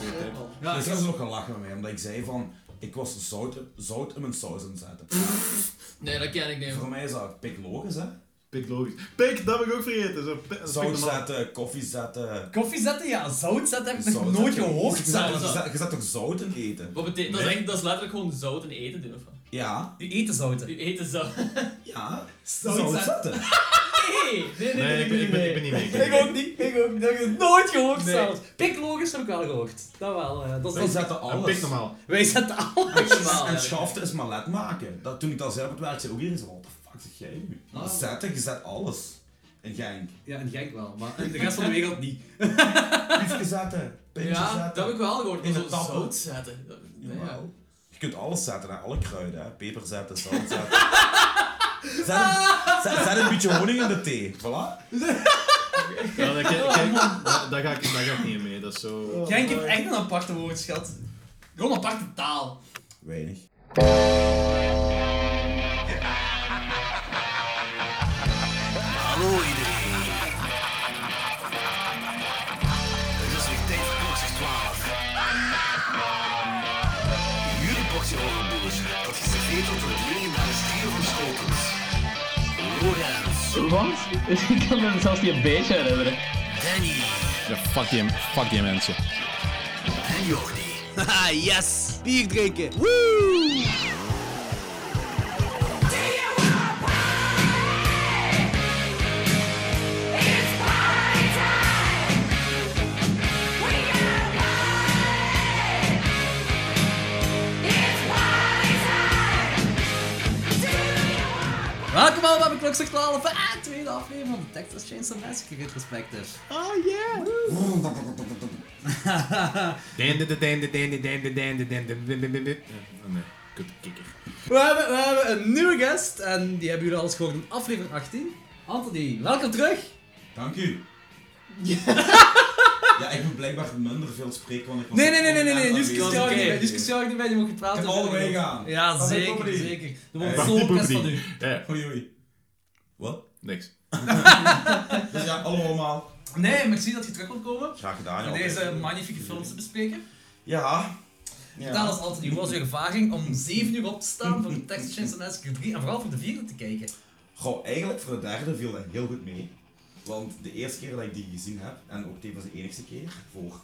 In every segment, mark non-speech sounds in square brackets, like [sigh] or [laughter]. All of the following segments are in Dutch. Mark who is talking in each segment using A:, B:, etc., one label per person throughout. A: Weet ik.
B: Ja,
A: Ja,
B: ik
A: ze hebben nog gelachen met mij, omdat ik zei van, ik was zout, zout in mijn saus aan het zetten.
B: Nee, dat ken ik niet.
A: Voor mij is dat piklogisch, hè.
C: Pik logisch. Pik, dat heb ik ook vergeten. Zo, pik, dat is pik
A: Zout
C: normaal.
A: zetten, koffie zetten.
D: Koffie zetten, ja. Zout zetten heb ik nog
A: zout
D: nooit
A: zetten. Je
D: gehoord.
A: zet,
D: zelfs.
A: toch- je zet- je zet toch zout in eten?
B: Wat betekent, dat, is echt, dat is letterlijk gewoon zout en eten doen, of wat?
A: Ja.
D: U eten zouten.
B: U eten zout.
A: Ja.
D: Zout
A: Zout
D: zetten.
A: zetten.
B: Nee!
D: Nee,
C: Nee, ik ben, ik, ben, ik ben niet mee.
D: Ik ook niet, ik ook niet. Dat heb ik nooit gehoord
A: Nee.
D: zelfs. Piklogisch heb ik wel gehoord. Dat wel. eh, dat is
A: Wij
D: dat...
A: zetten
C: Een
A: alles.
C: pik normaal.
D: Wij zetten alles.
B: Normaal,
A: En
B: ja.
A: schaften is malet maken. Dat, toen ik dat zei op het werk, zei ook iedereen zo, what the fuck zeg jij nu?
D: Ah.
A: Zetten, je zet alles. In Genk.
D: Ja, en gek wel, maar in de rest van de wereld niet.
A: Piefje zetten, pintje
B: Ja,
A: zetten.
B: dat heb ik wel gehoord.
A: In
B: maar
A: de
B: zo
A: tappen.
B: zout zetten. Dat- nee, ja.
A: Jawel. Je kunt alles zetten, hè. alle kruiden. Hè. Peper zetten, [laughs] zout zetten. Zet een, zet, zet een beetje honing in de thee. Voilà.
C: Ja, dat, kijk, kijk, daar, daar ga ik, daar ga ik niet in mee. Dat is zo...
D: Genk heeft echt een aparte woordschat. Gewoon een aparte taal.
A: Weinig.
E: Hallo iedereen. Het is weer tijd voor Kloksters 12. Jullie portie horrorboers wordt geserveerd door de legendarische stier van Schotens. Lorenz,
F: Wat? Ik kan me zelfs niet een beetje herinneren.
E: Danny
G: Ja, fuck die, fuck die mensen.
E: en Jordi.
F: Haha, yes! Bier drinken! Woo!
D: Welkom allemaal bij Klokslag 12, ah, tweede aflevering van de Texas Chainsaw Massacre dus. Retrospective.
C: Dende, dende, dende, dende, dende, dende, dende, dende, dende. Oh nee, kut kikker.
D: We hebben, we hebben een nieuwe guest en die hebben jullie al eens gehoord in aflevering 18. Anthony, welkom terug.
A: Dank [laughs] u. Ja, ik moet blijkbaar minder veel spreken, want ik was
D: Nee, nee, nee, nee, nee, nee.
A: niet
D: discussieer
B: oké.
D: niet bij, discussieer niet bij, die moet gepraat
A: oh, Ik heb
D: worden.
A: alle meegaan.
D: Ja,
A: Dat is een
D: zeker,
A: comedy.
D: zeker. Er wordt
A: Hey.
D: zo'n pest van u.
C: Ja,
A: Oei, oei. Wat?
C: niks.
A: Dus ja, hallo allemaal.
D: Nee, maar ik zie dat je terug wilt komen.
A: Graag gedaan,
D: Om
A: joh.
D: deze magnifieke films te bespreken.
A: Ja.
D: Vertel
A: ja.
D: eens Anthony, hoe was je ervaring om 7 uur op te staan voor de Texas Chainsaw Massacre 3 en vooral voor de vierde te kijken?
A: Goh, eigenlijk voor de derde viel dat heel goed mee. Want de eerste keer dat ik die gezien heb, en ook tevens de enigste keer, voor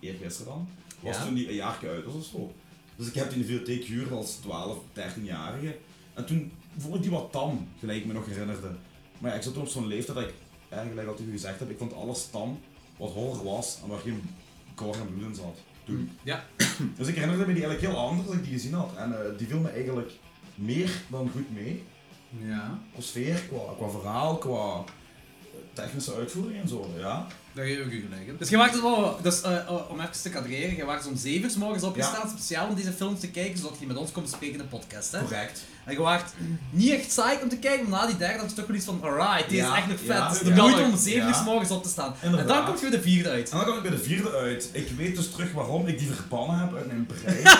A: eergisteren dan, was
D: Ja.
A: toen die een jaartje uit was of zo. Dus ik heb die in de bibliotheek gehuurd als 12, 13-jarige. En toen vond ik die wat tam, gelijk ik me nog herinnerde. Maar ja, ik zat toen op zo'n leeftijd dat ik, eigenlijk al tegen u gezegd heb, ik vond alles tam wat horror was en waar geen gore en bloed in zat. Toen.
D: Mm, Ja.
A: Dus ik herinnerde me die eigenlijk heel anders dan ik die gezien had. En eh, die viel me eigenlijk meer dan goed mee
D: Ja.
A: qua sfeer, qua, qua verhaal, qua eh, technische uitvoering en zo, ja.
D: Daar geef ik u gelijk in. Dus je wacht het wel, dus, eh, eh, om even te kadreren, je wacht om 7 uur 's morgens opgestaan speciaal om deze films te kijken, zodat je met ons komt bespreken in de podcast. Hè?
A: Correct.
D: En je waart niet echt psyched om te kijken, maar na die derde had je toch wel iets van, alright, deze
A: Ja,
D: is echt nog vet.
A: ja,
D: dus de
A: ja.
D: moeite om 7 uur
A: Ja.
D: 's morgens op te staan. En dan
A: Inderdaad.
D: komt je weer de vierde
A: [laughs]
D: uit.
A: En dan kom ik bij de vierde uit. Ik weet dus terug waarom ik die verbannen heb uit mijn brein.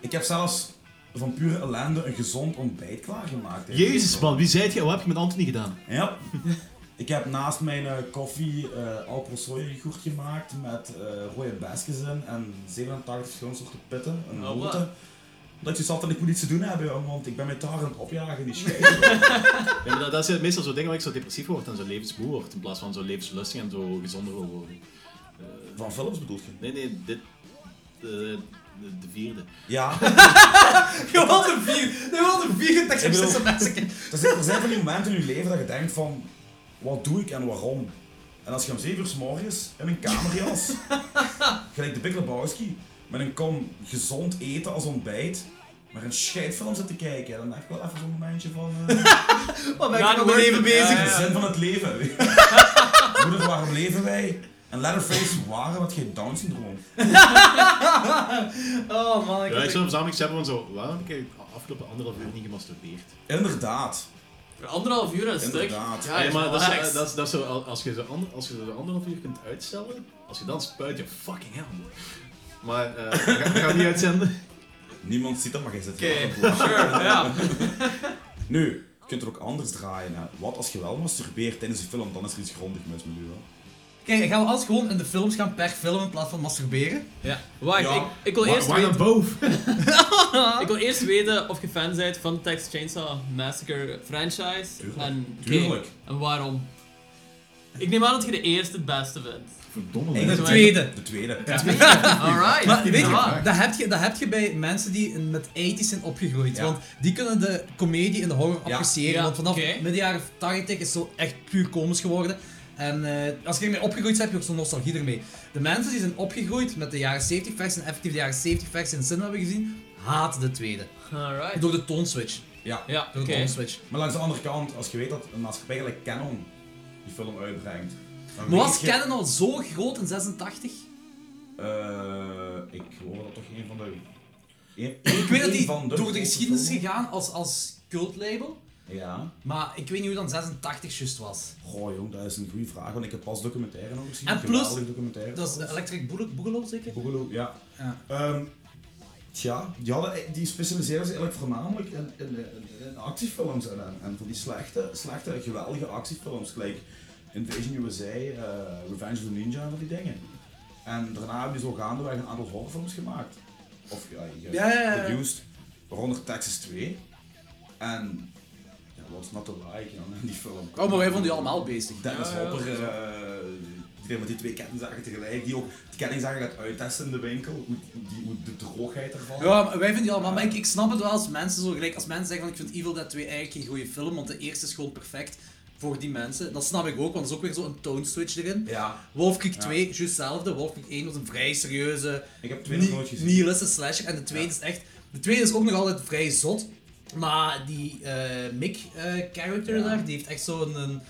A: ik heb zelfs van pure ellende een gezond ontbijt klaargemaakt. eigenlijk.
C: Jezus man, wie zijt je? Wat heb je met Anthony gedaan?
A: Ja. Ik heb naast mijn eh, koffie eh Alpro soja yoghurt gemaakt met eh, rode besjes in en 87 verschillende soorten pitten en
B: Oh,
A: roten.
B: wat?
A: Dat je zat en ik moet iets te doen hebben, joh, want ik ben mijn taart aan het opjagen in die schijf.
C: Ja, maar dat, dat zijn meestal zo dingen waar ik zo depressief word en zo levensmoe word, in plaats van zo levenslustig en zo gezonder wil worden.
A: Van Philips bedoel je?
C: Nee, nee, dit... eh, de, de vierde.
A: Ja.
D: Gewoon de vier, gewoon de vier
A: Ik bedoel-
D: Texas Massacre.
A: Er zijn, er zijn van die momenten in je leven dat je denkt van, wat doe ik en waarom? En als je om 7 uur s morgens in een kamerjas, gelijk de Big Lebowski, met een kom gezond eten als ontbijt, maar een scheidfilm zit te kijken, dan heb ik wel even zo'n momentje van, eh,
D: Wat ben ik nou
B: Ja, dat
D: nog maar [laughs] even
B: wordt-
D: bezig?
B: ja,
A: de zin van het
D: [laughs]
A: leven. Moeder, waarom leven wij? En Leatherface, waren wat geen Down-syndroom?
D: Oh man, ik
C: Ja,
D: heb
C: ik zou een verzameling hebben van zo, waarom heb ik de afgelopen anderhalf uur niet gemasturbeerd?
A: Inderdaad.
B: Voor Anderhalf uur een stuk.
A: Inderdaad.
B: Ja,
C: Ja, maar dat
B: relax.
C: is, dat is, dat is zo, al- als je zo, ander, als je zo anderhalf uur kunt uitstellen, als je dan spuit, je fucking hell. man. Maar, eh, we gaan- we gaan niet uitzenden.
A: Niemand ziet dat, maar jij zit
B: Oké,
A: hier.
B: sure, ja.
A: [laughs] Nu, je kunt er ook anders draaien. Hè. Wat als je wel masturbeert tijdens een film, dan is er iets grondig mis met u. Hè.
D: Oké, Kijk, gaan we alles gewoon in de films gaan per film in plaats van masturberen?
B: Ja. Wacht,
A: Ja.
B: ik, ik, wil eerst
C: Why
B: weten,
C: not both?
B: [laughs] ik wil eerst weten of je fan bent van de Texas Chainsaw Massacre franchise.
A: Tuurlijk.
B: En,
A: Tuurlijk.
B: En waarom? Ik neem aan dat je de eerste het beste vindt.
C: Verdomme.
A: Ik-
C: man.
D: De tweede.
A: De tweede.
B: Alright.
D: Maar weet
B: Ja.
D: je, dat heb je, dat heb je bij mensen die in- met 80s zijn opgegroeid.
A: Ja.
D: Want die kunnen de komedie en de horror
A: Ja.
D: appreciëren.
B: Ja,
D: Want vanaf
B: oké.
D: midden jaren 80 is zo echt puur komisch geworden. En eh, als je ermee opgegroeid bent, heb je ook zo'n nostalgie ermee. De mensen die zijn opgegroeid met de jaren 70 versie en effectief de jaren 70 versie in de cinema hebben gezien, haten de tweede.
B: Alright.
D: Door de toonswitch.
A: Ja.
B: Ja, oké.
D: Door de toonswitch.
A: Maar langs de andere kant, als je weet dat een maatschappij gelijk Canon die film uitbrengt. dan
D: Maar
A: weet
D: was
A: je-
D: Canon al zo groot in 86?
A: Eh, ik geloof dat toch een van de. een-
D: Ik weet dat
A: een
D: die
A: van
D: door de
A: grootste
D: geschiedenis
A: films-
D: gegaan als, als cultlabel.
A: Ja.
D: Maar ik weet niet hoe dan 86 juist was.
A: Goh, jong, dat is een goede vraag, want ik heb pas documentaire nog gezien.
D: En
A: een
D: plus-
A: geweldige documentaire.
D: Dat is de Electric Boogaloo- Boogaloo zeker?
A: Boogaloo, ja.
D: Ja.
A: Ehm, tja, die, hadden, e- die specialiseerden zich eigenlijk voornamelijk in, in, in- in actiefilms en, en, en van die slechte, slechte, geweldige actiefilms, gelijk Invasion USA, eh, Revenge of the Ninja en van die dingen. En daarna hebben die zo gaandeweg een aantal horrorfilms gemaakt. Of ja, ge-
D: Ja, ja, ja.
A: geproduced, waaronder Texas 2. En ja, what's not to like man, in die film.
D: Oh, maar wij vonden die allemaal bezig.
A: Dennis
B: Ja, ja.
A: Hopper, eh, die met die twee kettingzagen tegelijk, die ook die kettingzagen gaat uittesten in de winkel, hoe, die, hoe de droogheid ervan.
D: Ja, maar wij vinden die allemaal, maar ik, ik snap het wel als mensen zo gelijk, als mensen zeggen van ik vind Evil Dead 2 eigenlijk geen goede film, want de eerste is gewoon perfect voor die mensen. Dat snap ik ook, want er is ook weer zo'n tone switch erin.
A: Ja,
D: Wolf Creek 2, juist hetzelfde. Wolf Creek 1 was een vrij serieuze,
A: ik heb twee nog nooit
D: ni-
A: gezien.
D: nihilistische slasher. En de tweede is echt... De tweede is ook nog altijd vrij zot. Maar die eh, Mick eh, character
A: Ja.
D: daar, die heeft echt zo'n... Een,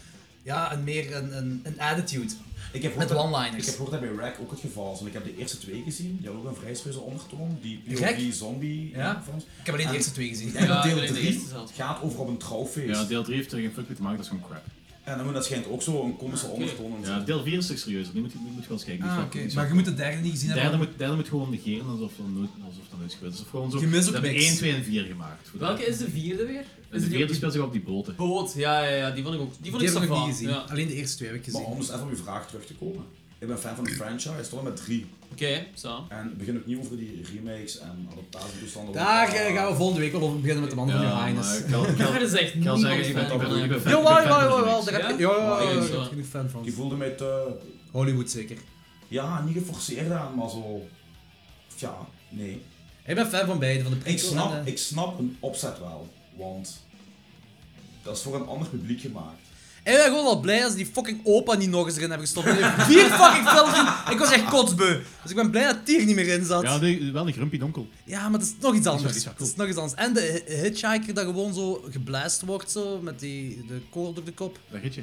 D: ja, een meer een, een, een attitude.
A: ik heb
D: met
A: gehoord dat-
D: one-liners.
A: Ik heb gehoord dat bij Rack ook het geval is, want ik heb de eerste twee gezien, die hadden ook een vrij serieuze ondertoon, die
D: Rack?
A: POV zombie
D: Ja.
A: films.
D: Ik heb alleen de
A: En-
D: eerste twee gezien. [laughs]
A: En
B: Ja, ik
A: deel
B: weet de
A: 3
B: eerste zelfs.
A: gaat over op een trouwfeest.
G: [laughs] Ja, deel 3 heeft er geen fuck mee te maken, dat is gewoon crap.
A: En dan moet dat schijnt ook zo een komische ondertoon. en zo.
G: Ja, deel 4 is toch serieuzer, die moet, die moet je wel eens kijken. Die
D: Ah,
G: is
D: oké.
G: wel- die is
D: Maar je
G: wel-
D: moet de derde niet gezien
G: Derde
D: hebben.
G: moet, derde moet gewoon negeren alsof dat nooit, alsof dat nooit gebeurd is. Of gewoon zo,
D: Je mist ook
G: ze hebben
D: niks.
G: 1, 2 en 4 gemaakt. Voor de-
B: Welke is de vierde weer?
G: De
B: Is het die op
G: vierde
B: die
G: speelt zich op die boten.
B: boot? Ja, ja, ja, die vond ik ook. Die vond
D: Die
B: ik
D: heb ik
B: zo
D: nog
B: van.
D: niet gezien.
B: Ja. Oké,
D: Alleen de eerste twee heb ik gezien.
A: Maar om dus even op uw vraag terug te komen. Ik ben fan van de franchise, tot en met 3.
B: zo.
A: En begin ook niet over die remakes en adaptatietoestanden.
D: Daar eh, gaan we volgende week wel over beginnen met de man van
G: maar
D: je highness.
G: ik
D: [laughs]
G: kan, ik kan-
B: Dat is dus echt
G: ik kan
B: niemand
G: zeggen, ik ben,
B: fan
G: ik ben,
B: van.
G: ik ben fan- ik ben
D: Jawel,
G: fan van
D: jawel,
G: de
D: jawel,
G: remakes.
D: jawel, daar heb je...
B: Ja?
D: Ja, ja, ja,
B: Ja,
D: ja,
B: ik
D: daar
B: wel.
D: heb je fan van.
A: Ik eh, voelde mij te...
D: Hollywood zeker.
A: Ja, niet geforceerd aan, maar zo... Tja, nee.
D: Ik ben fan van beide, van de
A: Ik
D: prequel en
A: snap,
D: de-
A: ik snap een opzet wel, want... Dat is voor een ander publiek gemaakt.
D: Ik ben gewoon al blij dat ze die fucking opa niet nog eens erin hebben gestopt. Die heeft Vier fucking films in. Ik was echt kotsbeu. Dus ik ben blij dat die er niet meer in zat.
G: Ja,
D: Ja,
G: die- wel een grumpy donkel.
D: maar dat is nog iets anders.
G: is wel
D: Dat is nog iets anders. En de hi- hitchhiker dat gewoon zo geblaast wordt, zo, met die de kool door de kop.
G: Dat giet je.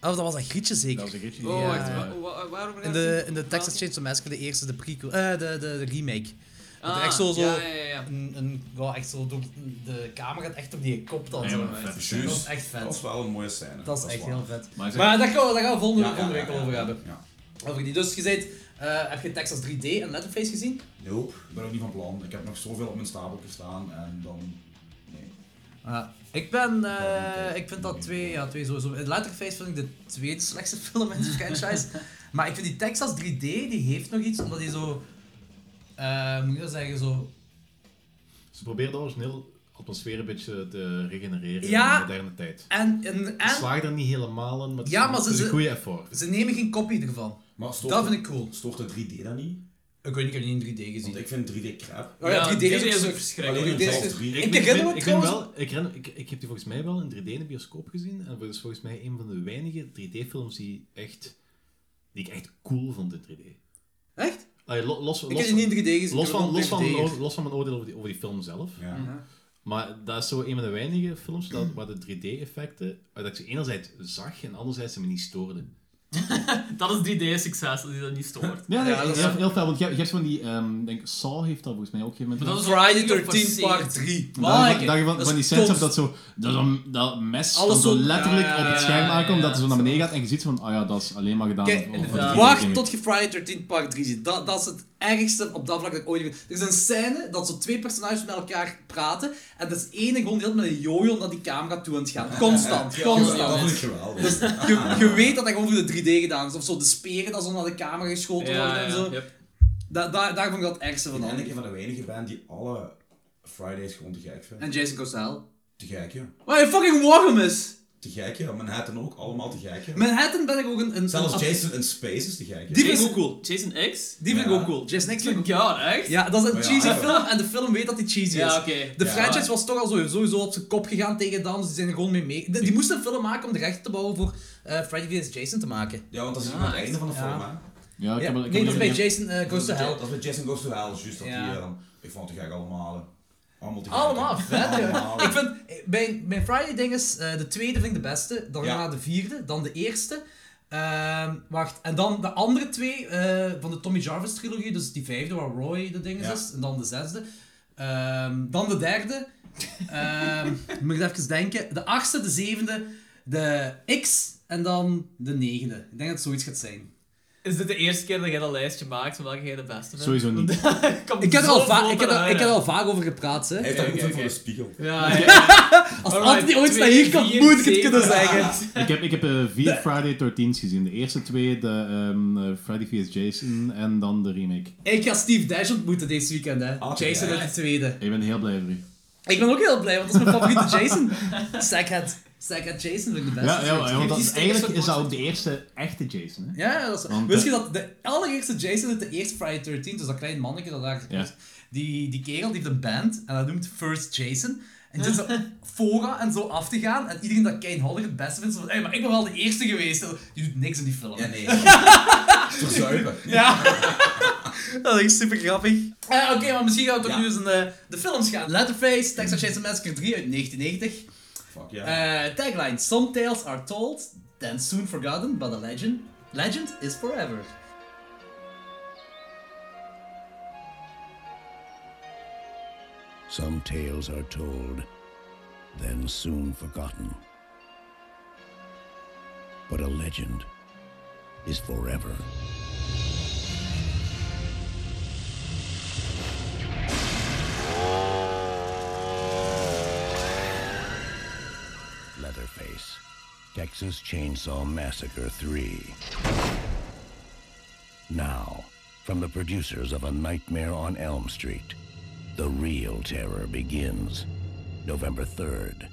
D: Oh, dat was dat Grietje zeker.
G: Dat is een gietje.
B: Oh,
D: Ja.
B: wacht, wa- wa- waarom
D: in, de, in de Texas Chainsaw Massacre, de eerste, de prequel, eh, de, de, de remake. Dat er
B: Ah,
D: echt zo, zo
B: ja, ja, ja.
D: Een, een, ja, echt zo door de camera gaat echt op die kop dan.
G: Ja,
D: zo.
G: maar vet.
D: dat is echt vet.
A: Dat Oh, is wel een mooie scène.
D: Dat is echt
A: waar.
D: heel vet.
G: Maar zeg-
D: Maar daar gaan we, daar gaan we volgende,
A: Ja, ja,
D: volgende
A: ja,
D: week
A: ja.
D: over hebben.
A: Ja.
D: Over die. Dus je zei, eh, heb je Texas 3D en Letterface gezien?
A: Nope, ik ben ook niet van plan. Ik heb nog zoveel op mijn stapeltje staan en dan... Nee.
D: ik ben, eh,
A: Ja, oké.
D: ik vind dat twee, ja, twee sowieso. Letterface vind ik de tweede slechtste [laughs] film in de franchise. maar ik vind die Texas 3D, die heeft nog iets, omdat die zo, eh, moet je dat zeggen, zo...
G: Ze probeerden origineel atmosfeer een beetje te regenereren
D: Ja.
G: in de moderne tijd.
D: En, en,
G: Ze
D: en
G: slagen er niet helemaal in, maar het is,
D: Ja, maar
G: het is
D: ze-
G: een goede effort.
D: ze nemen geen kopie ervan.
A: Maar stoort
D: Dat
A: de-
D: vind ik cool.
A: Stoort de 3D dan niet?
D: Ik weet niet, ik heb die niet in 3D
A: Want
D: gezien.
A: ik vind 3D crap.
D: Oh ja, 3D, is ook zo-
B: verschrikkelijk.
A: Alleen
D: dit
A: zelfs
D: is-
A: 3D.
D: Ik
G: ben-
D: herinner
G: ben-
D: me
G: ik ben
D: trouwens-
G: wel, ik, herinner- ik, ik heb die volgens mij wel in 3D in de bioscoop gezien. En dat is volgens mij een van de weinige 3D-films die, echt, die ik echt cool vond in 3D.
D: Echt?
G: Allee, lo- los, los,
D: Ik heb die niet in 3D gezien.
G: los
D: ik heb
G: van,
D: het
G: los,
D: op
G: van,
D: 3D.
G: mijn oor- los van mijn oordeel over die, over die film zelf.
A: Ja.
G: Maar dat is zo een van de weinige films dat, waar de 3D-effecten... Dat ik ze enerzijds zag en anderzijds ze me niet stoorden.
B: Dat is 3D-succes, dat die dat niet stoort.
G: Ja,
D: nee, Ja, dat is- heel-
G: fel. Want je hebt van die... ehm, denk, Saw heeft dat volgens mij ook geen moment.
B: Maar [laughs] dat is
D: Friday
B: ook
D: 13
B: geforceerd.
D: part 3.
G: Dat je
D: Like
G: van,
D: it.
G: dat je van,
D: is
G: van die sets hebt
D: kunst.
G: dat zo dat, een- dat mes
D: Alles
G: dan zo
D: zo-
G: letterlijk
D: ja,
G: op het
D: ja,
G: scherm
D: ja,
G: aankomt, dat
D: ja,
G: ze zo "Ah naar beneden gaat en je ziet van, oh ja, dat is alleen maar gedaan.
D: Kijk,
G: om- om- om-
D: wacht
G: om-
D: tot je Friday 13 part 3 ziet. Dat, dat is het ergste op dat vlak dat ik ooit gezien heb. Er is een scène dat zo twee personages met elkaar praten. En dat is ene gewoon heel met een jojo naar die camera toe aan het gaan. Constant,
A: Ja, dat
D: constant.
A: vind ik geweldig.
D: Dus je, je weet dat dat gewoon voor de 3D gedaan is. Of zo de speren dat zo naar de camera geschoten worden en zo.
B: yep.
D: Da- da- daar vond ik dat het ergste
A: Ik
D: van
A: ben eigenlijk
D: aan.
A: een van de weinigen ben die alle Fridays gewoon te gek vindt.
D: En Jason Cosell.
A: Te gek, ja.
D: Waar je fucking warm is!
A: Te gek, ja. Manhattan ook, allemaal te gek, ja.
D: Manhattan ben ik ook een... een
A: Zelfs
D: een-
A: Jason in Space is te gek, ja.
D: Die vind ik
B: Jason-
D: ook cool.
B: Jason X?
D: Die vind ik
A: Ja.
D: ook cool. Jason X vind ik ook
B: Good god, echt?
D: Ja, dat is een
A: Maar ja,
D: cheesy
A: [laughs] ja.
D: film en de film weet dat die cheesy
B: Ja,
D: is.
B: oké.
D: De
A: Ja.
D: franchise was toch al zo- sowieso op zijn kop gegaan tegen dan, dus die zijn er gewoon mee mee. Die, die moesten een film maken om de rechten te bouwen voor eh, Freddy vs. Jason te maken.
A: Ja, want dat is
B: Ah,
A: aan het
B: echt?
A: einde van de
D: Ja.
A: film, hè.
G: Ja, ik
D: Ja,
G: heb, ik
D: nee,
G: heb
D: dat is bij
G: ik heb-
D: Jason eh, Goes to Hell.
A: Dat is met Jason Goes to Hell, is juist dat
D: Ja.
A: die, eh, dan- Ik vond het te gek allemaal, hè. Allemaal te gek.
D: Allemaal vet, hè.
A: Allemaal.
D: Ik vind, mijn, mijn Friday ding is, eh, de tweede vind ik de beste, daarna
A: Ja.
D: de vierde, dan de eerste. Ehm, wacht, en dan de andere twee eh, van de Tommy Jarvis trilogie, dus die vijfde waar Roy de ding
A: Ja.
D: is, en dan de zesde. Ehm, dan de derde,
B: [laughs]
D: Ehm, moet ik even denken, de achtste, de zevende, de X en dan de negende. Ik denk dat het zoiets gaat zijn.
B: Is dit de eerste keer dat jij dat lijstje maakt van welke jij de beste vindt?
G: Sowieso
D: [laughs]
G: niet.
B: Komt
D: Ik heb er
B: zo
D: al, va-
B: vlot
D: ik heb er,
B: eruit,
D: ik heb
B: hè.
D: er al vaak over gepraat, hè.
A: Hij heeft dat goed
B: Oké,
A: voor
B: oké.
A: de spiegel.
B: Ja, ja, ja.
D: Als
B: Alright,
D: Anthony ooit naar
B: twee,
D: hier komt,
B: vier,
D: moet ik het kunnen
B: zeven, [laughs]
D: zeggen.
B: acht.
G: Ik heb, ik heb eh, vier Friday 13's gezien. De eerste twee, de ehm, eh, Freddy vs. Jason en dan de remake.
D: Ik ga Steve Dash ontmoeten deze weekend, hè.
A: Ah,
D: Jason
A: ja.
D: uit de tweede.
G: Ik ben heel blij voor u.
D: Ik ben ook heel blij, want dat is mijn
G: [laughs]
D: favoriete Jason. Sackhead. Sackhead Jason vind ik de beste.
G: Ja, ja, ja, want dat
B: die
G: is,
B: stickers
G: eigenlijk
B: van
G: is dat ook de eerste echte Jason. Hè?
D: Ja, ja, dat is
G: Want,
D: Wist
G: eh,
D: je dat de allereerste Jason uit de eerste Friday 13, dus dat klein manneke dat daar
G: Ja.
D: die, die kerel die heeft een band en dat noemt First Jason. En die
G: [laughs]
D: zit zo fora en zo af te gaan en iedereen dat Kane Hodder het beste vindt, zo van, hey, maar ik ben wel de eerste geweest. Die doet niks in die film.
A: Ja, nee. Verzuipen.
D: Ja. dat is super grappig. Eh, Oké, maar misschien gaan we toch
A: Ja.
D: nu eens naar de films gaan. Letterface, Texas Chainsaw Massacre 3 uit 1990.
A: Fuck, ja.
D: Eh, tagline, some tales are told, then soon forgotten, but a legend, legend is forever.
E: Some tales are told, then soon forgotten. But a legend is forever. Leatherface, Texas Chainsaw Massacre 3. Now, from the producers of A Nightmare on Elm Street, the real terror begins. November 3rd.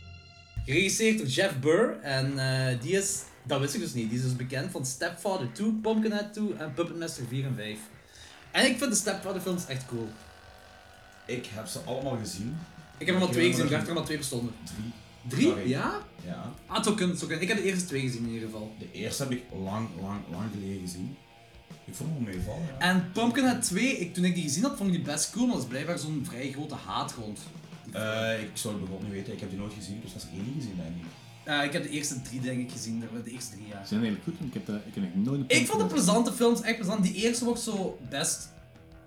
D: Geregisseerd door Jeff Burr en eh, die is, dat wist ik dus niet, die is dus bekend van Stepfather 2, Pumpkinhead 2 en Puppet Master 4 en 5. En ik vind de Stepfather films echt cool.
A: Ik heb ze allemaal gezien.
D: Ik heb er maar
A: Ik
D: twee
A: heb er
D: gezien, ik
A: nog
D: dacht er maar twee bestonden.
A: Drie.
D: Drie?
A: Sorry.
D: Ja?
A: Ja.
D: Ah, het zou kunnen, het zou kunnen. Ik heb de eerste twee gezien in ieder geval.
A: De eerste heb ik lang, lang, lang geleden gezien. Ik vond hem wel meevallen, ja.
D: En Pumpkinhead 2, ik, toen ik die gezien had, vond ik die best cool, maar dat is blijkbaar zo'n vrij grote haatgrond.
A: Eh, ik zou het bijvoorbeeld niet weten, ik heb die nooit gezien, dus dat is één niet gezien, denk ik.
D: Eh, ik heb de eerste drie denk ik gezien, de- de eerste drie jaar.
G: Ze zijn eigenlijk goed, want ik heb, dat, ik heb nog nooit een
D: Ik vond het
G: punt
D: plezante films, echt plezant. Die eerste wordt zo best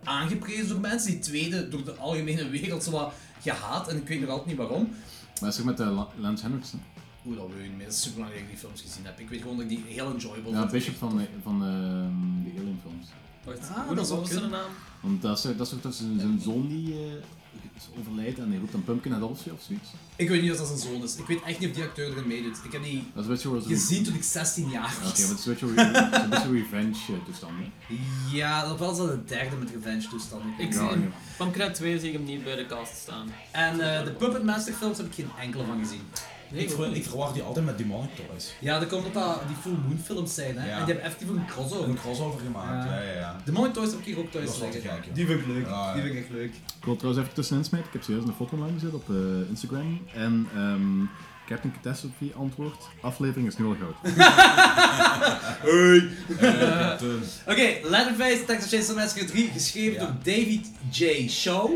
D: aangeprezen door mensen, die tweede door de algemene wereld zo wat gehaat en ik weet nog altijd niet waarom.
G: gemaakt. Maar zeg met eh, La- Lance Henriksen.
D: Hoe dat weet ik niet meer, dat is super lang dat ik die films gezien heb. Ik weet gewoon dat ik die heel enjoyable
G: Ja,
D: vond.
G: Bishop van, de- van ehm, de Alien films.
B: Wacht,
D: Ah,
B: hoe
D: dat zou
B: hoe zijn
D: kunnen.
B: naam?
G: Want dat is, dat is ook dat zijn, zijn zoon die eh, is overlijdt en hij roept een pumpkin uit Alfie of zoiets.
D: Ik weet niet of dat zijn zoon is. Ik weet echt niet of die acteur erin meedoet. Ik heb die
G: Dat is best wel zo'n...
D: gezien toen ik 16 jaar
G: Oké,
D: was.
G: maar het is best wel re- het is best wel revenge eh, toestand. hè.
D: Ja, dat was al de derde met Revenge toestand.
B: Ik
D: Ik
B: zie
G: Ja,
B: hem.
G: ja.
B: Van Kret 2 zie ik hem niet bij de cast staan.
D: En eh, de Puppet Master films heb ik geen enkele van gezien.
B: Nee,
A: Ik, ver- ik verwacht die altijd met Demonic Toys.
D: Ja, dat komt omdat dat die Full Moon films zijn, hè.
A: Ja.
D: En die hebben effectief een
A: Een
D: crossover.
A: crossover gemaakt,
D: Ja.
A: ja, ja, ja.
D: De Money Toys heb ik hier ook thuis
A: Dat is wel te
D: liggen.
A: gek, ja.
D: Die vind ik leuk.
A: Ja, ja.
D: Die vind ik echt leuk.
G: Ik wil trouwens even tussenin smijten. Ik heb serieus een foto online gezet op eh, Instagram. En ehm Captain Catastrophe antwoord. Aflevering is nu al goud.
A: Eh, toen-
D: Oké, Leatherface, Texas Chainsaw Massacre 3, geschreven
A: Ja.
D: door David J. Shaw.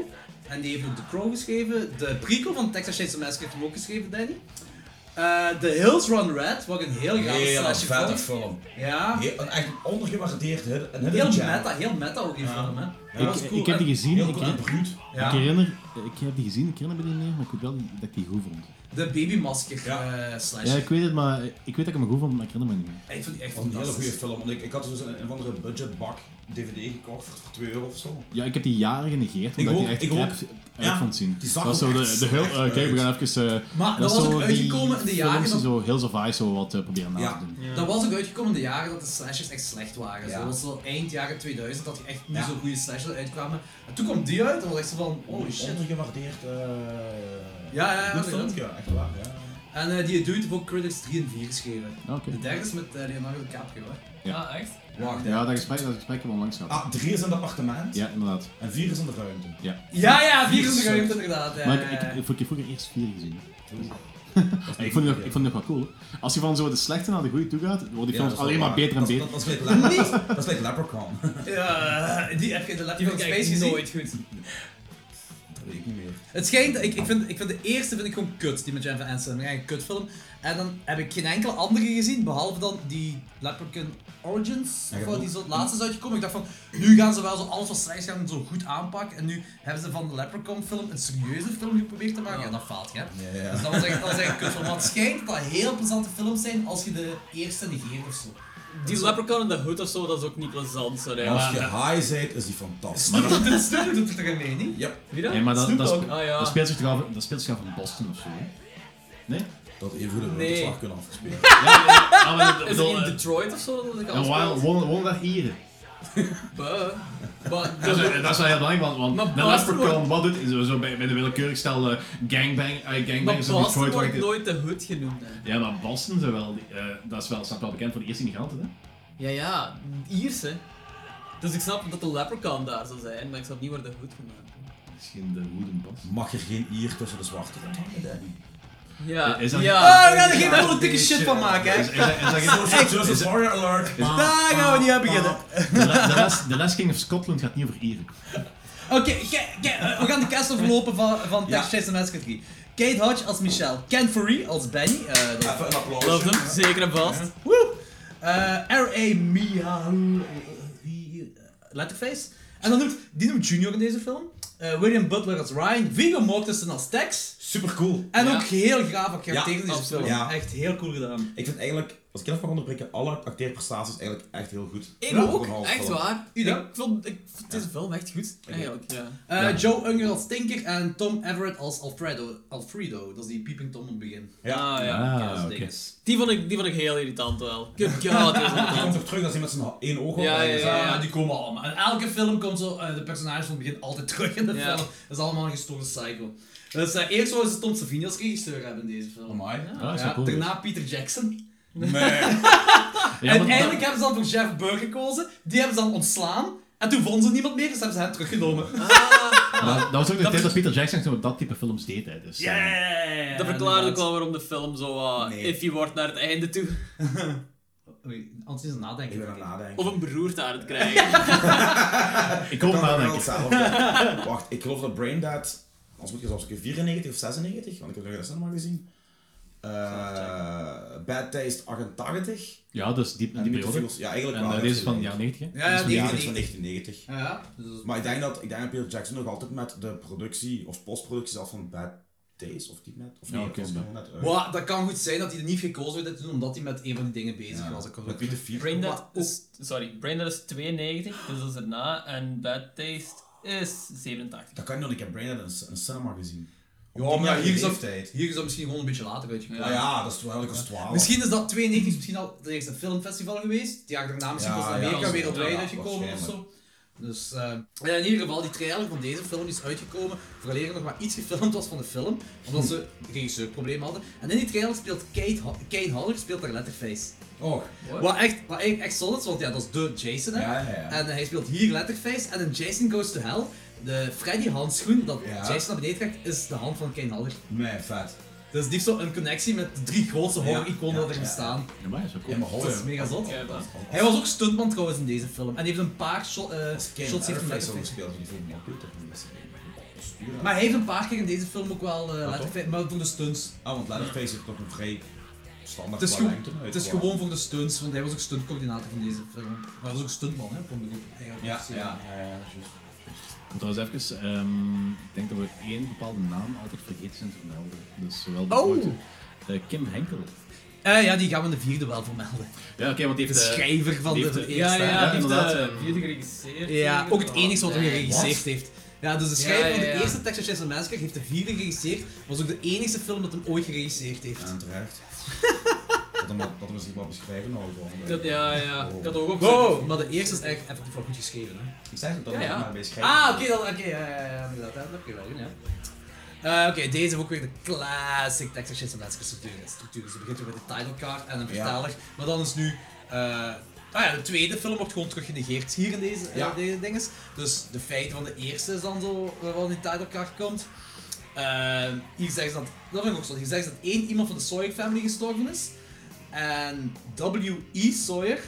D: En die heeft ook The Crow geschreven. De prequel van Texas Chainsaw Massacre heeft hem ook geschreven, Danny. Eh, The Hills Run Red, wat ik een heel gaaf
A: Hele
D: slasher
A: vette
D: vond.
A: film.
D: Ja,
A: Heel- een echt ondergewaardeerd hit. Een hidden
D: heel
A: gem.
D: meta, heel meta ook in
A: Ja.
D: film, hè.
A: Ja,
D: Ja, dat is
G: ik,
D: cool.
G: ik heb die gezien.
A: Heel
G: Ik,
A: cool en bruut.
D: Ja.
G: ik herinner, ik heb die gezien, ik herinner me die niet meer, maar ik weet wel dat ik die goed vond.
D: De babymasker eh
G: Ja,
D: slash.
G: ik weet het, maar ik weet dat ik hem goed vond, maar ik herinner me niet meer.
D: ik vond die echt
A: Dat was een hele goede
D: fantastisch.
A: film. Want ik, ik had dus een, een of andere budgetbak DVD gekocht voor, voor 2 euro of zo.
G: Ja, ik heb die jaren genegeerd, omdat
A: ook,
G: die echt
A: ik
G: crap
A: ook.
G: uit
A: Ja,
G: vond zien.
A: die zag
G: dat was
A: ook
G: zo de,
A: echt
G: de heel,
A: slecht
G: eh, kijk, we gaan even... eh,
D: Maar dat
G: is
D: was
G: zo
D: ook
G: die
D: uitgekomen in de jaren
G: Films die
D: dat-
G: zo heel survive zo wat eh, proberen na
A: Ja.
G: te doen.
D: Dat was ook uitgekomen in de jaren dat de slashers echt slecht waren.
A: Ja.
D: Zo, dat was zo eind jaren 2000 dat je echt niet
A: Ja.
D: zo goede slashers uitkwamen. En toen kwam die uit en was echt zo van, holy shit.
A: Ondergewaardeerd. eh
D: Ja, ja, ja,
A: goed
D: ja.
A: filmpje, echt waar. Ja.
D: En eh, die dude heeft ook Critics 3 en 4 geschreven.
G: Ja, Oké.
D: De derde is met eh, Leonardo DiCaprio. Hè.
B: Ah, echt?
D: Wacht, hè.
G: Ja, dat gesprek, dat gesprek hebben we onlangs gehad.
A: Ah, drie is in het appartement
G: Ja, inderdaad.
A: en vier is in de ruimte.
D: Ja, ja, 4 is
A: Jezus.
D: de ruimte inderdaad. ja,
G: Maar
D: ja,
G: ik,
D: ja.
G: ik, ik, heb vroeger eerst vier gezien. Ja, [laughs] ik, vond het, nog- ik vond het nog wel cool. hè. Als je van zo de slechte naar de goede toe gaat, worden die
A: Ja, dat
G: films
A: is wel
G: alleen maar
A: waar.
G: beter en
A: Dat is-
G: beter.
A: Dat, dat, is like Leper-
B: [laughs]
A: dat is like Leprechaun.
D: Ja, die heb je de
B: Die
D: Letter
B: vond ik
D: Space
B: echt
D: gezien.
B: nooit goed.
A: Dat weet ik niet meer.
D: Het schijnt, ik, ik, vind, ik vind de eerste vind ik gewoon kut, die met Jennifer Aniston. Een kutfilm. En dan heb ik geen enkele andere gezien, behalve dan die Leprechaun Origins,
A: Ja,
D: of wat
A: ik
D: die zo het laatste is uitgekomen. Ik dacht van, nu gaan ze wel zo alles wat slecht gaan zo goed aanpakken. En nu hebben ze van de Leprechaun film een serieuze film geprobeerd te maken. Ja, dat faalt, hè.
A: Ja, ja.
D: Dus dat was echt, dat was echt een kutfilm. Maar het schijnt dat dat heel plezante films zijn als je de eerste negeert of zo.
B: Die Leprechaun in de hood of zo, dat is ook niet plezant. Zo,
A: En Als je
B: ja.
A: high bent, is die fantastisch.
D: Maar [laughs] dat doet Snoop Dus- doet het er mee, niet?
A: Ja,
B: Wie dat?
G: Ja, maar dat,
A: Snoop
G: dat,
A: Dogg.
G: spe-
B: Ah, ja.
G: dat speelt zich toch af- dat speelt zich af in Boston of zo. hè? Nee?
A: dat even de
B: Nee.
A: slag kunnen
B: [laughs]
A: afgespeeld.
G: Ja, ja, ja. Ah, maar ik
B: Is het
G: bedoel,
B: in
G: eh,
B: Detroit of zo? Dat ik
G: En waarom wonen daar hier?
B: Buh. Maar
G: Dat is, dat is wel heel belangrijk, want, want
B: Maar
G: de
B: Boston
G: Leprechaun, wat doet, is zo bij, bij de willekeurig stel eh, gangbang, eh,
B: Maar
G: gangbangers in
B: Boston
G: Detroit. waar
B: wordt
G: ik-
B: nooit de hood genoemd. hè.
G: Ja, maar Boston zijn wel, die, eh, dat is wel, staat wel bekend voor de eerste immigranten, hè?
B: Ja, ja, Ierse. Dus ik snap dat de leprechaun daar zou zijn, maar ik snap niet waar de hoed vandaan komt.
G: Misschien de hoeden Boston.
A: Mag er geen ier tussen de zwarte
B: [laughs]
A: rond?
B: Ja,
G: Is dat-
D: Ah,
B: ja.
D: we gaan er geen politieke shit van maken, hè.
G: Is, is, is, dat-
A: [laughs]
G: is dat-
A: Justice Warrior Alert!
D: Daar gaan we niet aan beginnen.
G: de, la- de, last, de Last King of Scotland gaat niet over Ieren.
D: Oké, kijk, kijk, eh, we gaan de cast overlopen van, van
A: Ja.
D: Texas Chainsaw Massacre 3. Kate Hodge als Michelle, Ken Faree als Benny, eh, dat-
A: Even een applaus.
B: Love hem, zeker en vast.
D: woe, eh, R.A. Miharu, eh, Letterface. En dan noemt Dino Jr. in deze film, eh, William Butler als Ryan, Viggo Mortensen als Tex.
A: Super cool.
D: En
B: Ja.
D: ook heel graaf wat karakter in deze
B: absoluut.
D: film.
A: Ja.
D: Echt heel cool gedaan.
A: Ik vind eigenlijk, als ik even mag onderbreken, alle acteerprestaties eigenlijk echt heel goed.
B: Ik
A: Ja, voor een
B: ook,
A: half
B: echt
A: film.
B: waar.
D: Ida?
B: Ik vond, ik vond deze film echt goed, eigenlijk. Ja.
D: Eh, Joe Unger als Tinker en Tom Everett als Alfredo. Alfredo, dat is die Peeping Tom in het begin.
A: Ja.
B: Ah, ja.
D: Ja, dat is
G: oké. Ah,
D: dinges.
B: Die, vond ik, die vond ik heel irritant wel. Good god, die was
A: Die
B: irritant.
A: komt toch terug dat hij met zijn ha- één oog op
B: Ah. Ja, ja, ja.
D: Ja, die komen allemaal. En elke film komt zo, eh, de personages van het begin altijd [laughs] terug in de
B: Ja.
D: film. Dat is allemaal een gestoorde cycle. Dus eh, eerst zouden ze Tom Savini als regisseur hebben in deze film.
A: Amai.
D: Ja,
G: dat is wel cool. dus.
D: daarna Peter Jackson.
A: Nee.
G: Ja,
D: en
G: maar-
D: eindelijk hebben ze dan voor Jeff Burger gekozen. Die hebben ze dan ontslaan. En toen vonden ze niemand meer, dus hebben ze hem teruggenomen.
G: dat, dat was ook de tijd dat Peter Jackson zo dat type films deed. Hè, dus, eh,
B: Dat verklaart ook wel waarom de film zo eh,
A: Nee.
B: iffy wordt naar het einde toe.
D: [laughs] Oei, anders is het nadenken.
A: Ik ben aan het nadenken.
B: Of een beroerte aan het krijgen.
G: eh, ik hoop
A: kan
G: maar,
A: er
G: denk
A: wel
G: ik.
A: zelf doen.
G: [laughs]
A: Wacht, ik geloof dat Braindead, als moet je zelfs een keer 94 of 96, want ik heb het nog in de cinema gezien. Eh, Bad Taste 88.
G: Ja, dus die,
A: En
G: die
A: Meet the
G: periode.
A: Feels. Ja, eigenlijk
G: En
A: wel
G: eh,
A: net
G: deze is van de
A: gelijk.
G: jaren 90, hè?
D: Ja, ja, die
A: Ja,
D: ja,
A: die is van 1990.
D: ja, dus dat is-
A: Maar ik denk dat, ik denk dat Peter Jackson nog altijd met de productie of postproductie zelf van Bad Days of die net. Of nee,
G: oké,
A: dat was
G: maar-
A: gewoon net uit.
D: Wa- dat kan goed zijn dat hij er niet gekozen werd te doen, omdat hij met een van die dingen bezig
A: Ja,
D: was. Dat kan
A: met
D: ook-
A: Peter Fields.
B: Braindead
D: Wa-
B: is, sorry, Braindead is 92, dus dat is erna. En Bad Taste is 87.
A: Dat kan niet, want ik heb Braindead in een in een cinema gezien. Op
D: Ja,
A: die
D: maar hier is, dat,
A: leeftijd.
D: hier is dat misschien gewoon een beetje later uitgekomen.
A: Ja, ja, dat is wel ik was 12.
D: Misschien is dat 92 is misschien al het eerste filmfestival geweest. Het jaar daarna misschien
A: Ja,
D: was het
A: ja,
D: Amerika
A: dat is-
D: wereldwijd
A: ja,
D: uitgekomen of
A: waarschijnlijk.
D: zo. Dus eh, ja, in ieder geval, die trailer van deze film is uitgekomen vooraleer er nog maar iets gefilmd was van de film, omdat ze
A: Hm.
D: regisseurproblemen hadden. En in die trailer speelt Kate, Ho- Kane Haller speelt daar Letterface.
A: Oh,
D: Wat echt, wat echt, echt solid is, want ja, dat is de Jason hè.
A: Ja, ja, ja.
D: En hij speelt hier Letterface en in Jason Goes to Hell, de Freddy handschoen dat
A: Ja.
D: Jason naar beneden trekt, is de hand van Kane Haller.
A: nee, vet.
D: Dus die heeft zo een connectie met de drie grootste horror-iconen
A: Ja,
D: dat er
A: ja, ja.
D: bestaan.
G: Ja, maar dat is ook cool.
A: Ja, maar
D: Dat is
A: hoor.
D: mega zot.
B: Ja, dat-
D: Hij was ook stuntman trouwens in deze film. En hij heeft een paar shot, eh, shots heeft hem
A: Letterface
D: Letterface.
A: gespeeld, die vond ik goed. dat moet ik zeggen. Stuur
D: Maar
A: Maar...
D: hij heeft een paar keer in deze film ook wel eh Letterface, maar voor de stunts.
A: Ah, want Letterface heeft toch een vrij standaard
D: Het is,
A: qua
D: gewoon-
A: lengte uit.
D: het is
A: Voilà.
D: gewoon voor de stunts, want hij was ook stuntcoördinator van deze film. Maar hij was ook stuntman, hè? Vond ik ook eigenlijk
A: Ja,
D: precies.
A: ja, ja, ja, juist.
G: En trouwens even, ehm, ik denk dat we één bepaalde naam altijd vergeten zijn te vermelden. Dus zowel de
D: Oh!
G: grote, eh, Kim Henkel.
D: Eh, ja, die gaan we in de vierde wel vermelden.
G: Ja, oké, want die
D: De
G: heeft... eh,
D: schrijver van
G: die
D: de
G: heeft, eh,
D: eerste.
B: Ja, ja,
G: ja,
B: ja, die heeft
G: inderdaad,
B: de
G: ehm,
B: vierde geregisseerd.
D: eh, Ja, ook het enige wat hij
B: Nee.
D: geregisseerd heeft. Ja, dus de
B: Ja,
D: schrijver van
B: ja,
D: de
B: ja.
D: eerste Texas Chainsaw Massacre heeft de vierde geregisseerd, was ook de enige film dat hem ooit geregisseerd heeft. [laughs]
A: En terecht. dat hem dat hem zich wat beschrijven nou gewoon.
B: Dat- Ja, ja, ik had ook op.
D: Wow! Maar de eerste is echt effectief wel goed geschreven, hè.
A: Ik zeg het dan
B: Ja,
A: nog
B: ja.
A: maar bij schrijven.
D: Ah, oké, dan, oké, ja, ja, ja, inderdaad, dat heb je wel, ja. Eh, oké, deze heeft ook weer de classic Texas Chainsaw Massacre structuur. structuur. Dus je begint weer met de title card en een vertaler, maar dan is nu... eh, ah ja, de tweede film wordt gewoon terug genegeerd hier in deze,
A: Ja.
D: eh, deze dinges. Dus de feiten van de eerste is dan zo, eh, waarvan die title card komt. Eh, hier zeggen ze dat, dat vind ik ook zo, hier zeggen ze dat één iemand van de Sawyer family gestorven is. En W.E. Sawyer.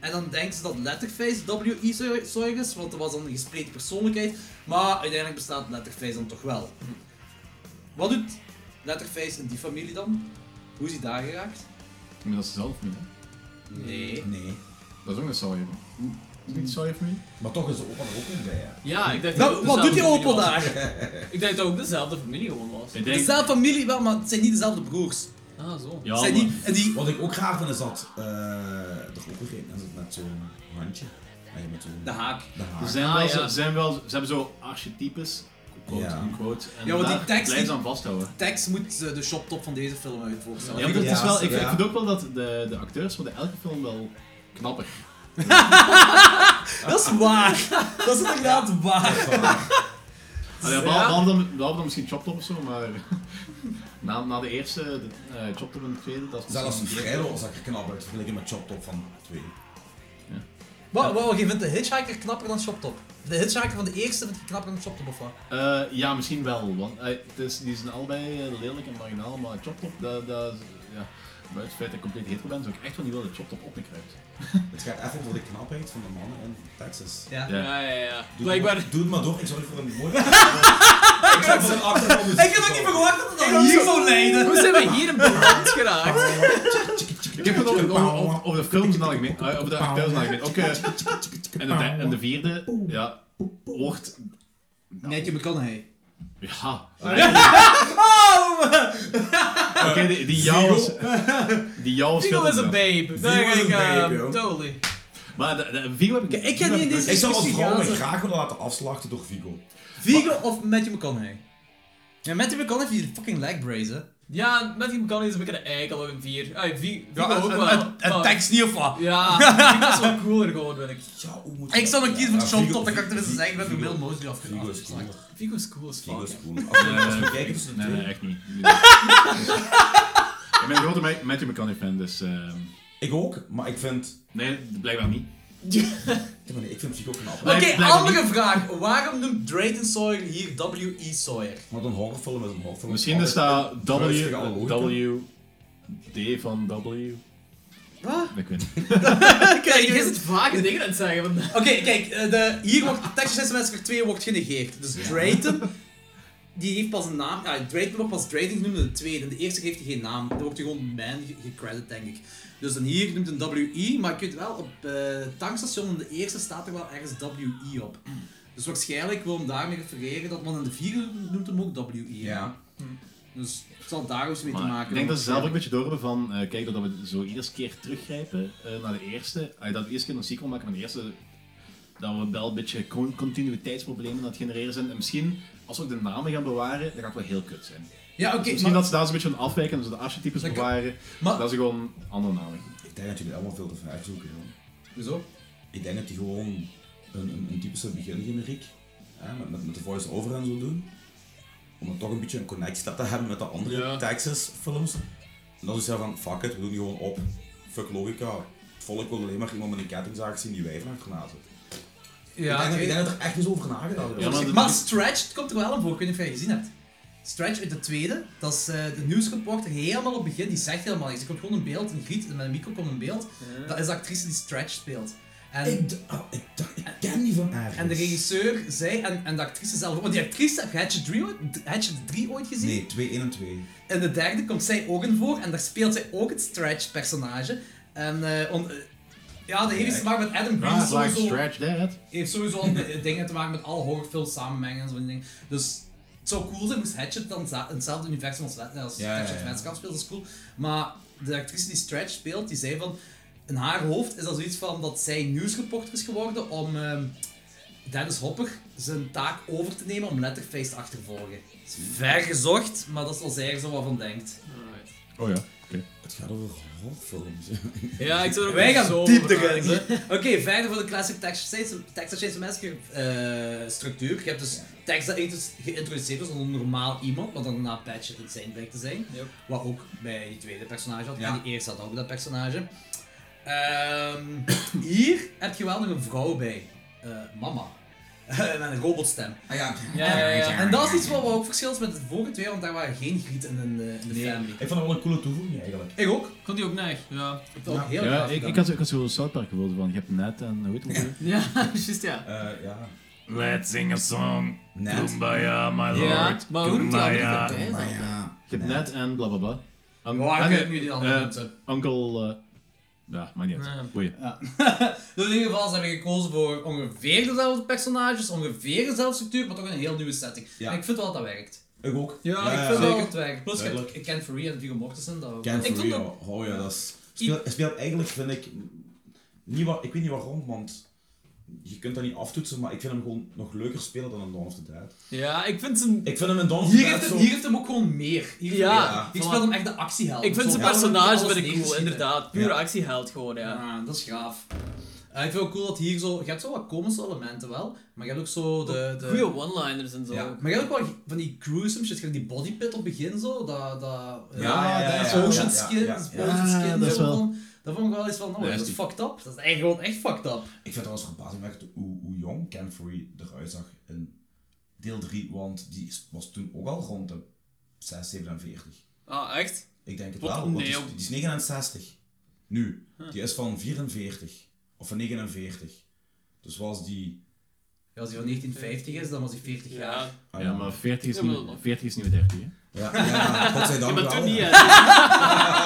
D: En dan denken ze dat Letterface W.E. Saw- Sawyer is, want dat was dan een gespleten persoonlijkheid. Maar uiteindelijk bestaat Letterface dan toch wel. Wat doet Letterface in die familie dan? Hoe is hij daar geraakt?
G: Maar dat is zelf niet, hè?
D: Nee.
A: Nee.
G: Dat is ook een Sawyer. hè? Is het niet Sawyer familie?
A: Maar toch is de opa er ook niet bij, hè.
B: Ja, ik dacht dat
D: Nou,
B: het dezelfde
D: wat doet die
B: familie
D: opel
B: was.
D: daar?
B: Ik dacht dat ook dezelfde familie gewoon was.
G: Ik denk...
D: Dezelfde familie wel, maar het zijn niet dezelfde broers.
B: Ah, zo.
G: Ja,
D: Het zijn
G: maar-
D: niet, en die,
A: Wat ik ook graag vind is dat eh er ook weer een is met zo'n handje. Nee, met zo'n...
D: de haak.
A: de
G: Ze
A: haar.
G: zijn,
B: Ah,
G: wel,
B: ja.
G: ze, zijn wel, ze hebben zo archetypes, quote
A: Ja.
G: unquote, en
D: Ja, want die
G: daar
D: tekst
G: blijven ze
D: die-
G: aan vasthouden.
D: Tex moet eh, de shoptop van deze film uit voorstellen.
G: Ja, maar dat is
A: Ja,
G: wel, ik,
A: ja.
G: ik vind ook wel dat de, de acteurs worden elke film wel knapper.
D: Dat is [laughs] waar. Dat is inderdaad waar.
G: Allee,
B: Ja.
G: ja. behalve, dan, behalve dan misschien Choptop of zo, maar [laughs] na, na de eerste, de, eh, Choptop en de tweede, dat is
A: Zelfs een
G: misschien-
A: vrijwel zag er knap uit vergeleken met Chop Top van 2.
D: Wat, wat, wat, je vindt de Hitchhiker knapper dan Shoptop? De Hitchhiker van de eerste vind je knapper dan Shoptop of wat?
G: Eh, ja, misschien wel. Want, eh, het is, die zijn allebei eh, lelijk en marginaal, maar Choptop, dat, dat, is- ja, buiten het feit dat ik compleet hetero ben, zou ik echt wel niet willen dat Choptop op me kruipt.
A: Het gaat echt over de knapheid van de mannen in Texas.
D: Ja.
B: Ja, ja, ja.
A: Doe het
B: Blijkbaar.
A: maar- Doe het maar door, ik zorg voor een
D: [laughs]
A: mooie... ik zorg voor een achtergrond.
D: Ik heb ook niet verwacht dat het dan hier zou leiden.
B: [laughs] Hoe zijn wij hier in beland geraakt?
G: Ik heb het over, over, over, over de films in het algemeen, eh, over de acteurs in het algemeen. Ook, eh, en, de, derde- en de vierde, ja, hoort...
D: Netje McConaughey.
G: Ja. Oké, die, die jouwers... Die jouwers
B: Vigo is
G: films,
B: een
G: ja.
B: babe. Daar
A: Vigo
B: ga
A: is
B: ik,
A: een babe,
B: ehm,
A: joh.
B: totally.
G: Maar de, de, Vigo heb ik...
D: Ik
G: Vigo
D: ken die
G: heb
D: in
G: nooit-
D: deze
A: Ik zou als
D: discussie
A: vrouw mij
D: gaan, zo.
A: graag willen laten afslachten door Vigo.
D: Vigo of Matthew McConaughey? Ja, Matthew McConaughey heeft die fucking leg brace, hè.
B: Ja, met die McCann is een beetje de eikel in vier. Ah, Vigo ook wel. maar-
D: niet of wat? [laughs]
B: Ja, ik was wel cooler gewoon, ben ik.
A: Ja, hoe moet
D: Ik zou nog kiezen voor de
A: Vigo-
D: Shoptop, dan kan ik tenminste
A: Vigo-
D: zeggen, ik ben door
A: Vigo-
D: Bill Mosley
A: Vigo is cool.
D: afgeslagen.
B: Vigo is cool as
A: Vigo
B: fuck.
A: is cool. Als we- als we
G: Eh,
A: kijken tussen de
G: nee, nee,
A: twee...
G: echt niet. ik ben een grote Ma- Matthew McConaughey fan, dus... ehm,
A: Ik ook, maar ik vind...
G: nee, blijkbaar niet.
A: Ik weet niet, Ik vind Vigo knap.
D: Oké,
G: Blijf- blijf
D: andere vraag. Waarom noemt Drayton Sawyer hier W.E. Sawyer?
A: Want een horrorfilm is een horrorfilm.
G: Misschien is dat W...
A: Rustig aan de hoek, hè.
G: W... D van W...
D: Wat?
G: Ik weet niet.
B: Kijk, je is het vage dingen aan het zeggen vandaag.
D: Oké, kijk, eh, de, hier wordt de Texas Chainsaw Massacre 2 wordt genegeerd. Dus Drayton, die heeft pas een naam. Ja, Drayton wordt pas Drayton genoemd in de tweede. In de eerste heeft hij geen naam. Dan wordt hij gewoon man ge- gecredit, denk ik. Dus dan hier noemt een WE, maar ik weet wel, op eh, het tankstation in de eerste staat er wel ergens WE op. Dus waarschijnlijk wil hem daarmee refereren dat man in de vierde noemt hem ook WE.
A: Ja.
D: Dus het zal daar iets mee te
G: Maar
D: maken
G: ik denk dat ze zelf ook een
D: hebben.
G: beetje door hebben van, eh, kijk, doordat we zo iedere keer teruggrijpen eh, naar de eerste, eh, dat we eerst keer een sequel maken van de eerste, dat we wel een beetje con- continuïteitsproblemen aan het genereren zijn. En misschien, als we ook de namen gaan bewaren, dan gaat het wel heel kut zijn.
D: Ja, oké,
G: Dus misschien
D: maar-
G: dat ze daar zo'n beetje van afwijken en ze de archetypes
D: Dat kan-
G: bewaren,
D: maar-
G: dat ze gewoon andere namen
A: Ik denk dat jullie allemaal veel te ver zoeken, joh.
D: Hoezo?
A: Ik denk dat die gewoon een, een, een typische begingeneriek hè, met, met, met de voice-over en zo doen. Om dan toch een beetje een connectie te hebben met de andere
B: Ja.
A: Texas-films. En dan is hij van, fuck it, we doen die gewoon op. Fuck logica. Het volk wil alleen maar iemand met een kettingzaag zien die wijven achterna zit. ik,
B: Ja,
A: denk, dat- ik
B: oké.
A: denk dat er echt eens over nagedacht wordt.
G: Ja, maar de-
D: Maar Stretch, het komt er wel aan voor, ik weet niet of jij het gezien hebt. Stretch uit de tweede, dat is eh, de nieuwsreporter helemaal op het begin, die zegt helemaal niks. Er komt gewoon een beeld, een griet, en met een micro komt een beeld. Dat is de actrice die Stretch speelt. En,
A: ik, d- ah, ik, dacht- ik ken die van ergens.
D: en de regisseur zei, en, en de actrice zelf ook, want die actrice heb je Hatchet 3 ooit, Hatchet 3 ooit gezien?
A: Nee, 2, 1 en 2.
D: In de derde komt zij ook in voor en daar speelt zij ook het Stretch-personage. En eh, on- eh, Ja, dat heeft iets te maken met Adam Green.
G: Right,
D: sowieso.
G: like Stretch Dad.
D: heeft sowieso al de- eh, dingen te maken met alle horrorfilms samenmengen en zo van die dingen. Dus het zou cool zijn moest Hatchet dan za- in hetzelfde universum als, Let- als
A: Ja, ja,
D: Hatchet
A: ja.
D: Man's Cup speelt, dat is cool. Maar de actrice die Stretch speelt, die zei van... In haar hoofd is dat zoiets van dat zij nieuwsreporter is geworden om ehm, Dennis Hopper zijn taak over te nemen om Letterface te achtervolgen. Dat is ver gezocht, maar dat is als zij er zo wat van denkt.
B: Alright.
G: Oh ja, oké.
A: Het gaat over horrorfilms.
B: Ja, ik zou er ook
D: Wij
B: zo
D: gaan diep
B: over
D: erin.
B: nadenken.
D: Oké, verder voor de classic Texas Chainsaw- Texas Chainsaw Massacre eh, structuur. Je hebt dus tekst dat intus- geïntroduceerd was als een normaal iemand, wat dan na Patcher het zijn blijkt te zijn.
B: Yep.
D: Wat ook bij die tweede personage had.
A: Ja.
D: En die eerste had ook dat personage. Ehm, [coughs] hier heb je wel nog een vrouw bij. Eh, mama. [laughs] Eh, Met een robotstem.
A: Ah [laughs] ja.
B: Ja, ja, ja.
D: En dat is iets wat wat ook verschil is met de vorige twee, want daar waren geen grieten in de, in de family.
A: Ik vond dat wel een coole toevoeging eigenlijk.
D: Ik ook.
B: Ik vond die ook neig, ja.
D: Ik vond het ook heel
G: Ja,
D: gaaf
G: ik,
D: gedaan.
G: ik had, zo- ik had zo'n South Park gevoel van, je hebt net en hoe heet het ook
B: Ja, [laughs] juist ja.
A: Eh ja.
E: Let's sing a song.
A: Net.
E: Kumbaya, my
B: Ja, maar hoe moet je dat niet erbij
A: Maar
B: zijn?
A: ja.
G: Je hebt net en bla bla bla. Um,
D: Waar
G: en,
D: kunnen jullie die andere
G: eh,
D: mensen?
G: Onkel... eh, ja, maar niet
B: Nee.
G: uit. Boeien.
D: [laughs] Dus in ieder geval ze hebben gekozen voor ongeveer dezelfde personages, ongeveer dezelfde structuur, maar toch een heel nieuwe setting.
A: Ja.
D: En ik vind wel dat dat werkt.
A: Ik ook.
B: Ja, ik
D: Ik
B: vind
D: vind wel
B: Zeker.
D: dat het werkt. Plus, ik,
A: Duidelijk.
D: ik ken Free en Viggo Mortensen. Dat
A: Ken
B: Ik
A: for
B: vond
A: real. Oh ja, dat is... Speelt, speelt eigenlijk, vind ik... Niet waar, ik weet niet waarom, want... Je kunt dat niet aftoetsen, maar ik vind hem gewoon nog leuker spelen dan in Dawn of the Dead.
B: Ja, ik vind zijn...
A: Ik vind hem in Dawn of the
D: hier,
A: Dead
D: heeft hem,
A: zo...
D: hier heeft hem ook gewoon meer. Hier
B: Ja.
A: Ja.
D: Ik speel hem echt de actieheld.
B: Ik vind
D: Zo
B: zijn
D: wel een beetje
B: personage
D: alles
B: ben ik cool,
D: neergeschieten.
B: inderdaad. Pure actieheld gewoon, ja.
D: Ja, dat is gaaf. Eh, ik vind het ook cool dat hier zo... Je hebt zo wat komische elementen wel, maar je hebt ook zo de... de
B: Goeie one-liners en zo.
D: Ja, maar je hebt ook wel van die gruesome shit, gelijk die bodypit op het begin zo, dat... dat
A: ja, ja, ja, ja,
D: Ocean
A: ja,
D: skin,
A: ja, ja.
D: ocean
G: Ja,
D: skin,
G: dat is
D: zo
G: wel-
D: van. Dat vond ik wel iets van, oh,
G: Nee,
D: dat
G: is
D: is
G: die-
D: fucked up. Dat is eigenlijk gewoon echt fucked up.
A: Ik vind het trouwens verbazingwekkend hoe, hoe jong Ken Free eruit zag in deel 3, want die was toen ook al rond de 6, 47.
B: Ah, echt?
A: Ik denk het
B: Wat
A: wel,
B: een
A: want die, is-
B: neo.
A: die is 69. Nu. Die is van 44. Of van 49. Dus was die...
D: Ja, als hij van 1950 is, dan was hij 40 jaar.
B: Ja.
A: ah
G: Ja, maar 40 is,
B: Ja,
G: nieuw,
B: maar dan-
G: 40 is nieuwe 30, hè?
A: Ja, ja godzijdank
B: Maar
A: wel.
B: toen niet, eh,
A: ja.
B: hè.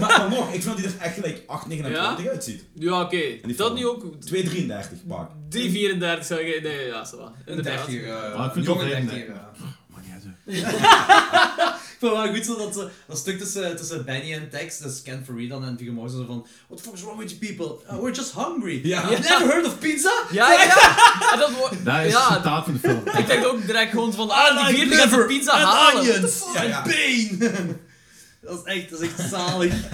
A: Maar dan nog, ik vind dat hij er echt gelijk 8, 29 uitziet.
B: [laughs] Ja, oké.
A: die
B: Dat
A: film.
B: niet ook...
A: 2,33 pak.
B: 3,34 zou ik... Nee, ja, zo wel.
D: Een
B: Inderdaad.
D: 30 jaar.
G: Maar Ah, ik vind
D: jonge
G: het wel
D: 30 [laughs]
G: vreemd,
D: jaar.
G: Maar niet uit, hè.
D: Ik vond het wel goed zo dat, ze, dat stuk tussen, tussen Benny en Tex, dus Ken Faree dan en Viggo Morrison, zo van What the fuck is wrong with you people? Uh, we're just hungry.
A: Ja.
D: You've never heard of pizza?
B: Ja, ja, [laughs] ja. En dat wordt...
G: Dat is het
B: Ja,
G: citaat van de film.
B: ik dacht ook direct gewoon van... Ah, die vierde gaat de pizza
D: and
B: halen.
D: onions
A: Ja, ja.
D: and pain. [laughs] dat, is echt, dat is echt zalig.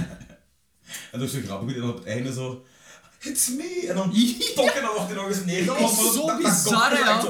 A: En dat is zo grappig. En dan op het einde zo... It's me!
D: [laughs]
A: En dan... Tok, en dan wordt hij nog eens neergekomen.
B: Dat was zo bizar, ja.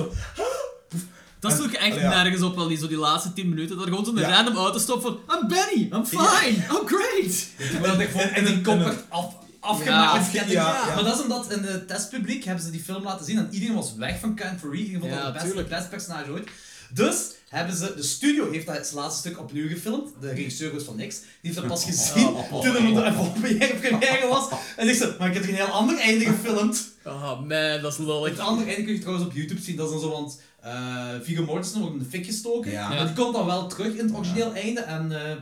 B: Dat sloeg echt
A: Allee, ja.
B: nergens op, wel die, zo die laatste 10 minuten. Dat er gewoon zo'n
A: Ja.
B: random auto stopt van... I'm Benny, I'm fine, I'm great.
D: dat ik vond, en die kop werd af, afgemaakt.
A: Ja,
D: Ja,
A: ja, ja.
D: Maar dat is omdat in het testpubliek hebben ze die film laten zien en iedereen was weg van Ken Faree. Ik vond
B: Ja,
D: dat het beste,
B: tuurlijk.
D: beste personage ooit. Dus hebben ze, de studio heeft dat het laatste stuk opnieuw gefilmd. De regisseur was van niks. Die heeft dat
B: [laughs]
D: pas gezien
B: Ah,
D: toen het op de [laughs] op première- première was. En ik zei, maar ik heb er een heel ander einde gefilmd.
B: Oh man, dat is lollig.
D: Het andere einde kun je trouwens op YouTube zien, dat is dan zo, want eh Viggo Mortensen wordt in de fik gestoken.
A: Ja.
D: Maar die komt dan wel terug in het origineel einde en eh,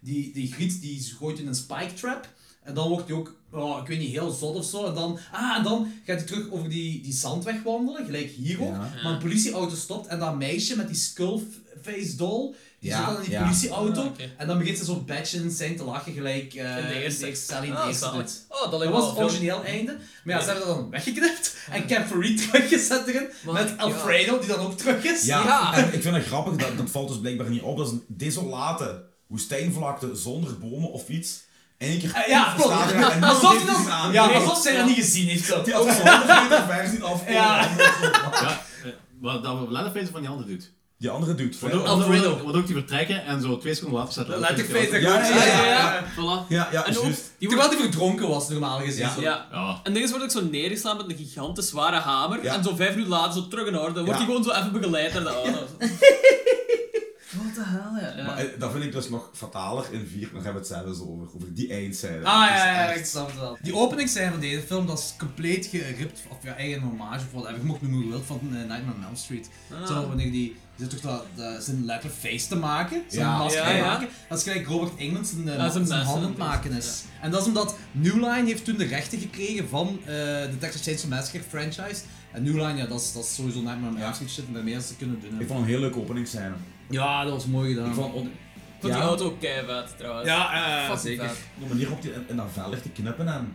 D: die, die griet die gooit in een spike trap. En dan wordt hij ook, oh, ik weet niet, heel zot of zo. En dan, ah, en dan gaat hij terug over die, die zandweg wandelen, gelijk hier ook.
A: Ja.
D: Maar een politieauto stopt en dat meisje met die skullface doll, die
A: Ja,
D: zit dan in die
A: ja.
D: politieauto.
B: Ah, oké.
D: En dan begint ze zo'n badge en zijn te lachen, gelijk eh
B: In de eerste.
D: Sally in de
B: Ah,
D: eerste
B: zalig.
D: doet.
B: Oh, dat
D: Dat
B: lijkt me
D: was het
B: wel veel-
D: origineel einde, maar ja, ze hebben dat dan weggeknipt en Cap Free teruggezet erin
B: Maar ja.
D: met Alfredo, die dan ook terug is.
A: Ja,
B: Ja.
A: en ik vind het grappig, dat, dat valt dus blijkbaar niet op. Dat is een desolate woestijnvlakte zonder bomen of iets. En één keer
D: Eh, ja
A: staat
D: klopt.
A: er en niemand
D: Alsof,
A: heeft
D: hij dat-
A: iets aan.
D: ja,
A: Nee.
D: alsof zij dat niet gezien heeft. zo.
A: Die had ook
D: [laughs]
A: zo'n andere versie afkomen.
D: Ja.
G: Ja, eh, wat dat we Leatherface van die andere doet.
A: Die andere dude,
G: Want
A: Fredo.
G: ook,
B: Alfredo.
G: want ook die vertrekken en zo twee seconden later staat
D: Letterface, dat
A: Ja,
D: klopt.
A: ja, ja,
B: Ja, ja, voilà.
A: Ja, ja,
B: En ook,
A: juist.
B: die wordt,
D: Terwijl hij verdronken was, normaal gezien.
A: Ja.
D: zo.
B: ja.
G: Ja.
B: En dinges wordt ook zo neergeslaan met een gigantische zware hamer.
A: Ja.
B: En zo vijf minuten later zo terug in orde. Dan
A: Ja.
B: wordt hij gewoon zo even begeleid naar de auto. [laughs] Wat de hel, ja.
A: Maar, eh, dat vind ik dus nog fataler in 4, maar hebben we het zelfs over, over die eindzijde. Dus-
D: Ah
A: Dat is
D: ja, ja,
A: echt-
D: ik snap het wel. Die openingscène van deze film, dat is compleet
B: Ah.
D: geript, of ja, eigen hommage of whatever, je mag het noemen hoe je wilt, van eh, Nightmare on Elm Street. Zo, wanneer die Je zit toch dat, dat, zijn leppe face te maken, zijn
A: Ja.
D: masker
B: Ja, ja.
D: maken. Dat is gelijk Robert Englund zijn, eh,
B: Ja, zijn
D: zijn
B: mes,
D: hand aan het
B: hè,
D: maken is. En dat is omdat New Line heeft toen de rechten gekregen van eh, de Texas Chainsaw Massacre franchise. En New Line, ja, dat is, dat is sowieso net maar mijn shit en daarmee dat ze kunnen doen. hè.
A: Ik vond een heel leuke openingsscène.
D: Ja, dat was mooi gedaan.
A: Ik vond op
B: Ik vond
A: Ja.
B: die auto ook keihard trouwens.
D: ja, eh,
B: Fucking
D: zeker.
B: vet.
A: de manier waarop die in, in dat vel ligt te knippen en...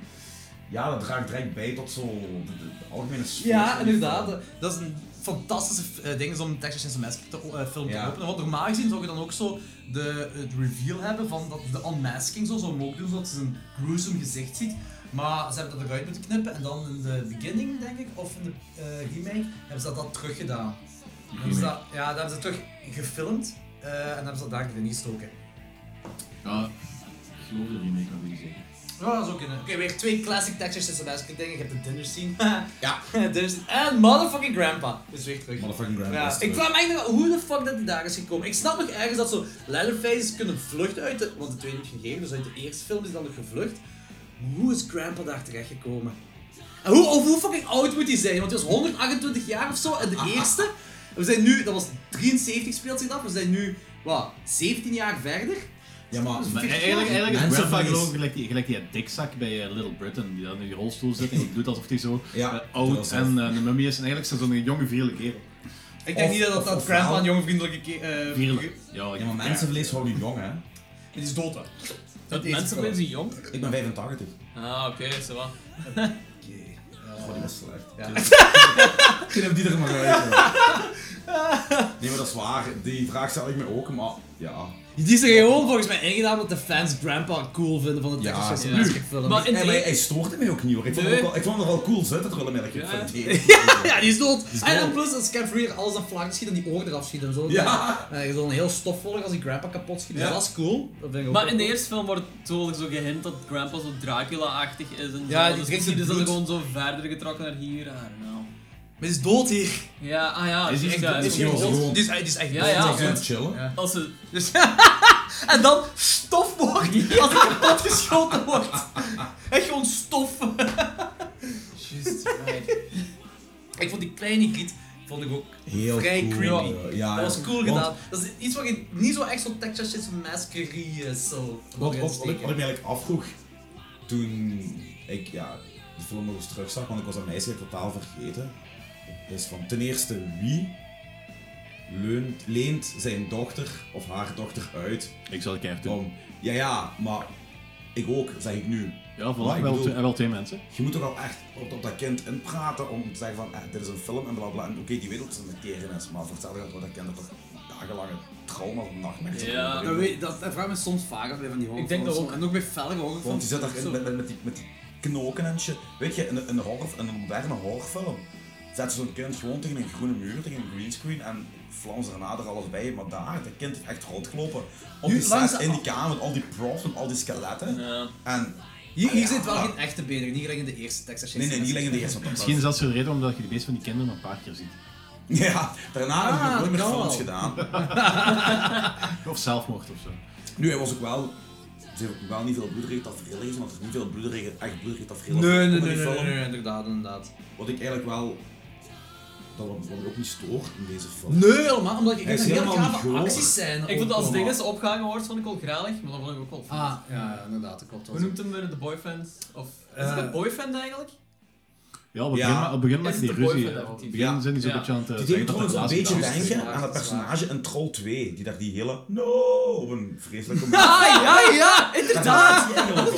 A: Ja, dat draagt direct bij tot zo de, de- de algemene sfeer.
D: Ja,
A: van die
D: inderdaad.
A: film.
D: Dat- Dat is een fantastische eh, ding is om een Texas Chainsaw Massacre te- eh, film te
A: Ja.
D: openen. Want normaal gezien zou je dan ook zo de, het reveal hebben van dat de unmasking zo zou ook doen, zodat ze zijn gruesome gezicht ziet. Maar ze hebben dat eruit moeten knippen en dan in de beginning, denk ik, of in de eh, remake, hebben ze dat, dat teruggedaan. Dan Hebben ze dat, ja, daar hebben ze terug gefilmd eh, en hebben ze dat daar erin gestoken.
G: Ja, ik geloof de remake wat jullie zeggen.
D: Ja, dat zou kunnen. Oké, weer twee classic Texas Chainsaw Massacre dingen. Je hebt de dinner scene.
A: Ja.
D: [laughs] dinner scene. En motherfucking grandpa is weer terug.
A: Motherfucking Grand eh.
D: Ja, ik vraag me eigenlijk af hoe de fuck dat die daar is gekomen. Ik snap nog ergens dat zo Leatherface kunnen vluchten uit de... Want de tweede heeft gegeven, dus uit de eerste film is hij dan nog gevlucht. Maar hoe is Grandpa daar terechtgekomen? En hoe, of hoe fucking oud moet hij zijn? Want hij was 128 jaar of zo in de eerste. En we zijn nu, dat was 73 speelt zich dat af, we zijn nu, wat, 17 jaar verder?
A: Ja, maar...
D: Dat is
G: Maar
D: 40
G: e- eigenlijk,
D: jaar.
G: eigenlijk is
A: Mensen
G: Grandpa
A: van die-
G: geloof ik gelijk die, gelijk die dikzak bij eh, Little Britain, die dan in die rolstoel zit en die doet alsof hij zo
A: Ja,
G: eh,
A: dat
G: oud
A: is
G: en eh, een mummie is. En eigenlijk is dat zo'n jonge, vierle kerel.
D: Ik denk
A: Of-
D: niet dat
A: of-
D: dat, dat
A: of
D: Grandpa
A: wel-
D: een jonge vriendelijke keer... eh,
G: Vierle. Ja, ik-
A: Ja, maar mensenvlees houdt niet jong, hè.
D: die is dood, hè.
B: Dat
D: Deze
B: mensen
D: film.
B: zijn ze jong.
A: Ik ben 85.
B: Ah, oké, zo wat.
A: Oh, die was slecht. [laughs] Ik heb die er maar uit. ja. Nee, maar dat is waar. Die vraag stel ik me ook, maar ja.
D: Die is er gewoon volgens mij ingedaan omdat de fans Grandpa cool vinden van de
A: Ja,
D: Texas Chainsaw
B: ja.
D: Massacre film.
B: Maar in
A: Nee,
B: de-
A: maar hij stoorde mij ook niet hoor. Ik vond,
B: Nee.
A: hem ook wel, ik vond hem er wel cool zitten, terwijl hij merk ik van die.
D: Ja, die is dood. En, en
A: dood.
D: plus als Scabfree er alles aan vlak schiet en die oren eraf schiet en zo.
A: Ja.
D: En je is dan heel stofvollig als die grandpa kapot schiet. Dus
A: Ja.
D: dat is cool. Dat vind ik ook
B: Maar
D: wel
B: in de
D: cool.
B: eerste film wordt tolig zo gehint dat Grandpa zo Dracula-achtig is en
D: Ja,
B: zo.
D: die
B: dus
D: drinkt
B: misschien is dat
D: bloed.
B: gewoon zo verder getrokken naar hier. I don't know.
D: Maar die is dood hier.
B: Ja, ah ja.
G: Is die
B: juist,
G: echt-
B: ja,
G: is
A: die
B: gewoon-
A: gewoon-
D: Die is, die is echt
B: Ja,
D: dood.
B: ja.
A: Dat is aan het chillen.
D: Ja.
B: Als ze...
D: Dus, en dan stof wordt als hij kapot geschoten wordt. Echt gewoon [laughs] stof.
B: Just, right.
D: Ik vond die kleine giet vond ik ook
A: Heel
D: vrij
A: cool.
D: creepy.
A: Ja, ja.
D: dat was cool
A: Want-
D: gedaan. Dat is iets wat je niet zo echt zo'n Texas Chainsaw Massacre is. Zo.
A: Wat, wat, wat, ik, wat ik me eigenlijk afvroeg toen ik ja, de film nog eens terugzag, want ik was dat meisje eigenlijk totaal vergeten, is van ten eerste wie leunt, leent zijn dochter of haar dochter uit
G: Ik zal het keihard doen.
A: om, ja ja, maar ik ook, zeg ik nu.
G: Ja, voilà.
A: Maar ik
G: wel,
A: bedoel-
G: twee, wel twee mensen.
A: Je moet toch al echt op, op dat kind inpraten om te zeggen van, eh, dit is een film en blablabla. En oké, die weet dat het een tering is, maar voor hetzelfde geld wordt dat kind er toch dagenlange trauma of nachtmerries van
B: Ja.
D: [laughs]
A: worden.
D: Dat, weet, dat, dat vraagt me soms vaak af bij van die horrorfilms.
B: Ik denk dat ook.
D: En ook bij felge
A: Want die
D: horrorfilms.
A: zit daarin met, met, met, die, met die knoken en shit. Weet je, in een, een, horror, in een moderne horrorfilm zet zo'n kind gewoon tegen een groene muur, tegen een greenscreen en flams daarna er alles bij. Maar daar, dat kind heeft echt rondgelopen. Op
D: Nu,
A: die set,
D: langs-
A: in die kamer, met al die props, met al die skeletten.
B: Ja.
A: En,
D: Hier, hier zit wel
A: Ja.
D: geen echte benen, niet gelijk in de eerste Texas
A: nee, nee, niet alleen in de eerste.
G: Misschien is dat zo de reden omdat je de beest van die kinderen een paar keer ziet.
A: [laughs] Ja, daarna heb ik
D: Ah,
A: nog nooit meer
D: dat kan
A: films
D: wel.
A: gedaan.
G: Of zelfmoord of zo.
A: Nu, hij was ook wel... Ze heeft ook wel niet veel bloederige tafereelen gezien, want er is niet veel bloederige, echt bloederige tafereelen
D: Nee, nee,
A: in
D: nee,
A: die
D: nee,
A: film.
D: nee, nee, inderdaad, inderdaad.
A: Wat ik eigenlijk wel... Dat wat wat me ook niet stoort in deze film.
D: Nee, helemaal, omdat ik
A: Hij
D: denk
A: is
D: dat heel
A: helemaal niet
D: grave
A: groot.
D: acties zijn.
B: Ik vond
D: ook
B: als
D: allemaal.
B: Dinges opgehangen wordt, vond ik wel gralig, maar dat vond ik ook wel vet.
D: Ah, ja, ja, inderdaad, dat klopt. wel.
B: Hoe noemt hem weer de boyfriends? Of is
D: Eh.
B: het een boyfriend eigenlijk?
G: Ja, op het
A: Ja.
G: begin, ma- op het begin
B: Is
G: maken
B: het
G: die
B: de
G: ruzie.
B: boyfriend
G: Op het
B: effectief?
G: begin
B: Ja.
G: zijn die zo
B: Ja.
G: beetje aan het eh,
A: Die
G: zeggen
A: deed
G: dat dat
A: trouwens een beetje
G: relatie daar is.
A: denken aan dat personage in Troll 2, die daar die hele no op een vreselijke manier.
B: Ah [laughs] ja, ja!
A: Inderdaad!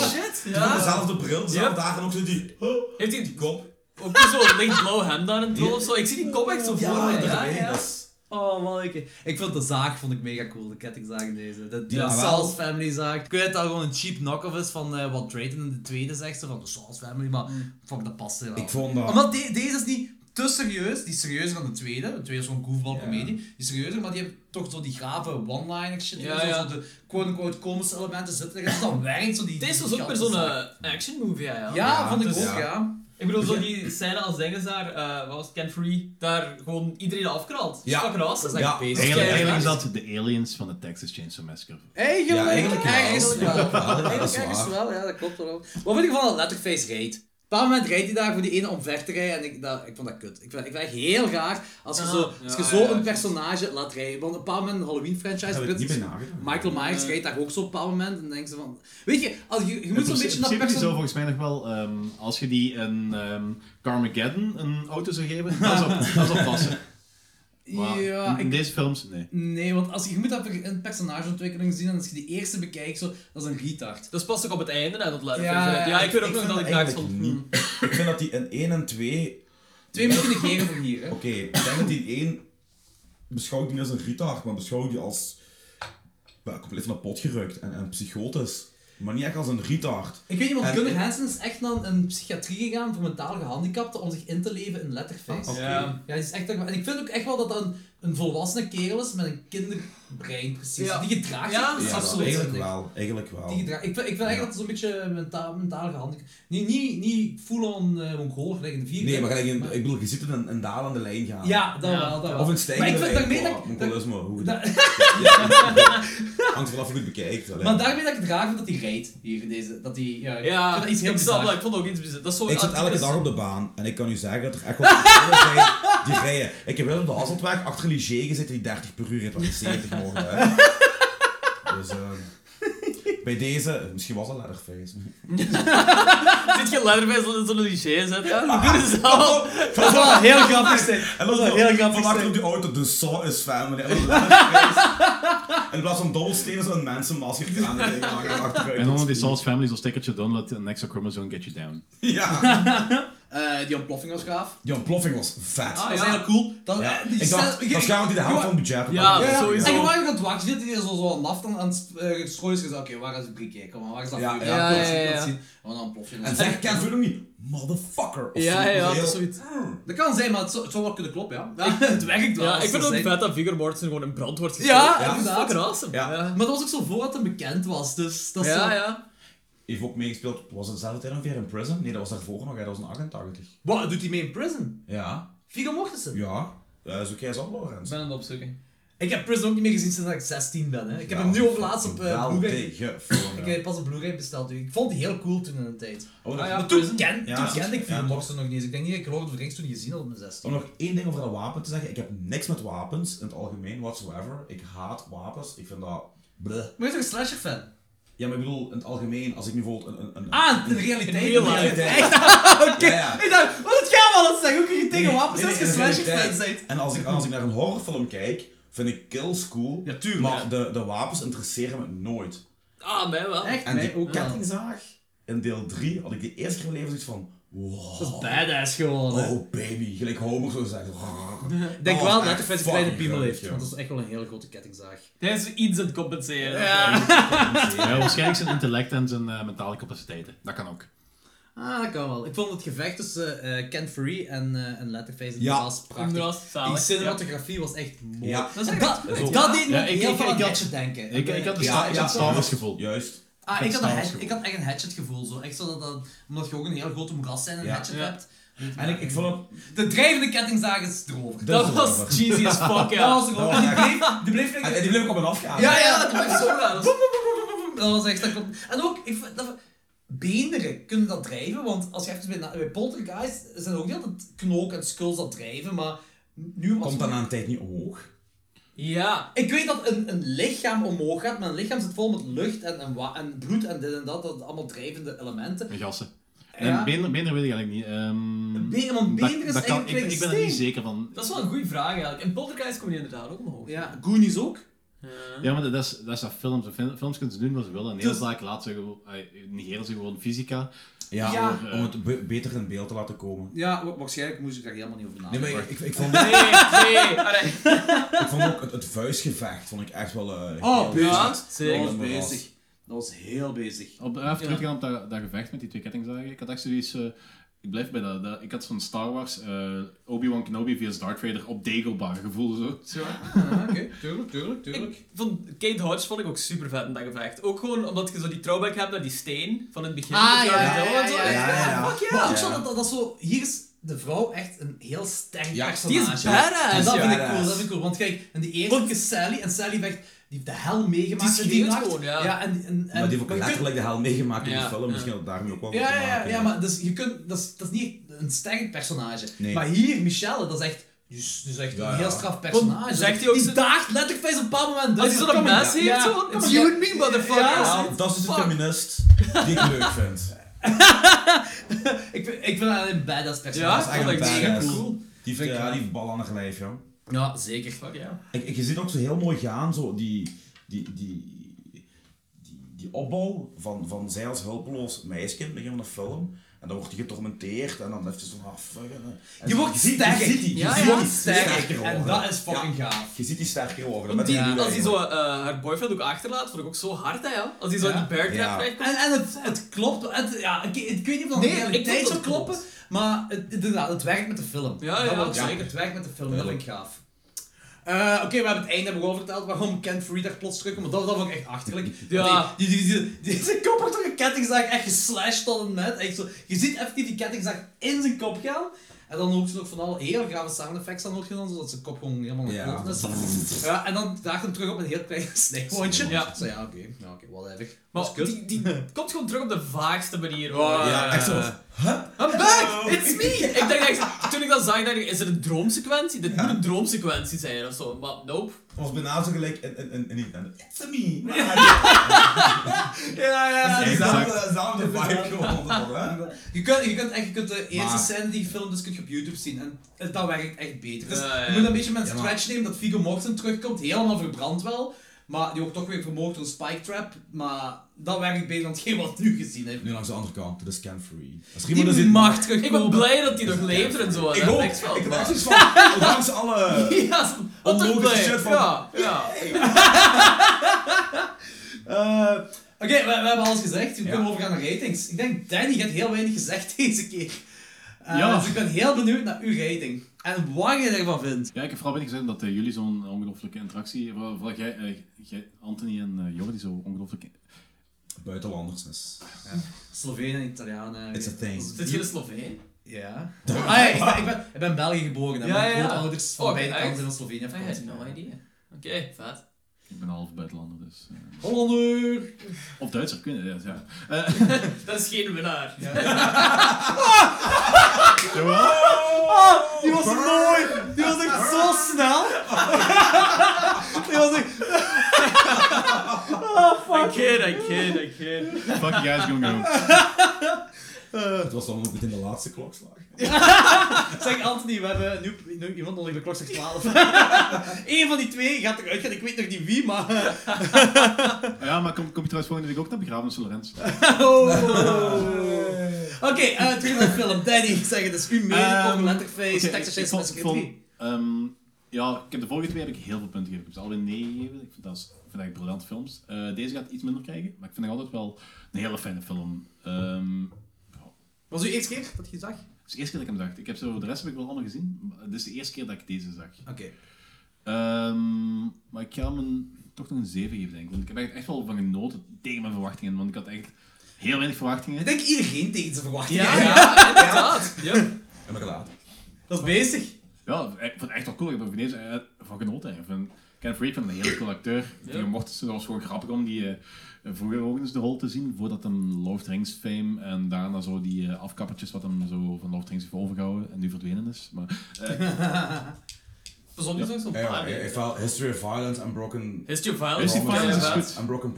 B: Shit!
A: Ja.
B: Ja.
A: Dezelfde bril, dezelfde dagen ook zo die.
B: Heeft hij die kop? Ook die zo lichtblauw hemd aan een troll of zo? Ik zie die kop echt zo voor me. Ja,
A: daarbij,
B: ja.
A: dat is-
D: Oh man, ik, ik vond de zaag vond ik mega cool, de kettingzaag in deze. De, de
A: Ja, wel.
D: Saul's Family zaag. Ik weet dat dat gewoon een cheap knock-off is van eh, wat Drayton in de tweede zegt, zo van de Saul's Family, maar fuck, dat past helemaal.
A: Ik vond dat.
D: Omdat de- deze is niet te serieus, die is serieuzer dan de tweede. De tweede is gewoon goofball comedie. Die is serieuzer, maar die heeft toch zo die grave one-liner shit.
B: Ja,
D: zo,
B: ja.
D: zo de quote-unquote komische elementen zitten erin. Dus dan werkt zo die...
B: Deze was
D: die
B: ook weer
D: ganse
B: zo'n
D: zaak.
B: eh, action movie eigenlijk.
D: Ja, vond ik
B: dus-
D: ook, ja.
B: Ik bedoel, zo die scène als Dinges daar, eh, wat was het, Ken Free, daar gewoon iedereen afkraalt.
A: Ja.
B: Ja. Fucking awesome, dat is
A: Ja,
B: echt beest.
G: Eigenlijk,
B: Ja,
G: eigenlijk is
B: ja.
G: dat de aliens van de Texas Chainsaw Massacre.
D: Eigenlijk,
A: Ja, eigenlijk wel.
D: ergens wel.
A: Ja, dat is
D: Eigenlijk ergens
A: waar.
D: wel, ja, dat klopt wel. Maar in ieder geval, Letterface reed. dat moment rijdt hij daar voor die ene omver te rijden en ik, dat, ik vond dat kut. Ik vind, ik vind het heel raar als je
B: Ah,
D: zo, als je
B: ja,
D: zo
B: ja,
D: een
B: ja.
D: personage laat rijden. Want op een bepaald moment een Halloween franchise...
A: Daar heb ik niet
D: Brits-
A: bij nagedacht.
D: Michael Myers rijdt daar ook zo op een bepaald moment en denkt ze van... Weet je, als je, je moet zo'n beetje dat
G: Dus principe zou
D: personage...
G: volgens mij nog wel, ehm, als je die een ehm Carmageddon een auto zou geven, [laughs] dat zou, dat zou passen. Maar
D: Ja,
G: in, in
D: ik
G: deze films, nee.
D: Nee, want als je, je moet dat per- een personageontwikkeling zien en als je die eerste bekijkt, zo, dat is een retard.
B: Dat is pas ook op het einde, hè, dat Leatherface
D: Ja,
B: eruit.
D: ja,
B: Ja, ik weet ook
D: ik
B: nog
D: vind
B: dat ik
D: dat
B: dacht
A: Eigenlijk
B: van... hmm.
A: niet. Ik vind dat die in 1 en 2...
D: Twee minuten negeren voor hier, hè.
A: Oké, ik denk dat die 1... Beschouw ik die niet als een retard, maar beschouw die als... wel, compleet van de pot gerukt en, en psychotisch. Maar niet echt als een retard.
D: Ik weet niet, want
A: En-
D: Gunnar Hansen is echt naar een psychiatrie gegaan voor mentaal gehandicapten om zich in te leven in Letterface.
A: Ah, oké.
B: Ja.
D: Ja, die is echt... En ik vind ook echt wel dat dat een, een volwassene kerel is met een kinderbrein, precies.
B: Ja.
D: Die gedraagt zich
B: Ja,
D: precies
A: Ja,
D: zo.
A: eigenlijk wel. Eigenlijk wel.
D: Die gedraagt- ik, vind, ik vind eigenlijk dat het zo'n beetje mentaal, mentaal gehandicapt... Niet, niet, niet full-on eh Mongool, gelijk in de vierde.
A: Nee, maar gelijk in- ik bedoel, je ziet in een, een dalende lijn gaan.
D: Ja, dat
B: Ja.
D: wel, dat wel.
A: Of een Oh,
D: Maar ik
A: stijgende
D: vind
A: lijn.
D: daarmee
A: Wow,
D: dat... ik- dat-
A: Mongolisme, hoe
D: dat- [laughs]
A: Hangt vanaf hoe je het bekijkt. allee.
D: Maar daarmee dat ik het raar vind dat hij rijdt hier in deze. Dat hij. Ja, ik
B: Ja,
D: vind dat iets heel
B: ik snap
D: bizar.
B: dat, ik vond het ook iets bizar. Dat is zo
A: Ik zit elke
B: artikel-
A: dag op de baan en ik kan u zeggen dat er echt wel personen zijn die [laughs] rijden. Ik heb wel op de Hasseltweg achter Ligier gezeten die 30 per uur reed, waar ik 70 mogen
D: [laughs]
A: hè. Dus eh, bij deze, misschien was dat Leatherface.
B: [laughs] Zit je Leatherface in zo'n cliché zet,
D: [laughs]
B: ja? Hoe kunnen ze al?
D: Dat zou wel heel grappig zijn.
A: En dat is
D: heel grappig
A: Van achter
D: zijn.
A: op die auto, de Saw is family. En dan Leatherface. En in plaats van dobbelstenen zo'n mensenmasker gedaan. En achteruit.
G: En onder die Souls Family zo'n stickertje doen dat een extra chromosome get you down.
A: Ja.
D: Eh, die ontploffing was gaaf.
A: Die ontploffing was vet.
D: Ah, Dat was
B: ja.
D: heel cool. Dat,
A: Ja,
D: die
A: ik dacht,
D: scène-
A: waarschijnlijk die de helft van het budget.
B: Ja,
A: had.
B: sowieso.
D: En je waren aan het wakker zitten, die zo, zo aan laf aan het uh, strooien. Oké, waar is het briekje? Kom maar, waar is dat
A: Ja,
D: vuur?
A: ja,
D: ik
B: ja,
D: wil zien, ik wil
B: ja.
D: zien. En dan ontploft je.
A: En
D: Dat-
A: zeg Ken Fulham niet, motherfucker. Of
B: Ja,
A: zo,
B: ja, dat is
A: zo heel- Ah.
B: zoiets.
D: Dat kan zijn, maar het zou het zou wel kunnen kloppen, ja. [laughs] Het werkt wel.
B: Ja,
D: als
B: ik vind
D: dat
B: het ook
D: zijn.
B: vet dat Viggo Mortensen gewoon in brand wordt gestoken.
D: Ja,
A: Ja.
B: dat is
D: inderdaad.
B: fucking awesome.
A: Ja.
D: Maar dat was ook zo voordat het bekend was, dus dat is zo...
B: ja. ja.
A: Heeft ook meegespeeld, was het dezelfde tijd ongeveer in Prison? Nee, dat was daarvoor nog, hè, dat was in 88.
D: Wat, doet hij mee in prison?
A: Ja.
D: Viggo Mortensen?
A: Ja. Dat is ook jij zo, Lorenz.
B: Ik ben aan het opzoeken.
D: Ik heb Prison ook niet meer gezien sinds dat ik 16 ben. Hè. Ik heb hem nu op laatst op eh
A: Wel
D: Blu-ray.
A: tegen
D: Ik eh,
A: Fulham, ja.
D: heb pas op Blu-ray besteld. dus Ik vond die heel cool toen in de tijd.
A: Oh,
B: Ah,
A: nog-
B: ja.
D: Maar toen,
B: Prison.
D: ken,
A: Ja,
D: toen
A: dat
D: kende
A: is-
D: ik
A: ja.
D: Viggo Mortensen nog niet eens. Ik denk niet dat ik Lord of the Rings toen gezien had op mijn 16.
A: Om nog één ding over dat wapen te zeggen, ik heb niks met wapens in het algemeen, whatsoever. Ik haat wapens, ik vind dat... Bleh.
D: Maar je bent toch een slasher fan?
A: Ja, maar ik bedoel, in het algemeen, als ik nu bijvoorbeeld een... een, een
D: Ah, in de realiteit.
B: In real
D: in de
B: life.
D: [laughs] realiteit.
A: Oké, ja,
D: Ik dacht, wat gaan we alles zeggen? Hoe kun je tegen wapens
A: Nee,
D: als je
A: nee,
D: slasher
A: nee,
D: fan
A: nee.
D: bent?
A: En als ik, als ik naar een horrorfilm kijk, vind ik kills cool.
D: Ja, tuurlijk.
A: Maar de, de wapens interesseren me nooit.
B: Ah, mij wel.
D: Echt,
A: En
D: mij
A: die
D: ook wel.
A: kettingzaag in deel 3 had ik de eerste keer in mijn leven zoiets van.
D: Dat is
A: Wow.
D: Oh, badass gewoon. hè.
A: Oh baby, gelijk Homer zou zeggen.
D: Ik [laughs] denk
A: Oh,
D: wel
A: echt
D: dat hij een kleine
A: fucking
D: piemel
A: leuk,
D: heeft,
A: joh.
D: want dat is echt wel een hele grote kettingzaag.
B: Hij is iets aan het compenseren.
G: Ja, eh, waarschijnlijk zijn intellect en zijn eh, mentale capaciteiten. Dat kan ook.
D: Ah, dat kan wel. Ik vond het gevecht tussen eh Ken Free en, eh en Letterface in
A: Ja.
D: de was prachtig.
B: Inderdaad, zalig.
D: Die cinematografie was echt mooi.
A: Ja.
D: Dat, is echt- dat,
A: is ook-
D: dat deed me
G: Ja,
D: ook
G: ik-
D: heel
G: ik-
D: veel
G: ik
D: aan
G: had-
D: Hatchet denken.
G: Ik, ik had de
A: Ja,
G: Star, ik
A: ja,
G: had Star Wars
A: Star
G: gevoel.
A: Juist.
D: ah, ik, had een
G: Hatchet
D: hatchet,
G: gevoel.
D: ik had echt een hatchet gevoel. Zo. Echt zo dat, dat, omdat je ook een heel grote moeras zijn en een
A: Ja.
D: hatchet
B: Ja.
D: hebt.
A: En ik, ik vond het.
D: De drijvende kettingzaag is erover.
A: Dat
B: Dat
A: is
B: was
A: waar.
B: cheesy as fuck, ja.
D: [laughs] Dat was erover.
A: Dat was
D: Die bleef, die bleef
A: En,
D: like-
A: en Ah, die bleef ik op een afgaan.
D: Ja, ja,
B: Ja,
D: dat
B: dat
D: was
B: was zo raar.
D: Boem, boem, boem, boem, boem. Dat was echt... Dat kon- En ook, ik, vind- dat, beenderen kunnen dat drijven, want als je even bij, na- bij poltergeist zijn ook niet altijd knook en skulls dat drijven, maar nu was
A: Komt dan aan een tijd niet omhoog?
B: Ja.
D: Ik weet dat een, een lichaam omhoog gaat, maar een lichaam zit vol met lucht en, en, wa- en bloed en dit en dat, dat allemaal drijvende elementen.
G: En gassen.
D: Ja.
G: En benen, benen weet ik eigenlijk niet. Ehm,
D: Be- want
G: dat-
D: benen is
G: dat kan-
D: eigenlijk
G: ik, ik ben er
D: steen.
G: niet zeker van.
B: Dat is wel een goede vraag eigenlijk. In Poltergeist kom je inderdaad ook omhoog.
D: Ja, Goonies ook.
G: Ja, maar dat is, dat is dat films. En fil- Films kunnen ze doen wat ze willen. En heel
D: Dus-
G: vaak laten ze gewoon, eh, negeren ze gewoon fysica.
A: Ja,
D: Ja.
A: om het be- beter in beeld te laten komen.
D: Ja, wa- waarschijnlijk moest ik daar helemaal niet over
A: Nee,
D: nadenken.
A: maar ik, ik, ik vond,
B: Nee, nee. allee.
A: [laughs] ik vond ook het, het vuistgevecht vond ik echt wel. eh,
D: Oh,
A: heel-
B: Ja,
D: bezig.
B: zeker.
D: Dat was bezig. Dat was heel bezig.
G: Op, even teruggaan op dat, dat gevecht met die twee kettingzagen. Ik had echt zoiets... eh, ik blijf bij dat, dat- Ik had zo'n Star Wars eh, Obi-Wan Kenobi vs Darth Vader op Dagobah gevoel. Zo.
D: Ah, Oké, tuurlijk, tuurlijk, tuurlijk.
B: Ik vond Kate Hodge vond ik ook super vet in dat gevecht. Ook gewoon omdat je zo die throwback hebt naar die steen van het begin.
D: Ah,
B: Dat
D: ja,
B: je
D: ja,
B: zo-
D: ja,
B: zo-
D: ja,
A: ja, ja.
B: Fuck ja.
D: Maar ook zo
A: Ja.
D: dat, dat, dat zo, hier is de vrouw echt een heel sterk
A: Ja,
D: personage.
B: Die is badass.
D: En dat
A: Ja,
D: vind ik
A: badass.
D: cool, dat vind ik cool. Want kijk, in die eerste keer Sally, en Sally vecht die heeft de hel meegemaakt
B: Die
D: in
B: schreeuwt
D: nacht.
B: gewoon, ja.
D: en, en, en,
A: Maar die heeft ook
D: je kunt-
A: letterlijk de hel meegemaakt in
B: Ja,
A: die film.
B: ja.
A: Misschien had het daarmee ook wel wat
D: ja,
A: te
D: ja, ja,
A: maken.
D: ja, maar dus je kunt, dat, is, dat is niet een sterk personage.
A: Nee.
D: Maar hier, Michelle, dat is echt, die is, die is echt
A: Ja,
D: een heel
A: ja.
D: straf personage. Dus
B: zegt hij ook
D: die
B: zo-
D: daagt letterlijk bij zijn bepaald moment.
B: Als hij zo'n mes heeft, zo, it's you and me, motherfucker.
D: Ja,
A: Dat is dus de
B: Fuck.
A: feminist die ik leuk vind.
D: ik, vind- ik vind haar een badass
B: Ja,
D: personage.
B: ik vond
A: echt
B: dat
A: een
B: mega
A: badass.
B: cool.
A: Die heeft,
D: Vind ik
A: ja,
D: wel.
A: die heeft bal aan haar lijf, ja.
D: Ja, zeker.
B: Fuck ja.
A: Ik, ik, je ziet ook zo heel mooi gaan, zo die, die, die, die, die opbouw van, van zij als hulpeloos meisje in het begin van de film. En dan wordt die getormenteerd en dan heeft ze zo'n ah, fuck. en- en
D: Je wordt
A: ziet-
D: sterker.
A: Je ziet die, je
B: Ja,
A: ziet
B: ja.
A: die
D: Sterker. En
A: worden.
D: dat is fucking
A: Ja,
D: gaaf.
A: Je ziet die sterker worden.
B: Want
A: met
B: die,
A: die doel
B: als hij zo
A: eigenlijk.
B: eh, haar boyfriend ook achterlaat, vond ik ook zo hard, hè, ja. Als hij zo
D: Ja.
B: in die bear
A: Ja.
B: trap terechtkomt.
D: En, en het, het klopt. Het, ja, ik, ik weet niet of dat
B: Nee,
D: de
B: ik
D: realiteit
B: vond
D: zou
B: het
D: kloppen, maar het, inderdaad, het werkt met de film.
B: Ja,
D: dat
B: ja,
D: wil ik zeggen,
B: zeker.
D: Het werkt met de film, dat vind ik gaaf. Eh, Oké, we hebben het einde hebben we al verteld waarom Kent Free daar plots terugkomt, maar dat, dat vond ik echt achterlijk.
B: Ja.
D: Die, die, die, die, die- zijn kop wordt door een kettingzaag echt geslashed tot een net. Echt zo, je ziet effectief die kettingzaag in zijn kop gaan. En dan ook ze nog van alle heel grave sound effects aan hoort gedaan, zodat zijn kop gewoon helemaal naar
A: Ja.
D: kloten is. Ja, en dan daagt hem terug op een heel klein [laughs] snijwondje.
B: Ja.
D: Zo, ja, oké, ja, oké, whatever.
B: Maar
D: Dat is kut.
B: die, die
D: [laughs]
B: komt gewoon terug op de vaagste manier.
D: Ja,
A: Ja, echt zo. eh,
B: [laughs] I'm back! It's me! Ik dacht echt, toen ik dat zag, dacht ik, is het een droomsequentie? Dit moet een droomsequentie zijn of zo. Maar nope.
A: Het was bijna zo gelijk in, in, in, in Nintendo. It's a me! [laughs]
D: Ja, ja, ja.
A: Dezelfde vibe [laughs] gewoon. hè?
D: Je kunt, je kunt, echt, je kunt de eerste
A: Maar-
D: scène die film dus kunt je op YouTube zien. En het- dat werkt echt beter. Dus
B: Ja, ja, ja.
D: je moet een beetje met een
A: Ja, maar-
D: stretch nemen dat Viggo Mortensen terugkomt. Helemaal verbrand wel. Maar die wordt toch weer vermoord door een spike trap. Maar dat werkt beter dan hetgeen wat nu gezien heeft.
A: Nu langs de andere kant, de scan free. Als er iemand is
D: Die
A: die-
D: mag terugkomen.
B: Ik ben
D: [laughs]
B: blij dat hij nog leeft en zo.
A: Ik
B: dat
A: hoop,
B: is wel.
A: ik heb echt zoiets van, ondanks alle...
B: Ja, zo- wat een
A: Onlogische
B: blij.
A: shit van-
B: Ja, ja.
D: Eh, Oké, we, we hebben alles gezegd. We kunnen overgaan naar ratings. Ik denk, Danny, je hebt heel weinig gezegd [laughs] deze keer. Eh,
G: Ja.
D: Dus ik ben heel benieuwd naar uw rating. En wat je ervan vindt.
G: Ja, ik heb vooral weinig gezegd dat eh, jullie zo'n ongelooflijke interactie, vooral, vooral jij, eh, jij, Anthony en eh, Jordi, zo ongelooflijk...
A: Buitenlanders is...
D: Slovenen en Italianen.
A: It's a thing.
B: Zit je in Sloveen?
D: Ja. Ah, ja, ik, ben, ik, ben, ik ben in België geboren. En
B: Ja,
D: mijn
B: ja, ja.
D: grootouders van
B: Oh,
D: beide
B: echt?
D: kanten zijn van Slovenië
B: I had no
D: afkomstig.
B: idea. Oké, vet.
G: Ik ben half buitenlander, dus... eh.
D: Hollander!
G: Of Duitser, kunnen, ja. ja. Eh,
B: Dat is geen winnaar.
D: Die was mooi! Die was echt zo snel! Die was echt...
B: I kid, I kid, I kid.
G: [laughs] Fuck you guys, gonna go.
A: Het was dan ook meteen de laatste klokslag.
D: Zeg Anthony, we hebben nu, nu iemand nodig, de klok zegt 12. Eén van die twee gaat eruit gaan, ik weet nog niet wie, maar...
G: Ah, Ja, maar kom, kom je trouwens volgende week ook naar begrafenis van Lorenz?
D: [laughs] Oké, eh, terug naar de film. Danny, ik zeg het, is u mening
G: Ehm,
D: over Letterface,
G: Oké,
D: Texas
G: ik-
D: Chainsaw
G: ik vond-
D: Massacre 3.
G: vond, ehm, ja, ik heb de vorige twee heb ik heel veel punten gegeven. Ik heb ze allebei nee gegeven. Ik vind dat, is, ik vind dat briljante films. Eh, deze gaat iets minder krijgen, maar ik vind het altijd wel een hele fijne film. Ehm,
D: Was uw eerste keer dat je zag?
G: het is de eerste keer dat ik hem zag. Ik heb zo, de rest heb ik wel allemaal gezien. maar Dit is de eerste keer dat ik deze zag.
D: Oké.
G: Ehm, maar ik ga hem een- toch nog een 7 geven, denk ik. Want ik heb echt, echt wel van genoten tegen mijn verwachtingen. Want ik had echt heel weinig verwachtingen.
D: Ik denk iedereen tegen zijn verwachtingen. [laughs]
B: Ja, ja, inderdaad. Ja.
A: En we gelaten.
D: Dat is bezig.
G: Ja, ik vond het echt wel cool. Ik heb er van deze eh, van genoten. hè. Ik vind Ken Free van een hele cool acteur.
B: Ja.
G: Die Mortensen, dat was gewoon grappig om die eh, vroeger ook eens de rol te zien. Voordat hem Lord of the Rings fame en daarna zo die eh, afkappertjes wat hem zo van Lord of the Rings heeft overgehouden en nu verdwenen is. Maar eh,
B: Verzond je zo'n zo'n
A: Ja,
B: paar
A: ja, ik
B: weken.
A: val History of Violence en Broken...
B: History of Violence.
G: History
A: Promises.
G: of Violence
B: Ja,
G: is
B: vet.
G: goed.
A: En Broken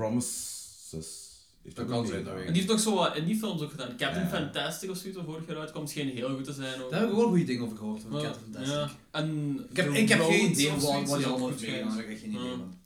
A: Promises... Heeft
D: Dat
A: ook
D: kan
A: niet
D: zijn,
A: gedaan.
D: dat weet
B: En die heeft nog zo wat in die films ook gedaan. Captain
A: Ja.
B: Fantastic of zoiets, dat vorig jaar uitkomt, scheen heel goed te zijn. Ook.
D: Daar heb ik wel goede dingen over gehoord. Van Captain
B: Ja.
D: Fantastic.
B: Ja. En
D: Ik heb,
B: The
D: ik heb geen
B: Road
D: idee
B: of
D: wat wat
B: zoiets
D: die
B: is ook
D: allemaal
B: goed
D: heeft meegedaan.
B: geweest.
D: Ik heb echt geen idee,
B: Ja.
D: man.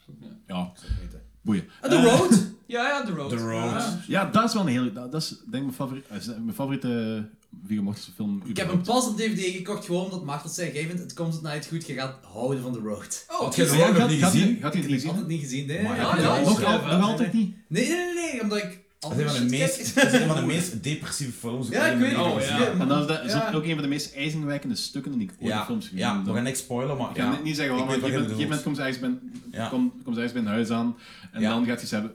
G: Ja,
D: Ik zou het weten.
G: boeien.
D: Ah, The Road?
B: Ja, ja, The Road.
A: The Road.
B: Ja.
G: Ja, dat is wel een hele... Dat, dat is denk ik mijn favoriete... eh, is mijn favoriete eh, Viggo Mortensen film.
D: Ik heb hem pas op DVD gekocht, gewoon omdat Martel zei, geef het, het komt het night goed, je gaat houden van The Road.
B: Oh,
A: Had
B: oké.
A: jij de Rock nog niet gezien?
G: Gaat hij het niet
D: Ik had het
G: zien?
D: niet gezien, nee.
A: Maar
B: ja,
D: Nee,
B: ja,
D: nee,
G: Nog
B: ja,
G: al-
B: ja.
G: nog altijd niet.
D: Nee, nee, nee, omdat ik...
A: Dat is een van de
D: Oh, shit
A: meest-
D: kijk.
A: dat is een van de meest depressieve films.
D: Ja, ik weet het.
B: Oh, ja.
G: En dan is dat is dat
D: Ja.
G: ook een van de meest ijzingwekkende stukken die ik ooit in
A: Ja,
G: films gezien
A: ja,
G: heb.
A: we gaan niks spoilen, maar
G: Ik kan
A: ja.
G: het niet zeggen
A: Ik
G: waarom, maar
A: weet
G: op een
A: wat je
G: gegeven moment
A: bedoelt.
G: komt ze ergens bij,
A: Ja.
G: komt, komt ze ergens bij een huis aan en
A: Ja.
G: dan gaat hij ze hebben.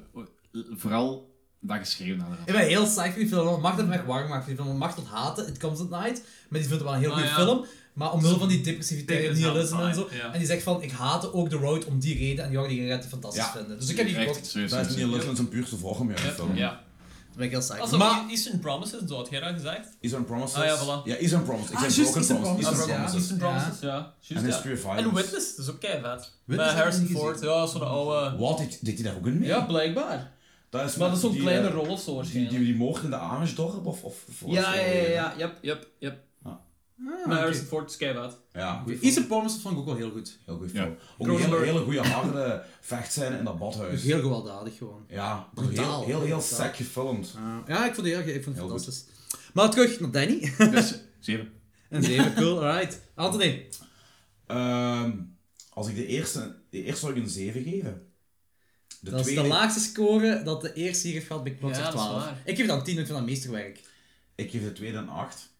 G: Vooral dat geschreven naar de
D: Ik ben heel psyched voor die film. want Macht heeft me echt warm gemaakt voor die film. Macht tot haten, It Comes at Night. Maar die vindt het wel een heel
B: Ah,
D: goede
B: ja.
D: film. Maar omwille van die
B: Ik
D: depressiviteit en
B: denk dat
D: nihilisme en
B: het wel
D: zo.
B: saai, ja.
D: En die zegt van, ik haatte ook The Road om die reden. En Jordi die gaat het fantastisch
A: Ja.
D: vinden. Dus ik heb die gekocht.
G: Echt,
D: Daar
G: serieus.
A: Dat is
G: serieus.
A: niet Little in zijn puurste vorm, ja. die film.
B: Ja.
D: ben ik heel psyched.
B: Also,
D: voor.
B: maar...
D: Maar,
B: Eastern Promises, dat had jij al gezegd.
A: Eastern Promises.
B: Ah, ja, voilà.
A: Ja, Eastern Promises. Ik
D: Ah,
A: zei
D: juist,
A: Broken
D: Eastern
A: Promises.
D: Promises,
A: Eastern
D: ja.
A: Promises.
B: Eastern Promises, ja. Juist,
A: En
B: ja.
A: History
B: En
A: of Violence.
B: Witness, dat is ook keihard. Met
D: Witness heb ik
B: Harrison
D: niet
B: Ford,
D: gezien.
B: ja, zo'n oude...
A: Wat? Deed deed hij daar ook in mee?
B: Ja, blijkbaar.
A: Dat is
B: Maar
A: met
B: dat is zo'n
A: die,
B: kleine
A: eh,
B: rol of zo
A: Die,
B: waarschijnlijk.
A: die, die moord in de Amersdorp of... of of-
B: ja, ja, ja, ja, yep, yep, yep.
D: Ah,
B: Maar
D: oké.
B: Harrison Ford is keihard.
A: Ja, goeie film.
D: Eastern Promises vond ik ook wel heel goed.
A: Heel goeie
G: Ja.
A: film. Ook een hele,
B: Cronenberg.
A: hele goede harde vechtscène in dat badhuis.
D: Heel gewelddadig gewoon.
A: Ja,
D: Brutaal.
A: heel, heel, heel
D: Brutaal.
A: sec gefilmd.
D: Ah, ja, ik vond die heel, ik vond die
A: Heel
D: fantastisch. Maar terug naar
A: [laughs]
D: Danny.
G: Dus, zeven.
D: en zeven, cool, alright. Anthony.
A: Ehm, als ik de eerste, de eerste zou ik een 7 geven. De
D: Dat is de
A: tweede,
D: laagste score dat de eerste hier heeft gehad bij Plots
B: Ja,
D: of
B: dat is
D: 12.
B: waar.
D: Ik geef dan 10, want ik vind dat meesterwerk.
A: ik geef de tweede een 8.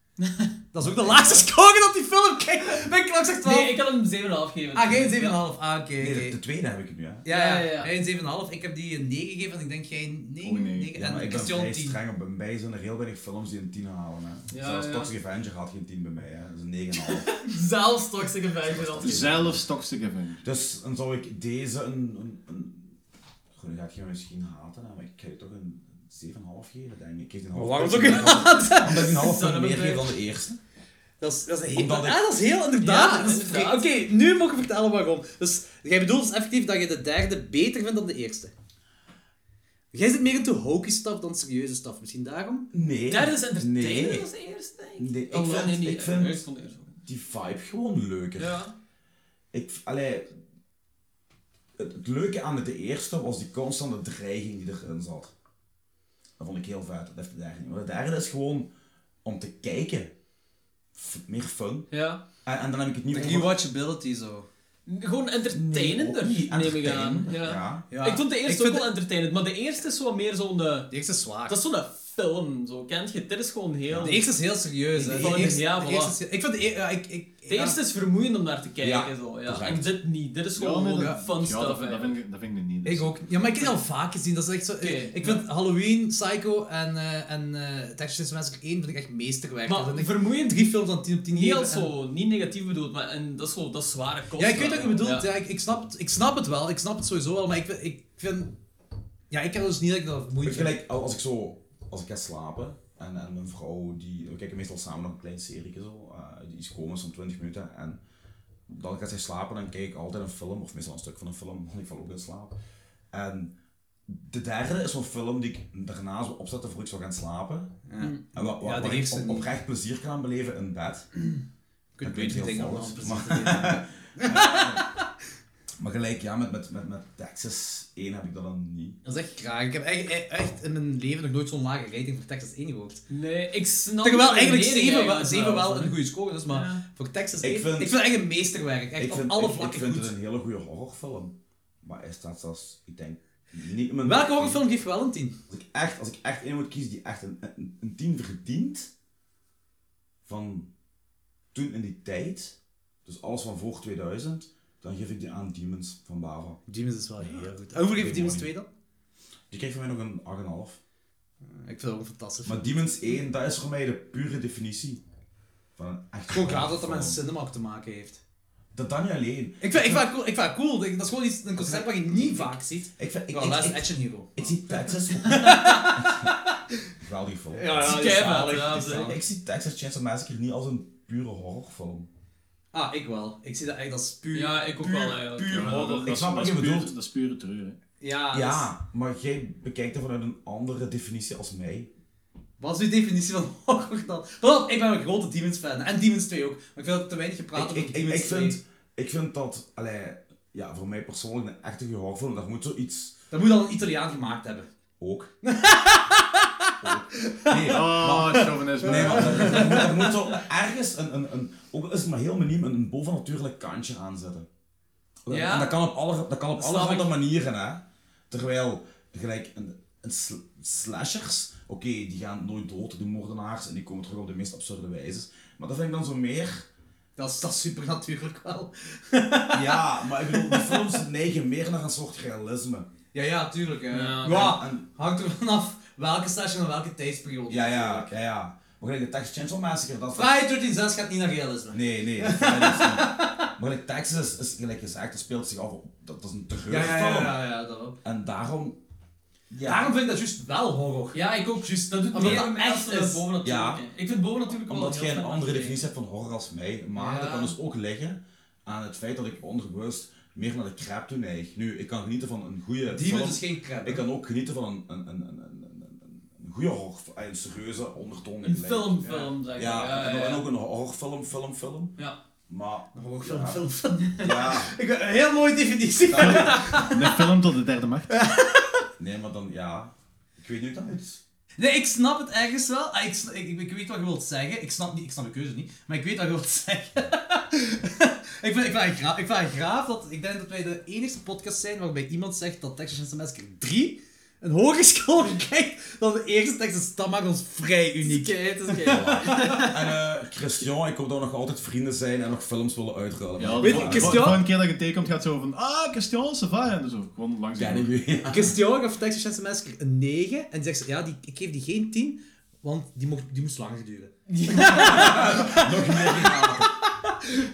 D: Dat is ook de laagste score dat die film kreeg bij Klok zegt 12.
B: Nee, ik had hem 7,5 gegeven.
D: Ah, geen 7,5.
B: Ja.
D: Ah, oké.
A: Nee,
D: oké.
A: de, de tweede heb ik het nu, hè.
D: Ja,
B: Ja,
D: ja,
B: ja, ja.
D: ja. Hij een 7,5. Ik heb die een 9 gegeven en ik denk jij een 9.
G: Oh,
A: Ja,
G: nee.
A: maar
D: en
A: ik ben
D: Christian
A: vrij
D: 10.
A: streng op bij mij zijn er heel weinig films die een 10 halen. Hè.
B: Ja,
A: Zelfs
B: ja.
A: Toxic Avenger had geen 10 bij mij, hè. dat is een 9,5.
B: Zelfs Toxic Avenger had gezien.
G: Zelfs toxic even.
A: dus dan zou ik deze een... een, een... Goed, dan ga ik je misschien haten, hè, maar ik ga je toch een 7,5 geven, denk ik. Ik geef die een half [laughs]
D: Waarom
A: punt
D: zou ik
A: meer dan- Omdat ik een half
B: Zou
A: punt
B: dat
A: meer
B: ook
A: geef
B: leuk?
A: dan de eerste.
D: [laughs] Dat is, dat is heel...
A: Omdat ik-
D: Ah, dat is heel inderdaad.
B: Ja,
D: Dat is
B: inderdaad.
D: vreemd. Oké, nu mag je vertellen waarom. Dus jij bedoelt dus effectief dat je de derde beter vindt dan de eerste. Jij zit meer into hokey stuff dan serieuze stuff. Misschien daarom?
A: Nee.
B: Derde is entertainment
A: Nee.
B: als eerste, denk
A: Nee, ik
B: Oh,
A: vind-
B: nee, niet.
A: ik vind-
B: Eerst van de eerste.
A: Die vibe gewoon leuker.
B: Ja.
A: Ik, allee, het, het leuke aan het de eerste was die constante dreiging die erin zat. Dat vond ik heel vet, dat heeft de derde niet. Maar de derde is gewoon om te kijken. F- meer fun.
B: Ja.
A: En, en dan heb ik het niet
D: rewatchability zo.
B: Gewoon entertainender, neem ik aan.
A: entertainend,
B: Ja.
A: ja.
B: Ik vond de eerste
D: vind
B: ook wel entertainend, maar de eerste is zo meer zo'n... eh,
D: De eerste is zwaar.
B: Dat is zo'n eh, film, zo kent je. Dit is gewoon heel...
D: De eerste is heel serieus. hè.
B: Ik
D: De
B: vond-
D: eerste-
B: ja,
D: de
B: voilà.
D: eerste is- Ik vind de eer- ja, ik- ik-
B: De
D: ja.
B: eerste is vermoeiend om naar te kijken.
A: Ja,
B: zo, ja.
A: correct.
B: En dit niet. Dit is gewoon
G: maar
B: gewoon
G: dat-
B: fun
G: ja, dat
B: stuff.
G: vind- dat,
B: eigenlijk.
G: vind ik, dat vind ik niet.
D: Ik ook. Ja, maar ik heb die al vaak gezien. Dat is echt zo. Ik, ik vind Halloween, Psycho en, eh en eh Texas Massacre 1 vind ik echt meesterwerk.
B: Maar
D: Dat vind ik
B: vermoeiend
D: drie films dan 10 op 10
B: Heel
D: geven en-
B: zo, niet negatief bedoeld, maar en dat is zo, dat is zware kost.
D: Ja, ik weet wat je bedoelt. Ja.
B: Ja.
D: ik, ik, snap het, ik snap het wel. Ik snap het sowieso wel. Maar ik, vind- ik vind... Ja, ik heb dus niet dat ik dat
A: Ik
D: moeilijk vind.
A: gelijk, al- als ik zo, als ik ga slapen en, en mijn vrouw, die, we kijken meestal samen nog een klein serie zo, eh, die is komisch van 20 minuten en dan gaat zij slapen dan kijk ik altijd een film, of meestal een stuk van een film, want ik val ook in slaap. En de derde is zo'n film die ik daarna zo opzette voor ik zou gaan slapen. En
D: Ja,
A: wat, wat,
D: de
A: waar ik
D: eerste
A: op-
D: niet.
A: oprecht plezier kan beleven in bed.
D: Je kunt
A: Ik weet
D: betere
A: heel
D: dingen
A: veel,
D: allemaal
A: maar-
D: precies te doen.
A: Maar gelijk, ja, met, met, met, met Texas 1 heb ik dat dan niet.
D: Dat is echt kraak. Ik heb echt, e- echt in mijn leven nog nooit zo'n lage rating voor Texas 1 gehoord.
B: Nee, ik snap
D: Terwijl
B: de
D: eigenlijk
B: reden
D: 7 wel,
B: eigenlijk
D: zeven
B: zelfs,
D: wel
B: hè.
D: een goede score is, maar
B: Ja.
D: voor Texas
A: Ik
D: 1... Ik
A: vind-
D: vind, het echt een meesterwerk. Echt
A: Ik
D: op
A: vind,
D: alle
A: ik- ik,
D: vlakken
A: vind
D: goed.
A: het een hele goede horrorfilm. Maar is dat zelfs, ik denk, niet mijn
D: Welke horrorfilm geeft wel een 10?
A: Als ik echt, als ik echt één moet kiezen die echt een, een, een 10 verdient, van toen in die tijd, dus alles van voor 2000, dan geef ik die aan Demons van Bava.
D: Demons is wel heel goed. En hoeveel geef je Demons
A: Mooi.
D: 2 dan?
A: Die krijgt van mij nog een 8,5.
D: Ik vind dat ook een fantastisch.
A: Maar Demons 1, dat is voor mij de pure definitie. Van een echt
D: Gewoon graag dat dat
A: horrorfilm.
D: met cinema ook te maken heeft.
A: Dat dan niet alleen.
D: Ik vind, ik vind, het cool, ik vind het cool. Ik- Dat is gewoon iets, een concept wat je niet vaak ziet.
A: Ik, vind, ik,
D: Wel,
A: ik,
D: dat is
A: ik,
D: een action hero.
A: ik
D: [laughs]
A: zie Texas... Wel die film.
B: ja,
D: die
B: die
D: is
B: ken
D: zalig,
B: wel, ja,
D: die is
B: ze-
D: zalig.
A: Ik zie Texas Chainsaw Massacre niet als een pure horrorfilm.
D: Ah, ik wel. Ik zie dat echt als puur...
B: Ja, ik ook
D: puur-
B: wel eigenlijk.
D: Puur
G: Ja, dat-
D: horror.
G: dat
A: Ik
G: is-
A: snap wat
G: dat
A: je
G: is puur-
A: bedoelt.
G: Dat is pure treur. Hè.
D: Ja, dat is-
A: Ja, maar jij bekijkt het vanuit een andere definitie als mij.
D: Wat is uw definitie van [laughs] horror dan? Wel, ik ben een grote Demons fan. En Demons 2 ook. Maar ik vind dat te weinig gepraat
A: Ik,
D: over
A: ik, ik,
D: Demons
A: ik,
D: 2.
A: vind, ik vind dat, allee, ja, voor mij persoonlijk een echte horrorfilm, daar moet zoiets
D: Dat moet al een Italiaan gemaakt hebben.
A: ook. Ook. Nee,
G: Oh, chauvinisme.
A: nee maar er, er moet, er moet zo ergens een, een, een, ook al is het maar heel miniem, een, een bovennatuurlijk kantje aanzetten.
B: Ja.
A: En dat kan op, alle, dat kan op
B: Snap
A: allerhande
B: ik.
A: manieren, hè. Terwijl, gelijk, een, een sl- slashers, oké, die gaan nooit dood, die moordenaars, en die komen terug op de meest absurde wijzes. Maar dat vind ik dan zo meer...
D: Dat is, dat is supernatuurlijk wel.
A: Ja, maar ik bedoel, de films neigen meer naar een soort realisme.
D: Ja, ja, tuurlijk. hè.
B: Ja.
D: Ja,
A: En-
D: hangt er vanaf welke station en welke tijdsperiode.
A: Ja, ja, ja, ja. Maar gelijk de Texas Chainsaw Massacre, dat
D: Friday 13 6 gaat niet naar realisme.
A: Nee, nee, dat is niet. Maar gelijk Texas is, is gelijk gezegd, dat speelt zich af op, dat, dat is een
D: Ja, ja, ja,
A: terreurfilm.
D: ja, ja, dat ook.
A: En daarom... Ja.
D: Daarom vind ik dat juist wel horror.
B: Ja, ik ook, juist. Dat doet
D: Omdat
B: meer
D: dat
B: aan mij
D: echt
B: als dan
D: is.
B: boven
A: Ja.
B: natuurlijk. Ik vind boven natuurlijk wel
A: Omdat
B: heel
A: jij een
B: fijn.
A: andere definitie hebt van horror als mij. Maar
B: Ja.
A: dat kan dus ook liggen aan het feit dat ik onbewust meer naar de crap toe neig. Nu, ik kan genieten van een goede
D: Die
A: film.
D: is geen crap.
A: Ik kan ook genieten van een, een, een, een, een, een, een- een goede horror, een serieuze ondertoon.
B: Een filmfilm, zeg
A: Ja,
B: maar.
A: en, en ook een horrorfilm, film, film.
B: Ja.
A: Maar,
D: Horror,
A: ja.
D: film, film, film.
A: ja,
D: Ik, een heel mooie definitie.
G: De film tot de derde macht.
A: nee, maar dan, ja. Ik weet niet hoe dat is.
D: Nee, ik snap het ergens wel. Ah, Ik, sn- ik, ik- ik weet wat je wilt zeggen. Ik snap, niet, ik snap je keuze niet, maar ik weet wat je wilt [laughs] zeggen. ik, vind, ik, vind het graaf, ik vind het graaf dat ik denk dat wij de enigste podcast zijn waarbij iemand zegt dat Texas Chainsaw Massacre 3 een hogere [laughs] score krijgt dan de eerste Texas. Dat maakt ons vrij uniek.
B: Kijk, het is kijk.
A: En eh, Christian, ik hoop dat we nog altijd vrienden zijn en nog films willen uitruilen.
G: Ja,
D: Weet
G: de-
D: je,
G: de-
D: Christian?
G: de volgende keer dat je tegenkomt gaat zo van, ah, Christian, ça va. En dan zo, gewoon langs
A: Ja,
G: de-
A: nee, [laughs] ja.
D: [laughs] Christian gaf Texas Chainsaw Massacre een 9 en die zegt, ja, die, ik geef die geen 10, want die, mocht, die moest langer duren.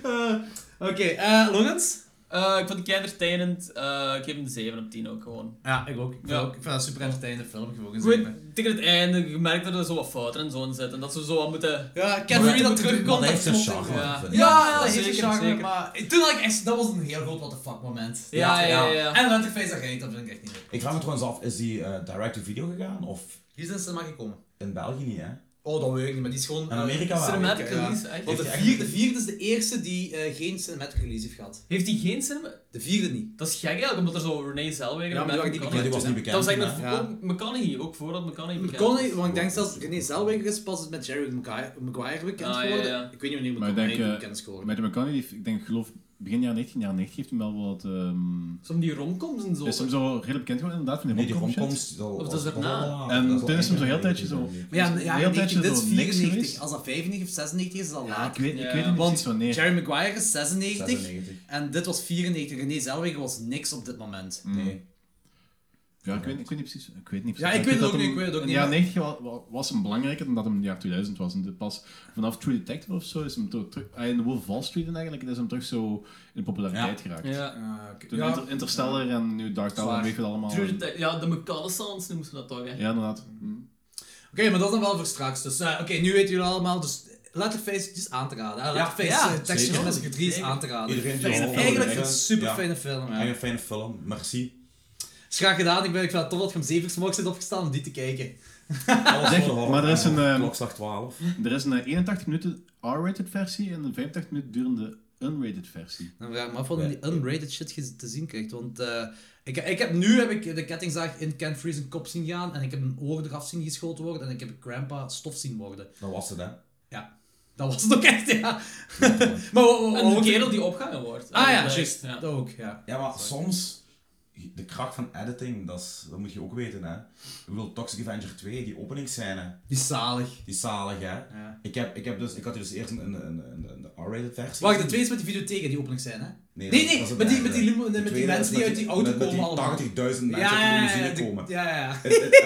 D: Eh, Oké, eh Logans?
B: Eh, Ik vond het keidertijdend. Eh, Ik geef hem de 7 op 10 ook gewoon.
D: Ja, ik ook. Ik vind,
B: Ja.
D: ook, ik vind dat een super entertainende film. Gewoon
B: Goed, tegen het einde, je merkt dat er zo wat fouten en zo in zitten. Dat ze zo wat moeten...
D: Ja, ik
B: Maar
D: ken
B: dat
D: dat
B: moet je
D: terugkomt.
A: Maar dat heeft
D: dat
A: zijn
D: klopt.
A: charme.
B: Ja.
A: vind ik.
D: Ja,
B: Ja,
D: dat heeft een
B: zeker,
D: charme,
B: zeker.
D: maar toen had ik echt, dat was een heel groot what the fuck moment.
B: Ja, ja, ja.
D: En Letterface, dat geeft, dat vind ik echt niet leuk.
A: Ik vraag me trouwens af, is die eh, direct to video gegaan? Of
D: Die zijn cinema gekomen.
A: in België niet, hè?
D: Oh, dat weet ik niet, maar die is
G: Eh,
D: gewoon... eh,
A: In Amerika wel.
B: Cinematic
D: ja.
B: release, echt.
D: Want de
A: Heeft die
D: vierde, de vierde is de eerste die eh, geen cinematic release heeft gehad.
B: Heeft hij geen cinema...
D: De vierde niet.
B: Dat is gek eigenlijk, omdat er zo Renee Zellweger...
D: Ja, maar
B: Matthew
D: die waren niet
A: Ja,
B: McConaughey-
A: die was niet bekend.
B: Dat was
A: toen,
B: eigenlijk
A: hè.
D: hè?
B: nog ook McConaughey, ook voordat McConaughey bekend
D: McConaughey,
B: was.
D: want ik denk zelfs René Zellweger is pas met Jerry Maguire, Maguire bekend
B: Ah, ja,
D: geworden.
B: ja.
D: Ik weet niet wanneer
G: Maar ik
D: McConaughey
G: denk, eh,
D: bekend is geworden.
G: Matthew McConaughey, die- ik denk, geloof, begin jaren 19, jaren 90 heeft hem wel wat... ehm,
B: Zo'n die romcoms en zo.
G: is hem zo redelijk bekend geworden, inderdaad, van die
A: Nee, die
G: romcom-shit.
A: romkomst.
B: Of dat is erna.
G: En toen is hem zo'n heel tijdje zo-
D: Maar ja, ja,
G: Heel
D: 19
G: tijdje
D: dit is
G: zo niks
D: 94.
G: geweest.
D: Als dat 95 of 96 is, is dat
G: Ja, ik
D: laat.
G: weet, ik
B: Ja.
G: weet niet
D: Want
G: precies wanneer.
D: Jerry Maguire is 96,
A: 96.
D: en dit was 94. René Zellweger was niks op dit moment.
A: Nee.
G: Ja, ik weet, ik weet niet precies. Ik weet niet precies.
D: Ja, ik
G: Maar
D: weet het
G: dat
D: ook
G: hem-
D: niet, ik weet het ook
G: in
D: niet,
G: de jaren
D: maar-
G: 90 wa- wa- was hem belangrijker dan dat hem in het jaar 2000 was. En dit pas vanaf True Detective of zo is hem toch terug... ah, In The Wolf of Wall Street en eigenlijk, is hem terug zo in de populariteit geraakt.
B: Ja.
D: Ah,
G: Toen Inter- Interstellar en nu Dark Tower,
D: Zwaar.
G: en weet je het allemaal.
B: True Detective. Ja, de McConaughey noemen ze dat toch, hè.
G: Ja, inderdaad.
D: Oké, maar dat is dan wel voor straks. Dus eh, oké, nu weten jullie allemaal. Dus Letterface het is aan te raden. hè. Letterface,
B: ja,
D: eh, Texas
A: zeker.
D: Chainsaw 3 is aan te raden.
A: Iedereen die
D: Fijne
A: al-
D: Eigenlijk
A: Ja.
D: een super fijne film.
A: Ja,
D: Ja.
A: Een fijne film, merci.
D: Is graag gedaan. Ik, ben, ik vind het tof dat je om 7 uur 's morgens bent opgestaan om die te kijken.
A: Alles
G: Zeg,
A: voor de horror.
G: maar er is een, ehm,
A: Klokslag 12.
G: Er is een eh, 81 minuten R-rated versie en een 85 minuten durende unrated versie.
D: Dan vraag ik me af wat in die unrated shit je te zien krijgt. Want eh, ik, ik heb, nu heb ik de kettingzaag in Ken Freeze een kop zien gaan. En ik heb een oor eraf zien geschoten worden. En ik heb grandpa stof zien worden.
A: Dat was het, hè.
D: Ja, dat was het ook echt, ja. [laughs] maar wat- wat-
B: En de
A: Oh,
D: wat-
B: kerel die opgehangen wordt.
D: Ah ja,
B: Eh,
D: juist.
B: ja.
D: Dat ook, ja.
A: Ja, maar soms... De kracht van editing, dat, is, dat moet je ook weten, hè. Ik bedoel, Toxic Avenger 2, die openingsscène,
D: Die is zalig.
A: die is zalig, hè.
D: Ja.
A: Ik, heb, ik, heb dus, ik had hier dus eerst een, een, een, een- een R-rated versie.
D: Wacht, de twee is met die videotheken die opening zijn, hè?
A: Nee,
D: Nee,
A: dat-
D: nee,
A: dat is
D: met
A: het
D: die-
A: einde.
D: met die limo- met
A: De
D: die
A: tweede
D: mensen
A: is
D: die
A: met
D: uit die auto
A: met-
D: komen allemaal.
A: Met die 80.000 mensen die uit de
D: ja, ja,
A: limousine
D: ja, [laughs]
A: komen.
D: ja, ja.
A: Het- het,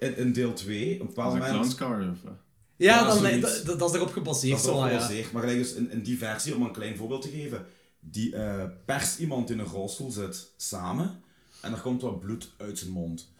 A: eh, in, in deel 2, op een bepaald
G: Als een
A: moment,
G: clownscar of... eh,
D: Ja,
A: dat
D: dat,
A: is
D: lijkt-
A: zoiets.
D: dat, dat, dat is erop gebaseerd.
A: dat is
D: zo,
A: wel
D: ja.
A: zeer. Maar gelijk dus in, in die versie, om een klein voorbeeld te geven, die eh, perst iemand in een rolstoel zit samen en er komt wat bloed uit zijn mond.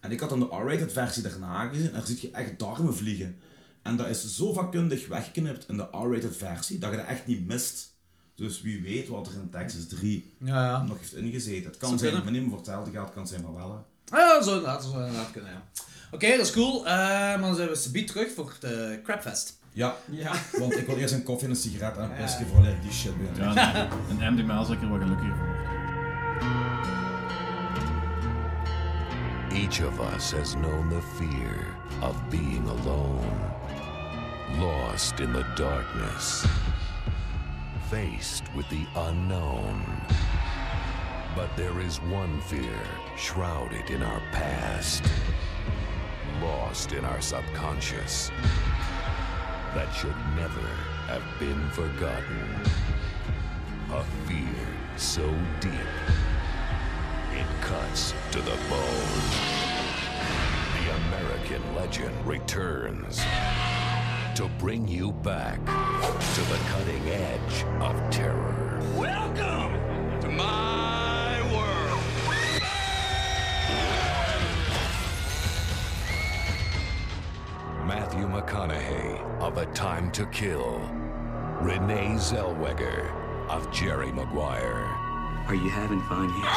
A: En ik had dan de R-rated versie daarna gezien en daar zie je echt darmen vliegen. En dat is zo vakkundig weggeknipt in de R-rated versie dat je dat echt niet mist. Dus wie weet wat er in Texas 3
D: Ja, ja.
A: nog heeft ingezeten. Het kan
D: Zou
A: zijn,
D: kunnen.
A: meneer me voor hetzelfde geld, het kan zijn van wel. hè.
D: Ah, ja, zo inderdaad, zo inderdaad kunnen, ja. Oké, dat is cool. Eh, maar dan zijn we subiet terug voor de Crapfest.
A: Ja,
B: Ja.
A: want ik wil eerst een koffie en een sigaret en een pisje voordat ik die shit ben.
G: [laughs] Ja, een- een MDMA is ik er wel gelukkiger voor.
E: Each of us has known the fear of being alone, lost in the darkness, faced with the unknown. But there is one fear shrouded in our past, lost in our subconscious, that should never have been forgotten. A fear so deep, it cuts to the bone. The American legend returns to bring you back to the cutting edge of terror. Welcome to my world. Matthew McConaughey of A Time to Kill. Renee Zellweger of Jerry Maguire.
H: Are you having fun here?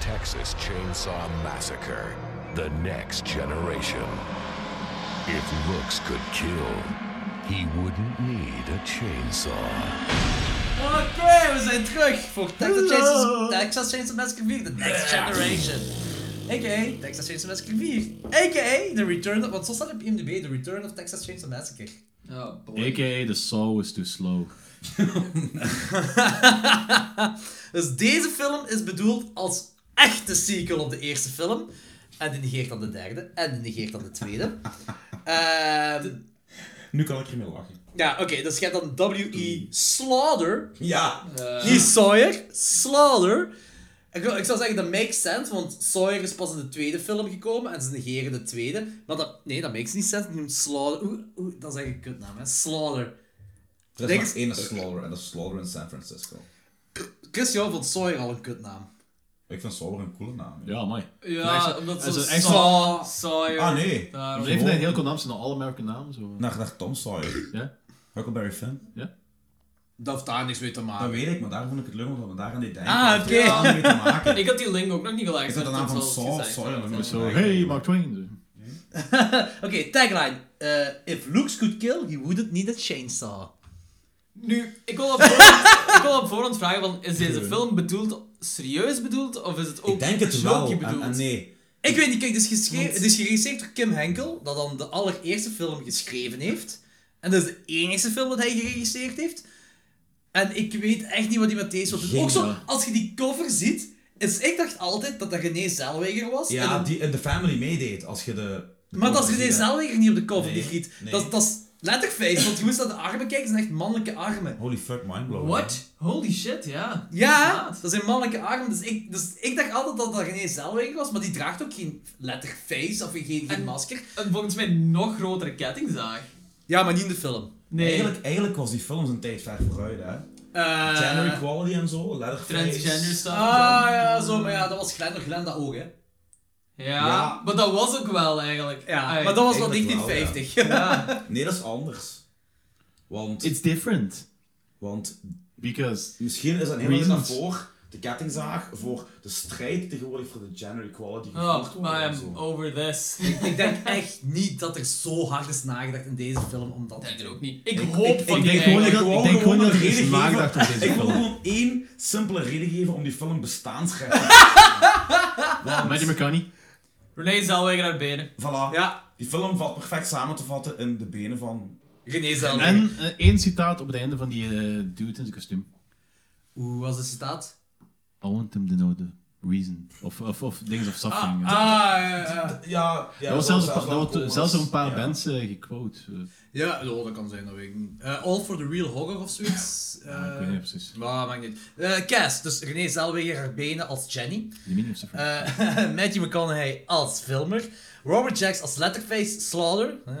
E: Texas Chainsaw Massacre The Next Generation. If looks could kill, he wouldn't need a chainsaw.
D: Oké, we zijn terug voor Texas Chainsaw, Texas Chainsaw Massacre 4, The Next Generation. A.k.a. Texas Chainsaw Massacre 4. A.k.a. The Return of... Want zo staat op IMDb, The Return of Texas Chainsaw Massacre.
B: Oh, boy.
G: A.k.a. the saw is too slow.
D: dus deze film is bedoeld als echte sequel op de eerste film. En die negeert dan de derde. En die negeert dan de tweede. Ehm,
A: Nu kan ik ermee lachen.
D: ja, oké. dus je hebt dan W.E. Slaughter.
A: Ja.
D: Die Sawyer. Slaughter. Ik, wil- ik zou zeggen, dat makes sense, want Sawyer is pas in de tweede film gekomen en ze negeren de tweede. Maar dat, nee, dat makes niet sense. Die noemt Slaughter. Oeh, oeh, dat is echt een kutnaam, hè. Slaughter.
I: Er
D: Denk
I: is maar
D: eens-
I: één Slaughter en dat is Slaughter in San Francisco.
D: Christian vond Sawyer al een kutnaam.
A: Ik vind Solar een coole naam.
G: Ja, mooi.
B: Ja, omdat ze
G: Hij is
B: zo
G: een echt-
B: saw, Sawyer.
A: Ah, nee.
B: Daarom.
G: Heeft hij een heel cool naam? Zijn all-American naam? Zo.
A: Naar, naar Tom Sawyer.
G: Ja?
A: Huckleberry Finn.
D: Dat heeft daar niks mee te maken.
A: Dat weet ik, maar daar vond ik het leuk omdat we daar aan die denken.
D: Ah,
A: Dat heeft er
D: oké.
A: allemaal mee te
D: [laughs]
A: maken.
B: Ik had die link ook nog niet gelijk.
A: Is dat de naam van Saw, Sawyer? Dat moet
G: Zo, hey, Mark Twain. zo.
D: Oké, tagline. Eh, if looks could kill, he wouldn't need a chainsaw.
B: Nu, ik
A: [laughs]
B: wil, op voorhand, ik wil op voorhand vragen, van, is deze film bedoeld, serieus bedoeld, of is het ook
A: Ik denk het
B: jokey
A: wel. En,
B: bedoeld?
A: en nee.
D: Ik weet niet, kijk, het is, geschreven, het is geregisseerd door Kim Henkel, dat dan de allereerste film geschreven heeft. En dat is de enige film dat hij geregisseerd heeft. En ik weet echt niet wat hij met deze wil doen. Ook zo, als je die cover ziet, is, ik dacht altijd dat dat René Zellweger was. En
A: Ja,
D: dan-
A: die in The Family meedeed als je de... de
D: maar dat is
A: cover
D: René
A: ziet, hè.
D: Zellweger niet op de cover,
A: Nee,
D: die giet.
A: nee.
D: Dat, dat is letterface, want je moest naar de armen kijken, zijn echt mannelijke armen.
A: Holy fuck, mindblown.
B: What? Holy shit, ja.
D: Ja,
B: Inderdaad.
D: dat zijn mannelijke armen. Dus ik, dus ik dacht altijd dat dat René Zellweger was, maar die draagt ook geen letterface of geen, geen
B: En-
D: masker.
B: Een volgens mij nog grotere kettingzaag.
D: Ja, maar niet in de film.
B: Nee.
A: Eigenlijk, eigenlijk was die film zijn tijd ver vooruit, hè.
D: Eh,
A: Gender equality en zo, Leatherface.
B: Transgender stuff.
D: Ah ja, zo, maar ja, dat was Glenn door Glenn dat ook, hè.
B: ja.
A: Ja.
B: maar dat was ook wel eigenlijk.
D: Ah, Ja,
B: Ai.
D: maar dat was wel
A: eigenlijk wel,
D: 1950.
A: Nee, dat is anders. Want,
G: It's different.
A: want
G: Because...
A: misschien is dat helemaal niet
G: Reasons.
A: voor de kettingzaag, voor de strijd tegenwoordig voor de gender equality gevoerd
B: Oh,
A: wordt.
B: maar
A: en
B: I'm
A: zo.
B: over this.
D: Ik denk echt niet dat er zo hard is nagedacht in deze film om dat
B: Ik
D: te
B: denk er ook
D: doen.
B: niet. Ik, hoop van
G: denk
B: niet
G: gewoon
B: eigenlijk.
G: dat- ik denk gewoon dat er
A: een
G: is
A: reden
G: nagedacht
A: geven-
G: over deze
A: Ik wil
G: film.
A: gewoon één simpele reden geven om die film bestaansrecht te
B: [laughs]
G: oh, Matthew McConaughey.
B: René Zellweger naar benen.
A: Voilà.
D: Ja,
A: Die film valt perfect samen te vatten in de benen van...
D: René Zellweger.
G: En eh, één citaat op het einde van die eh, dude in zijn kostuum.
D: Hoe was de citaat?
G: I want him to know the reason. Of, of, of things of something.
D: Ah, ja, [laughs] ja.
A: Ja, ja
G: dat was zelfs,
A: wel
G: een paar- dat
A: cool,
G: wordt zelfs door een paar
A: ja.
G: bands eh, gequote. Eh,
D: Ja, oh, dat kan zijn, dat weet ik niet. Eh, All for the Real Horror of [laughs] zoiets.
G: ja, ik weet niet precies.
D: Eh, Maar maakt niet. Eh Cass, dus René Zellweger haar benen als Jenny.
G: The meaning of suffering.
D: Eh, [laughs] Matthew McConaughey als Filmer. Robert Jacks als Letterface, Slaughter. eh.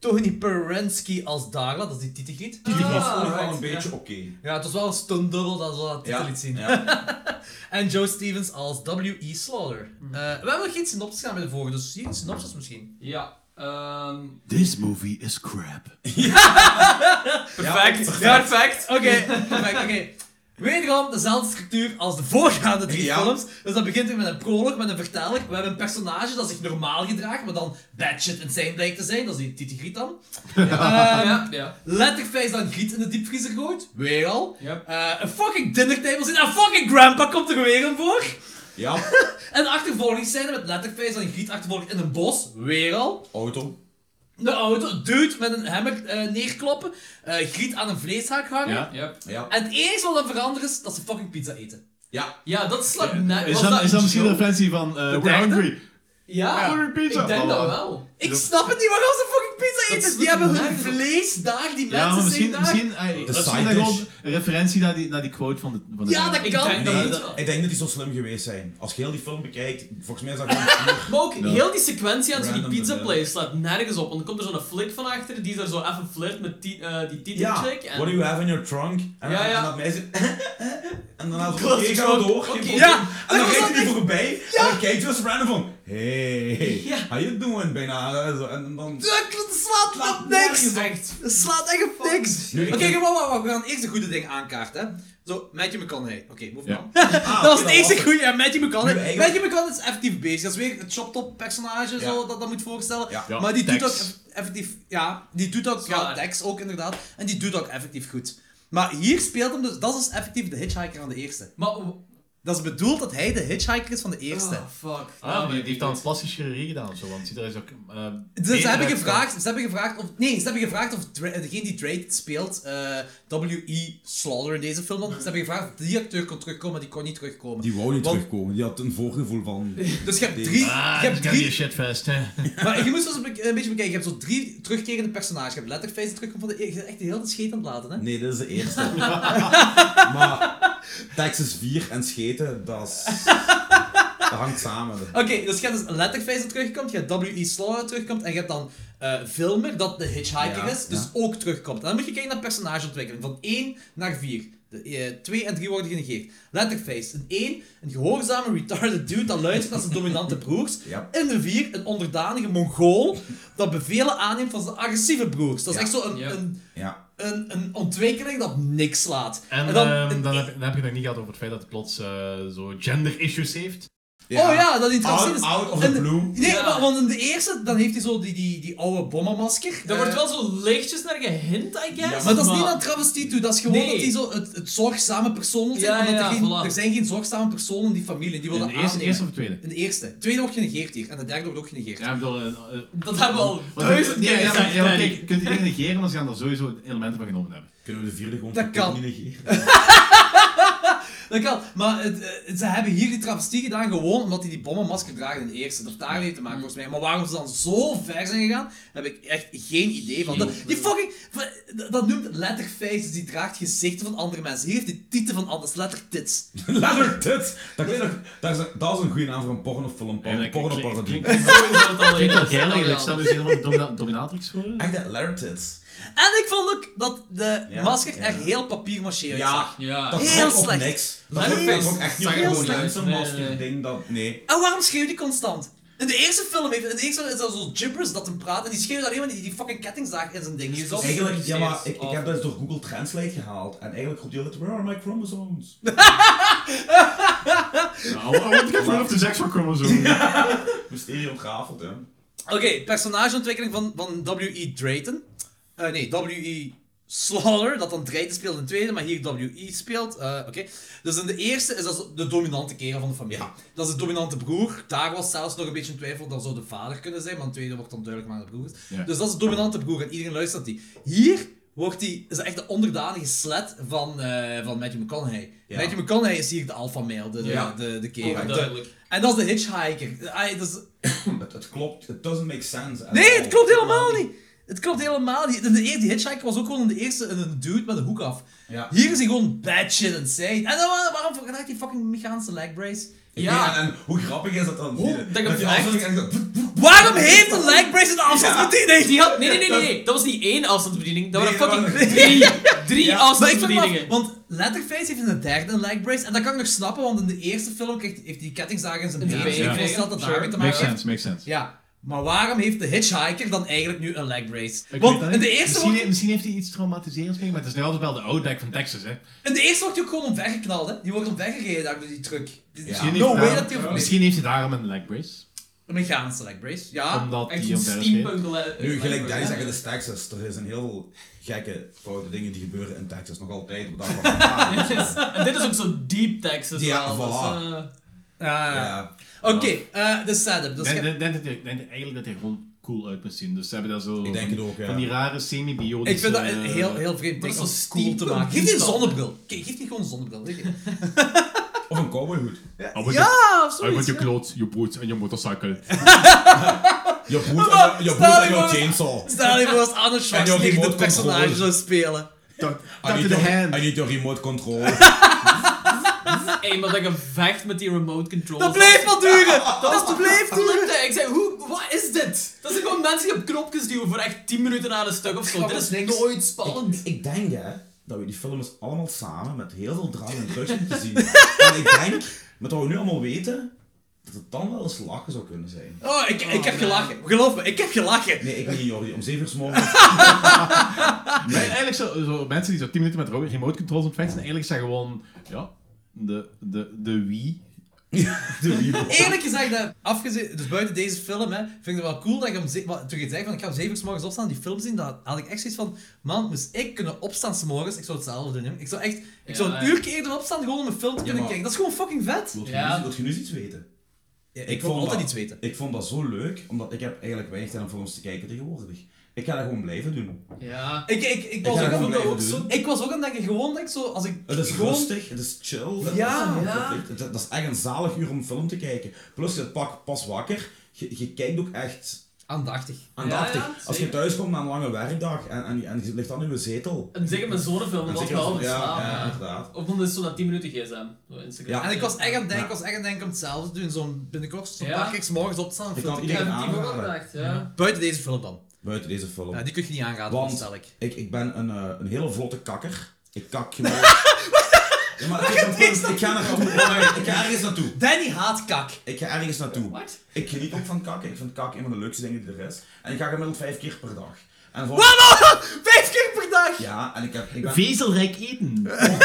D: Tony Perensky als Darla, dat is die titelgriet.
A: Die was
B: Ah,
A: ook nog wel
B: right,
A: een
B: ja.
A: beetje oké.
D: Ja, het was wel een stunt double dat we dat titel
A: Ja.
D: liet zien. [laughs]
A: ja.
D: En Joe Stevens als W.E. Slaughter. Eh, we hebben nog geen synopsis gaan bij de vorige, dus hier een synopsis misschien.
B: Ja. ehm,
G: This movie is crap.
B: perfect. perfect.
A: [laughs]
D: Oké, perfect, oké. Wederom dezelfde structuur als de voorgaande drie
A: Ja.
D: films. Dus dat begint weer met een prolog, met een verteller. We hebben een personage dat zich normaal gedraagt, maar dan batshit insane blijkt te zijn. Dat is die titelgriet dan. Ehm,
B: Ja, ja.
D: Letterface dan giet in de diepvriezer gooit. Weer al.
B: Yep.
D: Eh, een fucking dinnertable zit. Een fucking grandpa komt er weer een voor.
A: ja,
D: En achtervolgingsscène met Letterface dan giet achtervolging in een bos. Weer al.
A: auto.
D: De auto, dude met een hammer eh, neerkloppen. eh Griet aan een vleeshaak hangen.
G: Ja.
B: Yep.
A: Ja.
D: En het enige wat dan verandert is dat ze fucking pizza eten.
A: Ja.
B: Ja, dat slaat net.
G: Is
B: was
G: dat, is
B: een
G: dat misschien een
B: joke?
G: referentie van eh We're
D: derde?
G: Hungry?
B: Ja,
G: Order pizza.
B: ik denk dat
G: Voilà.
B: wel.
D: Ik snap het niet waarom ze fucking pizza
B: Dat
D: eten.
B: is
D: Die hebben hun
B: nergens op.
D: vlees daar, die
G: Ja, maar
D: mensen
G: misschien,
D: zijn daar.
G: misschien ey, dat is
A: side
G: misschien
A: dish.
G: gewoon een referentie naar die, naar die quote van de, van de
D: Ja, dat
B: Ik
D: kan.
B: denk dat
A: Nee,
B: moet wel.
A: ik denk dat die zo slim geweest zijn. Als je heel die film bekijkt, volgens mij is dat gewoon puur-
B: Maar ook heel die sequentie aan zo die
A: Random
B: pizza
A: vanilla.
B: place slaat nergens op. Want dan komt er zo'n flik van achter die daar zo even flirt met die, eh die titel
A: Ja,
B: chick. En
A: what do you have in your trunk? En,
B: Ja,
A: dan-
B: ja.
A: en dat meisje... [laughs] en daarna zo,
B: Klopt,
A: oké,
B: ik
A: ga
B: ook.
A: door. geen
B: Oké.
A: probleem.
D: Ja,
A: En dan
D: dat was
A: rijdt hij
D: echt-
A: er voorbij. En dan kijkt hij zo random van... Hey,
B: Ja.
A: how you doing? Bijna. eh, zo, En
D: [laughs]
A: dan...
D: Dat slaat op niks.
B: nergens echt.
D: Dat slaat echt op niks.
A: Nu, ik-
D: Oké, gewoon wacht, wacht, we gaan eerst een goede ding aankaarten. hè. Zo, Matthew McConaughey. Oké, move
G: Ja.
D: on. [laughs] dat
A: Ah,
D: was
A: oké,
D: het eerste
A: het.
D: goede, ja, Matthew
A: Nu
D: McConaughey.
A: eigenlijk-
D: Matthew McConaughey is effectief bezig. Dat is weer het chop-top personage
A: Ja.
D: zo, dat dat moet voorstellen.
A: Ja.
G: Ja,
D: maar die doet ook
G: Tex.
D: eff- effectief, ja, die doet ook, ja,
B: Zwaar.
D: Tex ook inderdaad. En die doet ook effectief goed. Maar hier speelt hem dus, dat is dus effectief de hitchhiker aan de eerste.
B: Maar...
D: Dat is bedoeld dat hij de hitchhiker is van de eerste.
B: Oh, fuck.
G: Ah, maar die heeft dan plastische chirurgie gedaan of zo, want er is ook... eh,
D: Dus ze
G: beter
D: hebben,
G: uit-
D: gevraagd, ze hebben gevraagd of... Nee, ze hebben gevraagd of Dra- degene die Drake speelt, eh, W.E. Slaughter in deze film, dan, ze hebben gevraagd of die acteur kon terugkomen, maar die kon niet terugkomen.
A: Die wou niet
D: Want-
A: terugkomen. Die had een
D: [laughs]
A: voorgevoel van...
D: Dus je hebt drie...
G: Ah,
D: je
G: ik
D: hebt
G: ken die
D: drie
G: shitfest, hè.
D: [laughs] maar je moet zo eens een be- een beetje bekijken, je hebt zo drie terugkerende personages. Je hebt Letterface die terugkomt van de... Je bent echt de hele tijd scheet aan het laten, hè?
A: Nee, dat is de
D: [laughs]
A: eerste. maar Texas 4 en scheten, dat is... Dat hangt samen.
D: Oké, dus je hebt dus Letterface dat terugkomt, je hebt W.E. Slaughter dat terugkomt, en je hebt dan eh Vilmer, dat de hitchhiker
A: Ja,
D: is, dus
A: ja.
D: ook terugkomt. En dan moet je kijken naar personageontwikkeling, van 1 naar 4. De, eh, 2 en 3 worden genegeerd. Letterface, een 1, een gehoorzame retarded dude dat luistert naar zijn
A: [laughs]
D: dominante broers.
A: Ja.
D: In de 4, een onderdanige mongool dat bevelen aanneemt van zijn agressieve broers. Dat is
A: Ja.
D: echt zo een,
B: Ja.
D: een,
A: Ja.
D: een, een ontwikkeling dat op niks slaat.
G: En,
D: dan,
G: ehm,
D: een-
G: dan, heb, dan heb je het nog niet gehad over het feit dat het plots eh, zo gender issues heeft.
D: Oh ja, dat die transgender
A: Out,
D: is.
A: out of
D: En-
A: the blue.
D: Nee,
B: Ja.
D: maar, want in de eerste, dan heeft hij zo die, die, die oude bommenmasker.
B: Daar
G: Eh,
B: wordt wel zo lichtjes naar gehint, I guess.
D: Maar dat is niet aan travestie toe, dat is gewoon
B: Nee.
D: dat die zo het, het zorgzame persoon wil zijn.
B: Ja,
D: omdat
B: ja,
D: er, geen,
B: voilà.
D: er zijn geen zorgzame personen in die familie, die
G: In
D: willen
G: de eerste,
D: aannemen.
G: eerste of tweede?
D: In de eerste. De tweede wordt genegeerd hier, en de derde wordt ook genegeerd.
G: Ja, ik bedoel... eh, eh,
B: Dat hebben we al
G: wat-
B: duizend
G: Nee,
B: keer
G: ja, maar-
B: gezegd,
G: ja, maar
B: Danny.
G: kijk, je kunt die dingen negeren, maar ze gaan er sowieso elementen van genomen hebben.
A: Kunnen we de vierde gewoon
D: Dat
A: fucking
D: kan.
A: niet negeren?
D: Dat kan, maar het, eh, ze hebben hier die travestie gedaan gewoon omdat hij die bommenmasker draagt in de eerste. Dat daar heeft te maken volgens mij. Maar waarom ze dan zo ver zijn gegaan, heb ik echt geen idee van. Dat, die fucking, dat- dat noemt letterfaces, die draagt gezichten van andere mensen. Hier heeft hij tieten van anders, lettertits.
A: [laughs] Leather tits! Dat, weet ik- dat is, een- dat is een goede naam voor een pornofilm.
G: En dat
A: Porno, pornoparodie.
G: klinkt- klinkt-
B: Sowieso het al
G: klinkt wel
B: eerder.
G: geil eigenlijk.
B: Ja.
G: Stel je helemaal domina- dominatrix voor.
A: Echt dat, leather tits.
D: En ik vond ook dat de
A: Ja,
D: masker
A: ja.
D: er heel papiermaché uitzag.
A: Ja.
B: Ja.
A: Dat
D: Heel
A: trok op
D: slecht.
A: niks. Dat
B: Leather
A: trok
B: face.
A: ook echt niet
B: Zag
A: op
B: er
A: gewoon
B: heel slecht.
A: mensen
B: Nee,
A: als je
B: nee.
A: ding dat... Nee.
D: En waarom schreeuwt hij constant? In de eerste film heeft, in de eerste film is dat zo'n gibberish dat hem praat en die schreeuwt alleen maar die, die fucking kettingzaag in zijn ding. Hier zo.
A: Eigenlijk, ja maar ik, ik
B: Of-
A: heb dat eens door Google Translate gehaald. En eigenlijk roept hij altijd, where are my chromosomes?
G: Nou, I want to get rid of the sexual chromosome.
A: Mysterie ontrafeld, hè.
D: Oké, personageontwikkeling van, van W.E. Drayton. Eh, nee, W.E. Slaughter, dat dan Drayton speelt in de tweede, maar hier W.E. speelt. Eh, Oké. Dus in de eerste is dat zo de dominante kerel van de familie. Dat is de dominante broer. Daar was zelfs nog een beetje een twijfel, dat zou de vader kunnen zijn, maar in de tweede wordt dan duidelijk maar de broer is.
G: Ja.
D: Dus dat is de dominante broer en iedereen luistert die. Hier wordt die, is dat echt de onderdanige slet van, eh, van Matthew McConaughey. Matthew McConaughey is hier de alpha male, de, de,
B: Ja.
D: de, de kerel.
B: Oh,
D: De-
B: duidelijk.
D: en dat is de hitchhiker. Ah, dat is-
A: Het, het klopt, it doesn't make sense. at
D: Nee,
A: all.
D: het klopt helemaal niet. Het klopt helemaal niet. De, de, die hitchhiker was ook gewoon in de eerste een dude met een hoek af.
A: Ja.
D: Hier is hij gewoon bad shit insane. En dan, wa- waarom raakt die fucking mechanische leg brace?
B: Ja.
A: Ja, en, en hoe grappig is dat dan?
B: Hoe-
A: Dat
B: dat je
A: die
B: echt-
A: afzetting echt zo-
D: Waarom heeft een leg brace een afstandsbediening?
B: Die had, nee, nee, nee, nee, nee. Dat was niet één afstandsbediening. Dat
A: Nee,
B: waren
A: dat
B: fucking drie, drie
D: Maar ik vind het
B: afstandsbedieningen.
D: af, want Letterface heeft in de derde een leg brace. En dat kan ik nog snappen, want in de eerste film krijgt, heeft hij kettingzagen in zijn
B: In zijn
D: been. Dus
B: been
D: Ik
B: gekregen,
D: voorstel dat
B: sure.
D: daarmee te
G: Makes
D: maken heeft.
G: sense, makes sense.
D: Ja, maar waarom heeft de hitchhiker dan eigenlijk nu een leg brace?
G: Ik weet
D: want
G: dat
D: in de
G: niet.
D: eerste
G: misschien,
D: wordt,
G: misschien heeft hij iets traumatiserends mee, maar het is nu altijd wel de Outback van Texas, hè.
D: in de eerste wordt hij ook gewoon omvergeknald, hè? Die wordt omvergereden daar door die truck.
G: Misschien
D: No
G: heeft
D: way
G: hij
D: dat die
G: daarom- Misschien heeft hij daarom een leg brace.
D: Een mechanische leg brace, ja.
G: Omdat
B: Echt zo'n
G: hij hem verder schreef.
B: steampunk le-
A: Nu, gelijk
B: lekker,
A: Danny
B: Eh, ja.
A: zegt, het is Texas. Er zijn heel veel gekke, foute dingen die gebeuren in Texas. Nog altijd op de dag van vandaag.
B: En dit is ook zo deep Texas.
A: Ja,
B: wel,
A: voilà.
B: dus, eh,
D: Ja, ja.
A: Ja.
D: Oké, eh, de setup. Dus
G: Ik
D: je-
G: denk, denk, dat hij- denk eigenlijk dat hij er gewoon cool uit moet zien. Dus ze hebben daar zo
A: Ik denk het ook, ja.
G: van die rare semi-biotische...
D: ik vind dat
G: eh,
D: een heel, heel vreemd
B: dat
D: ding
B: is
D: om
B: wel
D: cool te
B: steampunk.
D: maken. Geef die een zonnebril. Kijk, geef die gewoon een zonnebril. weet je.
A: Of een cowboyhoed.
G: Oh,
D: Ja, of
G: I want
D: zoiets.
G: your
D: ja. [laughs]
G: clothes, your boots and your motorcycle.
A: Je broer en je, je, broer
D: stel
A: en
D: je
A: jouw
D: voor-
A: chainsaw.
D: [laughs] Stel je voor als Arnold Schwarzenegger
A: remote
D: dit personage
A: controller.
D: zou spelen.
A: En
G: to
A: niet
G: the
A: jouw-
G: hand.
A: En niet jouw remote control.
B: Ey, eh, maar dat gevecht met die remote control.
D: Dat bleef maar duren! Dat bleef
B: Flipte.
D: duren!
B: Ik zei, hoe, wat is dit? Dat zijn gewoon mensen die op knopjes duwen voor echt 10 minuten aan een stuk of zo.
D: Dat
B: Dit is
D: is niks.
B: nooit spannend.
A: Ik denk hè, dat we die films allemaal samen met heel veel drang en drugs moeten zien. en ik denk, met wat we nu allemaal weten, dat het dan wel eens lachen zou kunnen zijn.
D: Oh, ik, ik heb gelachen. Geloof me, ik heb gelachen.
A: Nee, ik niet Jordi, om 7 uur 's morgens.
G: Maar eigenlijk zo, zo mensen die zo 10 minuten met ro- remote controls aan het vechten zijn, eigenlijk zijn gewoon, ja, de, de, de Wii. De Wii.
D: Eerlijk gezegd, hè, afgezien, dus buiten deze film, hè, vind ik het wel cool dat je om ze- wat, toen je zei van ik ga om zeven uur 's morgens opstaan en die film zien, dan had ik echt zoiets van, man, moest ik kunnen opstaan s'morgens, ik zou hetzelfde doen. jongen. Ik zou echt, ik zou
B: Ja,
D: een
B: ja.
D: uurtje eerder opstaan gewoon om een film te kunnen
A: maar-
D: kijken. Dat is gewoon fucking vet.
A: Wilt je,
B: Ja.
A: nu, eens- wilt je nu eens iets weten?
D: Ja, ik,
A: Ik
D: wil
A: vond
D: altijd
A: dat-
D: iets weten.
A: Ik vond dat zo leuk, omdat ik heb eigenlijk weinig tijd om films te kijken tegenwoordig. Ik ga dat gewoon blijven doen.
B: Ja.
D: Ik, ik, ik,
A: ga
D: was, ook
A: dat
D: aan,
A: gewoon
D: ook
A: blijven
D: zo- ik was ook aan het denken, gewoon dat ik zo, als ik
A: Het is
D: gewoon...
A: rustig, het is chill. het-
D: Ja,
A: het-
B: ja.
A: het- het- dat is echt een zalig uur om een film te kijken. Plus, je pak pas wakker. Je, je kijkt ook echt
D: Aandachtig.
A: aandachtig.
B: Ja, ja,
A: Als je
B: zeker.
A: thuis komt na een lange werkdag en, en, en je ligt dan in je zetel.
B: En zeker met zo'n film,
A: dan
B: dan was
A: zit
B: ik
A: je
B: wel
A: als-
B: overslaan.
A: ja, ja,
B: Ja,
A: inderdaad.
B: Of dan is het zo na 10 minuten gsm. zo Instagram.
A: Ja.
D: En ik was echt aan het denken,
A: Ja.
D: ik was echt aan het denken om hetzelfde te doen, zo'n binnenkort, zo'n
B: Ja.
D: paar keer 's morgens opstaan en
A: Ik
D: film te
A: kan
B: Ik
A: iedereen
B: heb
D: kijken.
B: het ook al
A: aanraden.
B: gedacht, ja.
D: Buiten deze film dan.
A: Buiten deze film.
D: Ja, die kun je niet aanraden,
A: Want-
D: stel ik.
A: Ik, ik ben een, eh, een hele vlotte kakker. Ik kak gemaakt. ja, maar het is een punt. Ik ga, naartoe. ik ga ergens naartoe.
D: Danny haat kak.
A: Ik ga ergens naartoe.
B: Wat?
A: Ik geniet ook van kakken. Ik vind kakken een van de leukste dingen die er is. En ik ga gemiddeld vijf keer per dag. En voor...
D: [laughs] Vijf keer per dag!
A: Ja, en ik, heb, ik ben
G: Vezelrijk eten.
A: Ja, en,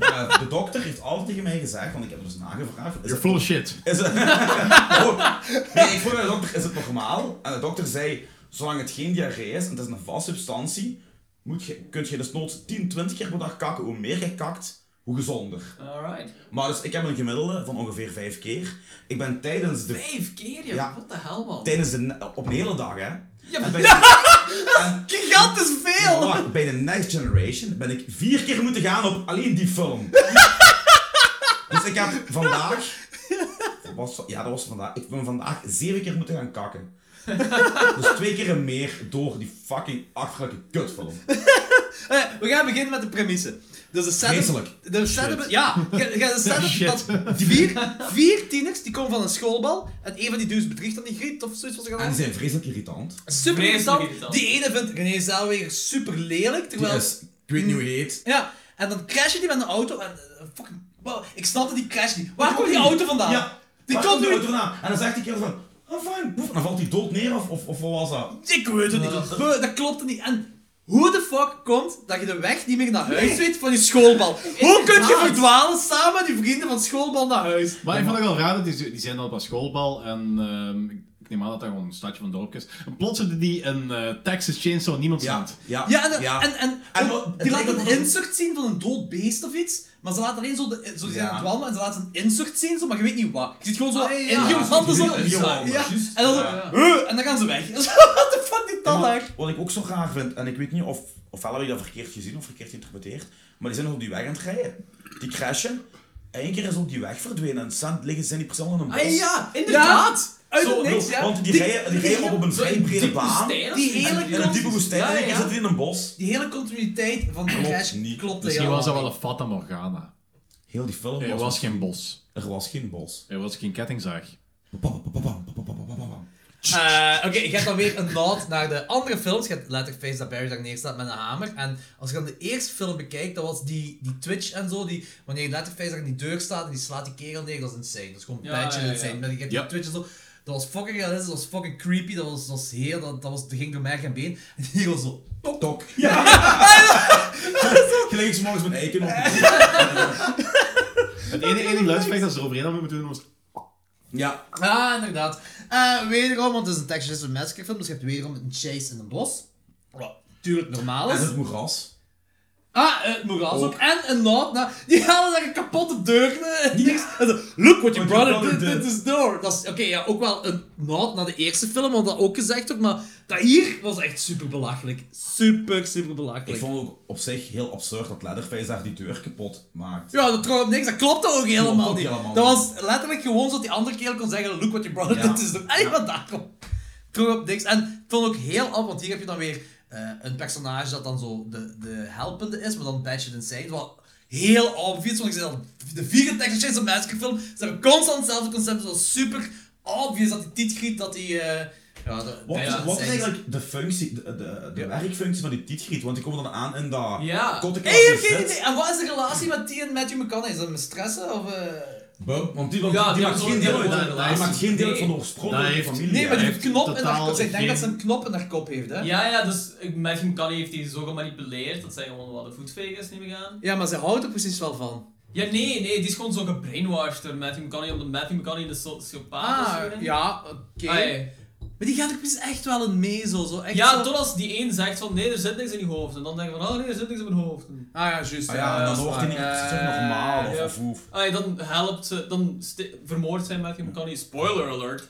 A: eh, de dokter heeft altijd tegen mij gezegd, want ik heb dus nagevraagd. Is
G: You're
A: het,
G: full of shit.
A: is het, Oh, nee, ik vroeg aan de dokter, is het normaal? En de dokter zei, zolang het geen diarree is en het is een vaste substantie, moet je, kun je dus noods 10, 20 keer per dag kakken. Hoe meer je kakt, hoe gezonder.
B: Alright.
A: Maar dus, ik heb een gemiddelde van ongeveer 5 keer. Ik ben tijdens de...
B: Vijf keer, joh.
A: Ja.
B: What the hell, man.
A: Tijdens de... Op een hele dag, hè.
B: Ja,
A: En
B: maar-
A: bij, de- [laughs] en-
D: Gigantisch
A: ja,
D: veel!
A: wacht, bij de Next Generation ben ik vier keer moeten gaan op alleen die
D: [laughs]
A: film. dus ik heb vandaag. dat was- ja, dat was vandaag. Ik ben vandaag zeven keer moeten gaan kakken.
D: [laughs]
A: dus twee keer en meer door die fucking achterlijke
D: [laughs]
A: kutfilm.
D: Eh, we gaan beginnen met de premisse. Dus de setup...
A: Vreselijk.
D: De setup... Ja,
A: [laughs]
D: je- je hebt de setup dat vier, vier tieners, die komen van een schoolbal, en een van die dudes bedriegt dan die griet of zoiets wat ze gaan
A: En die
D: doen.
A: zijn vreselijk irritant.
D: Super
B: Vreselijk
D: irritant.
B: irritant.
D: Die ene vindt René Zellweger super lelijk,
A: Die
D: terwijl...
A: is, ik weet niet hoe hij heet.
D: Ja, en dan crashen die met een auto en... eh, fucking... Wow, ik snapte die crash niet. Waar komt die auto vandaan?
A: Ja,
D: Die
A: waar
D: komt
A: die
D: nu...
A: auto vandaan? En dan zegt die kerel van. Oh, fijn, poef. En dan valt hij dood neer of, of, of wat was dat?
D: Ik weet het niet. Beu, Dat klopt niet. En hoe de fuck komt dat je de weg niet meer naar huis weet van je schoolbal? Hoe kun je verdwalen samen met je vrienden van schoolbal naar huis?
G: Maar ik vond het wel raar, dat die, die zijn dan op een schoolbal en ehm, ik- ik neem aan dat dat gewoon een stadje van dorp is. En plots zitten die een eh, Texas Chainsaw Niemand
A: Ja,
G: staat.
A: ja,
D: Ja, en, en, en,
A: En
D: ook-
A: het
D: die
A: lijkt
D: laten
A: ook
D: een
A: nog-
D: insert zien van een dood beest of iets, maar ze laten alleen zo, de, zo die zijn
A: Ja.
D: aan het wandelen en ze laten een insert zien, zo, maar je weet niet wat. Je ziet gewoon zo
B: Ah, ja, ja.
D: in je handen zo.
A: In je handen,
D: Ja,
A: juist.
D: en dan zo,
B: Ja,
D: "Huh," en dan gaan ze weg. [laughs] What the fuck, dit
A: Ja,
D: dan
A: maar
D: daar?
A: Wat ik ook zo raar vind, en ik weet niet of, ofwel heb ik dat verkeerd gezien of verkeerd geïnterpreteerd, maar die zijn nog op die weg aan het rijden. Die crashen, en één keer is op die weg verdwenen en staan, liggen, zijn die persoon in een bos.
B: Ah, ja, inderdaad.
D: Uit
B: Zo,
D: het niks,
A: Bedoel,
D: ja.
A: Want die, rijden, die rijden op een
B: Zo
A: vrij
B: in
A: brede
B: diepe
A: baan.
B: woestijn of
D: Die
B: zoiets.
D: hele
A: In een diepe woestijn,
B: Ja,
A: en één keer
B: ja.
A: zitten die in een bos.
D: Die hele continuïteit van de
A: Klopt
D: crash
A: niet.
D: klopt
G: Misschien was dat
D: helemaal
G: wel een Fata Morgana.
A: Heel die film
G: Er
A: was,
G: was geen bos.
A: er was geen bos.
G: Er was geen kettingzaag.
A: Bam, bam, bam, bam, bam, bam, bam, bam, bam.
D: Eh, Oké, je hebt dan weer een nod naar de andere films. Je hebt Letterface dat Barry daar neerstaat met een hamer. En als je dan de eerste film bekijkt, dat was die, die Twitch en zo. Die, wanneer Letterface daar in die deur staat en die slaat die kerel neer, dat is insane. Dat is gewoon
B: Ja,
D: badge
B: ja, ja.
D: insane. Maar je hebt
G: Ja.
D: die Twitch en zo. Dat was fucking realistisch, dat was fucking creepy, dat was, dat was heel, dat, dat, was, dat ging door merg en been. En hier was zo, tok,
A: Tok. [laughs] Gelijk eens morgens mijn eiken op.
G: Het enige, enige luidseffect dat ze eroverheen hadden moeten doen was...
A: Ja.
D: Ja, Ah, inderdaad. Eh, wederom, want het is een Texas Massacre film, dus je hebt wederom een chase in een bos. Wat natuurlijk normaal
A: En
D: is.
A: het moeras.
D: Ah, het moeras ook. En een noot. Nou, die halen daar een kapotte deur. eh, niks. En zo, Look what your
A: What your
D: brother,
A: brother
D: did,
A: did."
D: did this door. Dat is, oké, ja, ook wel een noot naar de eerste film, want dat ook gezegd wordt. Maar dat hier was echt super belachelijk. Super, super
A: Ik
D: belachelijk.
A: vond het ook op zich heel absurd dat Leatherface daar die deur kapot maakt.
D: Ja, dat trouwens niks. Dat klopte ook helemaal
A: ook
D: niet.
A: helemaal
D: Dat
A: niet.
D: was letterlijk gewoon zodat die andere kerel kon zeggen, look what your brother
A: Ja.
D: did this door. Eigenlijk wat daarom. Terug op niks. En ik vond het ook heel af, want hier heb je dan weer eh, een personage dat dan zo de, de helpende is, maar dan Badger Insane. Wat heel obvious, want ik zei al, de vierde Texas Chainsaw Massacre film, ze hebben constant hetzelfde concept, zo super obvious dat die tietgriet, dat die... eh ja, de,
A: Wat,
D: Badger
A: wat
D: Insane
A: is eigenlijk de functie, de, de, de werkfunctie van die tietgriet? Want die komen dan aan in dat
B: Ja.
A: kottenkastje
D: Hey, ik heb geen
A: zit.
D: idee. En wat is de relatie met die en Matthew McConaughey? Is dat met stressen of... eh?
A: Bum, want die, want
B: Ja,
A: die,
B: die
A: maakt
B: hebben
A: geen
B: zo'n-
A: deel uit.
B: die
A: Die,
B: hebben
A: maakt geen deel uit van de
B: Nee.
A: oorspronkelijke
G: Nee,
A: familie.
D: Nee, maar die
G: hij
D: heeft knop in haar
G: totaal
D: kop. Ik denk
G: geen-
D: dat ze een knop in haar kop heeft, hè?
B: Ja, ja, dus ik- Matthew McConaughey heeft die zo gemanipuleerd dat zij gewoon wat de voetveeg is, neem ik aan.
D: Ja, maar ze houdt er precies wel van.
B: Ja, nee, nee, die is gewoon zo gebrainwashed door Matthew McConaughey, omdat Matthew McConaughey de sociopaat is. geworden.
D: Ah, ja, oké.
B: Ah, ja.
D: Maar die gaat er precies echt wel in mee, zo. zo echt
B: Ja,
D: zo...
B: tot als die één zegt van nee, er zit niks in je hoofd. En dan denk je van oh nee, er zit niks in mijn hoofd. En,
D: Ah ja, juist.
A: Ah ja, en dan
D: dat is
A: hoort hij
D: waar.
A: niet meer
D: Eh,
A: terug normaal of
B: ja.
A: of hoef.
B: ah, ja, dan helpt ze, dan sti- vermoordt zij Matthew McConaughey. Spoiler alert.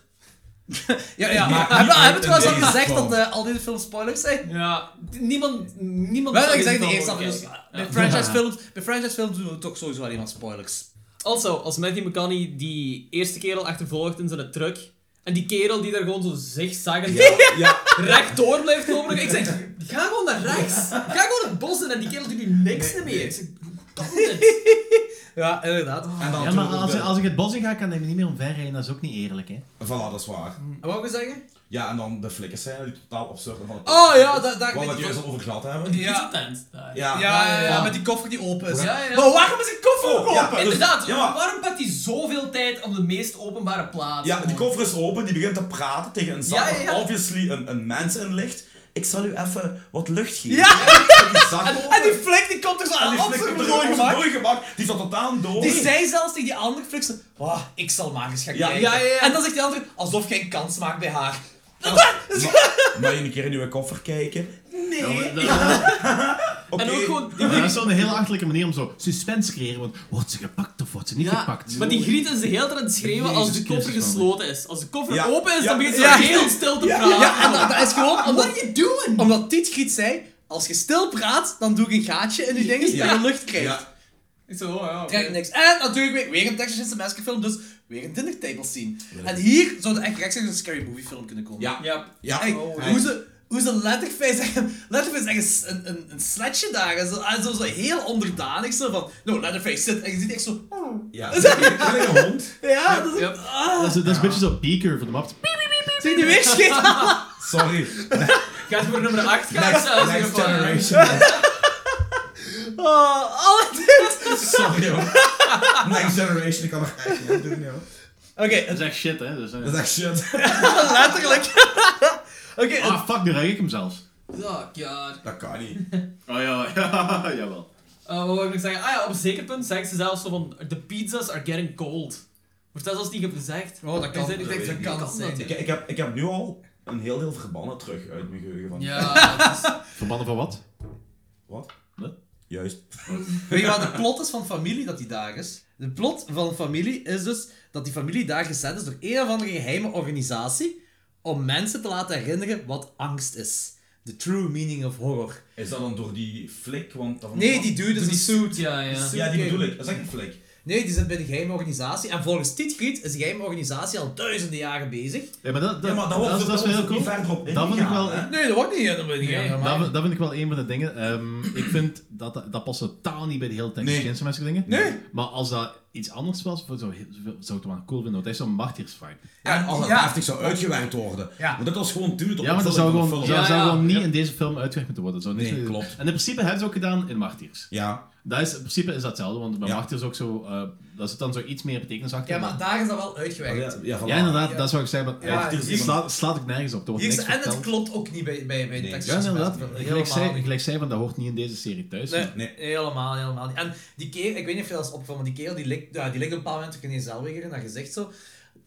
D: Ja, [laughs] ja.
A: maakt
D: Hebben
A: niet
D: hebben we
A: uit
D: trouwens al
A: in deze
D: gezegd dat
A: film.
D: eh, al deze films spoilers zijn?
B: Ja, d- niemand, niemand...
D: We
B: zal
D: hebben
B: deze
D: gezegd in de
B: film
D: eerste aflevering.
B: kijken.
D: dus Bij franchise films- bij franchise films doen we toch sowieso alleen maar spoilers.
B: Also, als Matthew McConaughey die eerste kerel achtervolgt in zijn truck, en die kerel die daar gewoon zo zigzaggend
A: Ja,
B: rechtdoor blijft lopen, ik zeg, ga gewoon naar rechts. Ga gewoon het bos in en die kerel doet nu niks meer. Ik zeg, hoe kan dit?
D: Ja, inderdaad.
A: en dan
G: Ja, maar
A: natuurlijk ook
G: als,
A: de-
G: als ik het bos in ga, kan ik me niet meer omverrijden. Dat is ook niet eerlijk, hè?
A: Voilà, dat is waar.
D: En wat wil ik zeggen?
A: Ja, en dan de flikkers zijn die totaal absurd en van het...
D: Oh ja, daar, daar
A: Wat we het
D: die-
A: juist al over gehad hebben.
B: Is
D: Ja.
B: het tent daar?
A: Ja.
D: Ja, ja, ja,
B: ja.
D: met die koffer die open is.
B: Ja, ja.
D: Maar waarom is een koffer ook
A: Oh, ja.
D: open?
A: dus-
B: Inderdaad,
A: ja, maar-
B: waarom pakt hij zoveel tijd op de meest openbare plaats?
A: Ja, die
B: Gewoon.
A: koffer is open, die begint te praten tegen een zak
B: Ja, ja,
A: waar
B: ja.
A: obviously een, een mens in ligt. Ik zal u even wat lucht geven.
D: Ja.
A: En die zak open.
D: En die flik die komt er zo
A: En
D: aan
A: die flikker
D: absoluut
A: terug
D: mooi
A: op zijn
D: gemaakt.
A: dooi gemaakt. Die zat totaal dood.
D: Die zei zelfs tegen die andere flik zo, "Wah, ik zal maar eens gaan
A: Ja,
D: kijken.
B: ja, ja, ja.
D: En dan zegt die andere, alsof je een kans maakt bij haar.
A: [laughs] Mag je een keer in uw koffer kijken?
G: Ja,
D: Nee.
G: dat,
A: Oké.
B: En ook gewoon... die-
G: dat- dat is zo'n heel achterlijke manier om zo suspense te creëren. Want wordt ze gepakt of wordt ze niet
B: Ja,
G: gepakt?
B: maar die griet is de hele tijd aan het schreeuwen als de
G: Jezus
B: koffer
G: Christus,
B: gesloten is. Als de koffer
A: Ja.
B: open is,
A: Ja.
B: dan begint ze
A: Ja.
B: heel stil te praten.
D: Ja, en dat, dat is gewoon omdat...
B: What are you doing?
D: Omdat Tietgiet zei, als je stil praat, dan doe ik een gaatje in die dingen
A: Ja.
D: dat je lucht krijgt.
A: Ja.
B: Ik zo, oh ja. oké.
D: Krijg je niks. En natuurlijk weer, weer een Texas Chainsaw Massacre film, dus weer een dinner table scene. En hier zou er echt rechtstreeks een scary movie film kunnen komen.
A: Ja.
B: Ja.
A: Ja.
D: Echt,
B: Oh,
D: hoe ze... Hoe ze Letterface echt, Letterface echt een, een, een sletje daar. En zo, en zo, zo heel onderdanig. Zo van, no, Letterface zit. En je ziet echt zo... oh."
A: Ja. Kleine hond.
D: Ja, dat is...
B: Yep.
D: Ah,
G: Dat is, dat is een beetje zo beaker van de map.
D: zie je die weer
B: [laughs]
D: schieten?
A: Sorry.
B: Gaat voor nummer 8 gaan
A: Next,
B: ze
A: next
B: van, eh,
A: generation.
D: Oh, alle dit.
A: Sorry joh. Next generation, ik kan er echt niet aan doen joh.
D: Oké,
G: Dat is echt shit, hè? Dus, eh.
A: Dat is echt shit.
D: letterlijk. Oké,
G: Ah, fuck, nu ruik ik hem zelfs.
B: Fuck, ja.
A: Dat kan niet.
G: Oh ja, ja, jawel.
B: Eh, wat wil ik nog zeggen? Ah ja, op een zeker punt zeggen ze zelfs zo van... The pizzas are getting cold. Wordt dat zelfs niet gezegd?
D: Oh, dat kan.
B: Ik
D: Dat
B: denk,
D: weet
B: dat
D: ik
B: kan
D: niet.
B: dat zijn.
A: Ik, ik, heb, ik heb nu al een heel deel verbannen terug uit mijn geheugen
B: [laughs]
A: van...
B: Ja, dat is-
G: Verbannen van wat?
A: Wat?
G: Wat?
A: Juist.
D: Weet je wat de plot is van familie dat die daar is? De plot van familie is dus dat die familie daar gezet is door een of andere geheime organisatie om mensen te laten herinneren wat angst is. The true meaning of horror.
A: Is dat dan door die flik? Want dat-
D: Nee, die dude is
B: Die
D: een
B: suit, ja, ja.
D: suit.
A: Ja, die bedoel ik. Dat is echt een flik.
D: Nee, die zit bij de geheime organisatie. En volgens Tietgriet is die geheime organisatie al duizenden jaren bezig.
G: Ja, maar dat, dat,
A: Ja, maar dat
G: dat,
A: wordt
G: is- dat
A: dat
G: is wel heel
A: wordt
G: cool.
A: niet verder op
G: Dat vind ik wel-
A: ingegaan, hè.
D: Nee, dat wordt niet helemaal niet.
B: Nee,
D: helemaal.
G: Dat, dat vind ik wel een van de dingen. Ehm, ik vind dat, dat, dat past totaal niet bij de hele Texas
A: Nee.
G: Chainsaw Massacre dingen.
D: Nee.
G: Maar als dat iets anders was, voor zo, zou ik het wel cool vinden. Want hij is zo'n martiersvibe.
A: En als dat
D: Ja.
A: heftig zou uitgewerkt worden.
D: Ja.
A: Maar dat was gewoon dude tot
G: Ja, maar dat zou
A: opvulling
G: gewoon,
A: van de
G: zou,
A: film.
B: Ja,
G: zou
B: ja.
G: gewoon niet
B: Ja.
G: in deze film uitgewerkt moeten worden. Zou niet
A: Nee,
G: zo-
A: klopt.
G: En in principe hebben ze ook gedaan in Martyrs.
A: Ja.
G: Dat is, in principe is dat hetzelfde, want bij
A: Ja.
G: Martyrs ook zo, eh dat zit dan zo iets meer betekenis achter.
D: Ja, maar daar is dat wel uitgewerkt.
A: Ja, ja, voilà.
G: Oh Ja, inderdaad, dat zou ik zeggen. Maar,
D: Ja,
G: eh,
A: hier-
G: slaat, slaat ik nergens op. Er wordt
D: Hier is-
G: niks
D: en het
G: verteld.
D: klopt ook niet bij, bij, bij de
A: Nee.
D: Texas
G: Ja,
D: Chainsaw
G: inderdaad.
D: Massacre.
G: Gelijk
D: Helemaal
G: zij,
D: niet.
G: gelijk zij van, dat hoort niet in deze serie thuis.
D: Nee,
A: Nee.
D: helemaal, helemaal niet. En die kerel, ik weet niet of je dat is opgevallen, maar die kerel die likt, ja, die likt op een bepaald moment ook in zelf weer in haar gezicht zo.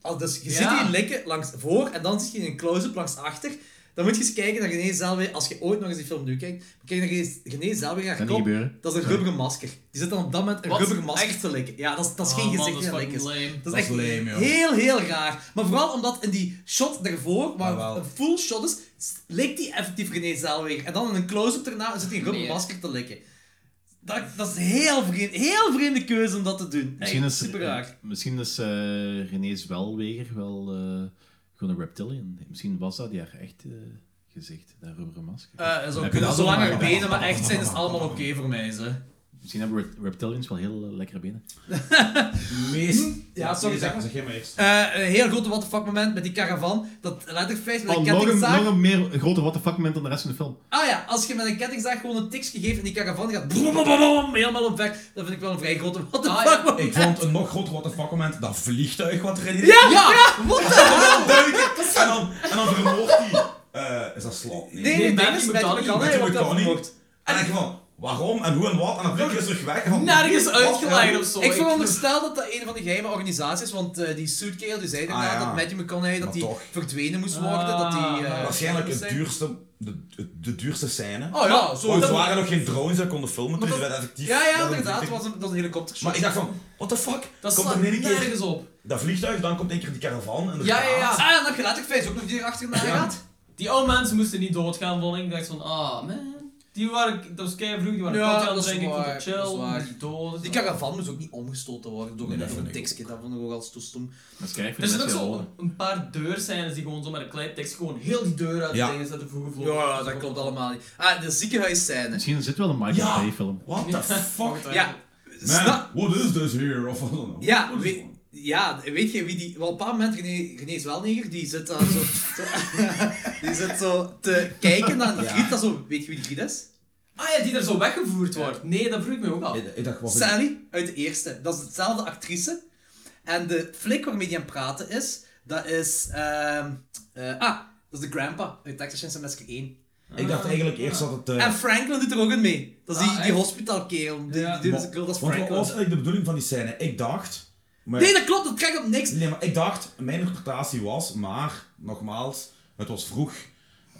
D: Al- Dus je
B: Ja.
D: ziet die likken langs voor en dan zit je een close-up langs achter. Dan moet je eens kijken naar René Zellweger, als je ooit nog eens die film nu kijkt, maar kijk naar René- René Zellweger haar
G: Kan niet
D: kop,
G: gebeuren.
D: dat is een rubberen masker. Die zit dan op dat moment een
B: Wat?
D: rubberen masker te likken. Ja, dat is, dat is geen
B: Oh, man,
D: gezicht
B: dat is
D: dat lik is.
B: fucking lame.
D: Dat
A: Dat
D: is
A: is
D: echt
A: lame, joh.
D: heel, heel raar. Maar vooral omdat in die shot daarvoor, waar
A: Jawel.
D: een full shot is, s- likt die effectief René Zellweger. En dan in een close-up daarna zit hij een rubberen
B: Nee.
D: masker te likken. Dat, dat is heel vreemd, heel vreemde keuze om dat te doen.
G: Misschien
D: Echt,
G: is,
D: super
G: eh,
D: raar.
G: misschien is eh René's Welweger wel eh, Gewoon een reptilian. Misschien was dat haar echt eh, gezicht, dat rubberen masker.
D: Eh zo
G: Heb je
D: kunnen
G: dat
D: zo
G: al
D: langer
G: gemaakt?
D: benen, maar echt zijn is allemaal oké voor mij. Ze.
G: Misschien hebben rep- reptilians wel heel eh, lekkere benen.
A: Meest...
D: Ja, sorry.
A: Nee,
D: Zeg,
A: zeg, zeg jij maar eerst.
D: Eh, een heel grote what the fuck moment met die caravan. Dat Letterface met
G: Oh,
D: een
G: nog, een,
D: kettingzaag.
G: nog een meer een grote what the fuck moment dan de rest van de film.
D: Ah ja, als je met een kettingzaag gewoon een tikje geeft en die caravan gaat brom, brom, brom, helemaal op weg. Dat vind ik wel een vrij grote what the
B: Ah,
D: fuck
B: ja.
D: moment.
A: [laughs] Ik vond een nog groter what the fuck moment, dat vliegtuig wat erin [laughs]
D: Ja,
B: Ja!
D: ja, what the
A: Dan duiken, en dan, en dan vermoordt hij... eh, is dat slot?
D: Nee, nee,
B: Nee,
D: nee,
B: Matthew
D: nee, met
B: McConaughey.
D: kan hij
A: Matthew
D: wordt dat
A: McConaughey.
D: vermoord.
A: En ik van, waarom en hoe en wat? En dan vlieg je terug weg. en Van,
B: Nergens
A: wat?
B: uitgeleid of zo.
D: Ik veronderstel dat dat een van die geheime organisaties is, want eh, die suitkerel die zei inderdaad
A: Ah, ja.
D: dat Matthew McConaughey dat
A: Maar
D: die
A: toch.
D: verdwenen moest worden, dat
B: Ah,
D: die... eh,
A: Waarschijnlijk
D: dat
A: het
D: zijn.
A: duurste, de, de, de duurste scène.
D: Oh ja, zo.
A: Want
D: dat-
A: er waren nog geen drones dat konden filmen, dus
D: dat-
A: dat werd effectief...
D: Ja, ja,
A: dat-
D: inderdaad, dat was een, dat was een helikoptershot.
A: Maar ik dacht van, what the fuck?
B: Dat
A: komt
B: slaat
A: er een keer
B: nergens op.
A: dat vliegtuig, dan komt een keer die caravan en de
B: Ja, ja, ja.
D: Ah, en dan heb je Letterface ook nog die achterna gaat.
B: Die oude mensen moesten niet doodgaan, vond ik. Ik dacht van, ah man. Die waren, dat was kei vroeg, die waren
D: Ja,
B: cocktail aan
D: dat
B: het
D: is
B: drinken, ik vond
D: waar,
B: het
D: dat is waar.
B: chill, niet dood.
D: Die caravan moest ook niet omgestoten worden door
A: Nee,
D: een
A: dat
D: even
A: vind ik
D: tikje, dat vond ik ook al zo stom.
G: Dat is kijk voor
B: Er
G: de
B: zitten ook
G: mensen
B: zo
G: wel.
B: een paar deurscènes die gewoon zo met een kleiptekst gewoon heel die deur uit
A: Ja.
B: dingen zetten voorgevlogen.
D: Ja, dat klopt allemaal niet. Ah, de ziekenhuisscène.
G: Misschien zit wel een Michael
A: Ja.
G: Bay film.
A: What the fuck?
D: Ja, snap-
A: Man, what is this here? Of I don't know.
D: Ja,
A: What is
D: weet,
A: this?
D: ja, weet je wie die... Wel, op een bepaald moment, René, René is wel neger, die zit daar zo... te- die zit zo te kijken naar die Griet, dat zo... Weet je wie die Griet is?
B: Ah ja, die er zo weggevoerd wordt. Nee, dat vroeg ik me ook af.
A: Ik- Ik dacht, wat is
D: Sally, uit de eerste. Dat is dezelfde actrice. En de flik waarmee die aan het praten is, dat is... ehm, eh, ah, dat is de grandpa uit Texas Chainsaw Massacre 1.
A: Ik dacht eigenlijk eerst dat het... eh,
D: En Franklin doet er ook in mee. Dat is die,
B: Ah,
D: die
B: echt?
D: hospitalkerel. Die,
B: Ja.
D: die, die,
A: maar-
D: dat is
A: want wat was
D: Franklin.
A: eigenlijk de bedoeling van die scène? Ik dacht... maar-
D: Nee, dat klopt, dat trekt op niks.
A: Nee, maar ik dacht, mijn interpretatie was, maar, nogmaals, het was vroeg.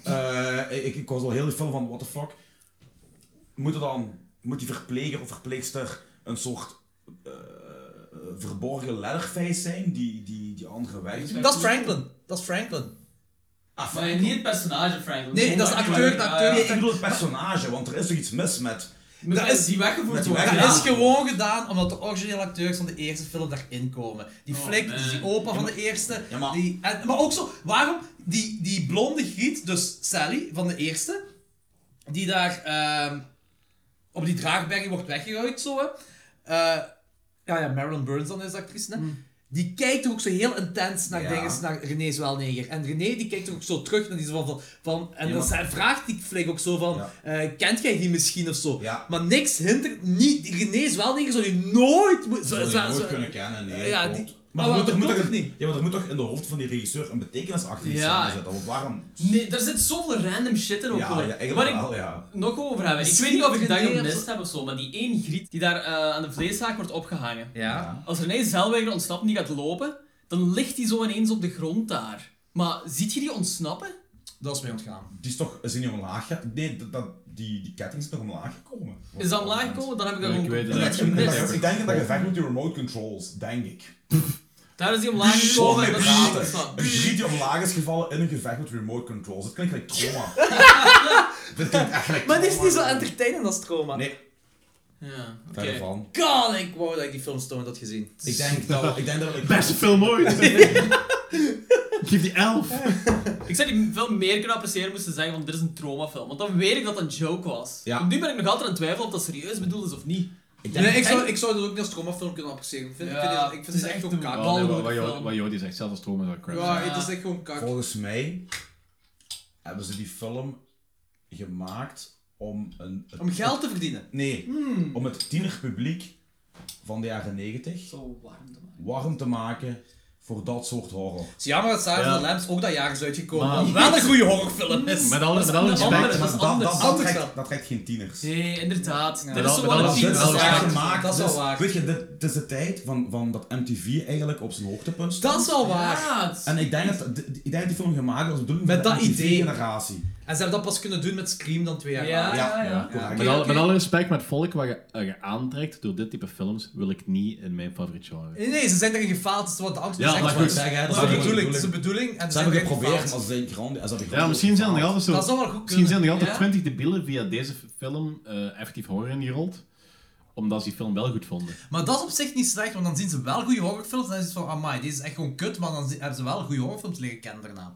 A: Eh, ik, ik was al heel veel van, what the fuck. Moet, er dan, moet die verpleger of verpleegster een soort eh, verborgen letterface zijn, die, die, die andere weg?
D: Dat is Franklin. Dat is Franklin.
A: Ah,
B: Maar niet het personage, Frank.
D: Nee, dat is de acteur, de acteur.
A: Nee, ik bedoel het personage, want er is toch iets mis met...
B: Dat is die weggevoerd
A: Met die
B: wordt.
A: weggevoerd-
D: Dat
B: Ja.
D: is gewoon gedaan omdat de originele acteurs van de eerste film daarin komen. Die
B: Oh,
D: flik,
B: man.
D: dus die opa van de eerste.
A: Ja, maar-
D: Die, en, maar ook zo, waarom die, die blonde giet, dus Sally van de eerste, die daar ehm, op die draagbergen wordt weggeruid, zo hè. Eh, ja, ja, Marilyn Burns dan is de actrice, hè. Die kijkt ook zo heel intens naar
A: Hmm. Ja.
D: dingen, naar René's welneger. En René die kijkt ook zo terug naar die zo van... van, van en
A: Ja,
D: dan
A: maar-
D: zij vraagt die flik ook zo van...
A: Ja.
D: eh, kent jij die misschien of zo?
A: Ja.
D: Maar niks hindert niet. René is wel dingen zou je nooit moeten.
A: Dat zou je nooit kunnen kennen, nee.
D: Ja,
A: klopt.
D: die-
A: maar
D: maar
A: er moet, er,
D: dat
A: moet toch
D: klopt
A: een-
D: niet.
A: ja, maar er moet toch in de hoofd van die regisseur een betekenis achter die
B: Ja.
A: scène zitten, want waarom...
B: Nee, daar zit zoveel random shit in ook.
A: Ja,
B: hoor.
A: ja, eigenlijk
B: Waar ik
A: wel, ja.
B: nog over hebben. Ik weet
D: Misschien
B: niet of ik
D: dat
B: dat
D: René of
B: gemist
D: zo-
B: heb of zo, maar die één griet die daar eh, aan de vleeszaak wordt opgehangen.
D: Ja.
B: Als René Zelweger ontsnapt en die gaat lopen, dan ligt hij zo ineens op de grond daar. Maar ziet je die ontsnappen?
D: Dat is mij ontgaan.
A: Die is toch, is die niet omlaag gegaan? Nee, dat, dat- die, die ketting is nog omlaag gekomen.
B: Is dat omlaag gekomen? Dan heb ik dat
G: Ja,
B: gewoon
G: ik weet het
B: compleet
A: Ik denk dat-
B: gemist.
A: Ik denk dat je vecht met die remote controls, denk ik.
B: Daar is die omlaag gekomen en
A: Zonder
B: dat is niet
A: praten.
B: ontsnapt.
A: Een griet die omlaag is gevallen in een gevecht met remote controls. Dat klinkt gelijk trauma. Dat klinkt echt gelijk
D: Maar die is
A: trauma.
D: niet zo entertainend als trauma.
A: Nee,
B: Ja, oké.
A: verre van.
D: God, ik wou dat ik die film Stone had gezien.
A: Ik [laughs] denk dat ik... Denk dat ik
G: Beste film ooit! [laughs] Geef die elf!
B: Ik zou die veel meer kunnen appreciëren moesten zeggen van dit is een traumafilm. Want dan weet ik dat dat een joke was.
A: Ja.
B: Want Nu ben ik nog altijd aan het twijfelen of dat serieus bedoeld is of niet.
A: ik denk-
D: Nee, ik zou, ik zou dat ook niet als traumafilm kunnen appreciëren. Ik vind, ik vind,
B: Ja,
D: die-
B: het
D: ik vind
B: is
D: het echt
B: echt
D: ook
B: een
D: kak.
B: bal.
G: Wat-
B: goede
G: wat Jo-
B: film.
G: Wat Jody zegt, zelfs als trauma zou crap zijn.
D: Ja, het is echt gewoon kak.
A: Volgens mij hebben ze die film gemaakt om een...
D: Om geld te verdienen.
A: Nee, om het tienerpubliek van de jaren negentig
B: Zo warm te maken.
A: warm te maken voor dat soort horror.
D: Het is jammer dat Silence
G: Ja.
D: of the Lambs ook dat jaar is uitgekomen.
G: Maar-
D: wat wel een goede horrorfilm is.
G: Met alle
B: Dat is
G: met alle
B: een
G: respect,
B: andere-
G: maar-
B: dat is
A: Dat-
B: anders.
A: Dat, dat,
D: Anders
A: trekt,
D: wel.
A: dat trekt geen tieners.
B: Nee, inderdaad.
D: Ja.
B: Dit is
G: Dat-
B: zo
G: dat
B: wel een
G: is-
A: Dit
B: tiende
A: is
G: wel
A: echt
B: zaak.
D: waar.
A: gemaakt.
D: Dat is wel
A: Dit
D: waar.
A: Weet je, dit, dit is de tijd van, van dat MTV eigenlijk op zijn hoogtepunt
D: [laughs]
A: stond.
D: Dat is wel waar.
B: Ja, het-
A: En ik denk dat, d- ik denk dat die film gemaakt was bedoeld
D: Met dat idee.
A: generatie.
D: En ze hebben dat pas kunnen doen met Scream dan twee jaar
B: ja,
D: later.
B: ja,
A: ja,
B: ja.
A: correct.
G: Met, alle, met alle respect, met volk wat je, wat je aantrekt door dit type films, wil ik niet in mijn favoriet genre.
D: Nee, nee, ze zijn erin gefaald, dat is wat de angst
G: Ja,
D: is.
G: maar
D: Dat
G: goed.
D: is
A: Zeg, hè, dat is
D: de
A: de
D: bedoeling. Dat is de
A: bedoeling.
D: bedoeling. En
A: Ze hebben geprobeerd, maar ze zijn grand. Ze hebben
G: Ja, misschien zijn er nog altijd zo...
D: Dat zou wel goed
G: Misschien
D: kunnen.
G: zijn er altijd
B: Ja.
G: 20 debielen via deze film eh, effectief horror ingerold. Omdat ze die film wel goed vonden.
D: Maar dat is op zich niet slecht, want dan zien ze wel goede horrorfilms en dan is het van, amai, deze is echt gewoon kut, maar dan zi- hebben ze wel goede horrorfilms leren kennen daarna.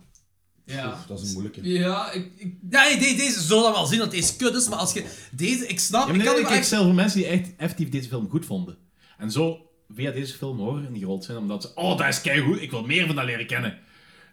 B: Ja.
A: Dat is een moeilijke.
B: Ja, ik, ik,
D: Ja, nee, de- deze zullen dan wel zien dat deze kut is, maar als je... Deze, ik snap,
G: Ja,
D: ik
G: maar
D: kan
G: nee,
D: die
G: ik
D: wel
G: kijk zelf voor mensen die echt effectief deze film goed vonden. En zo via deze film horen die gerold zijn, omdat ze... Oh, dat is keigoed, ik wil meer van dat leren kennen.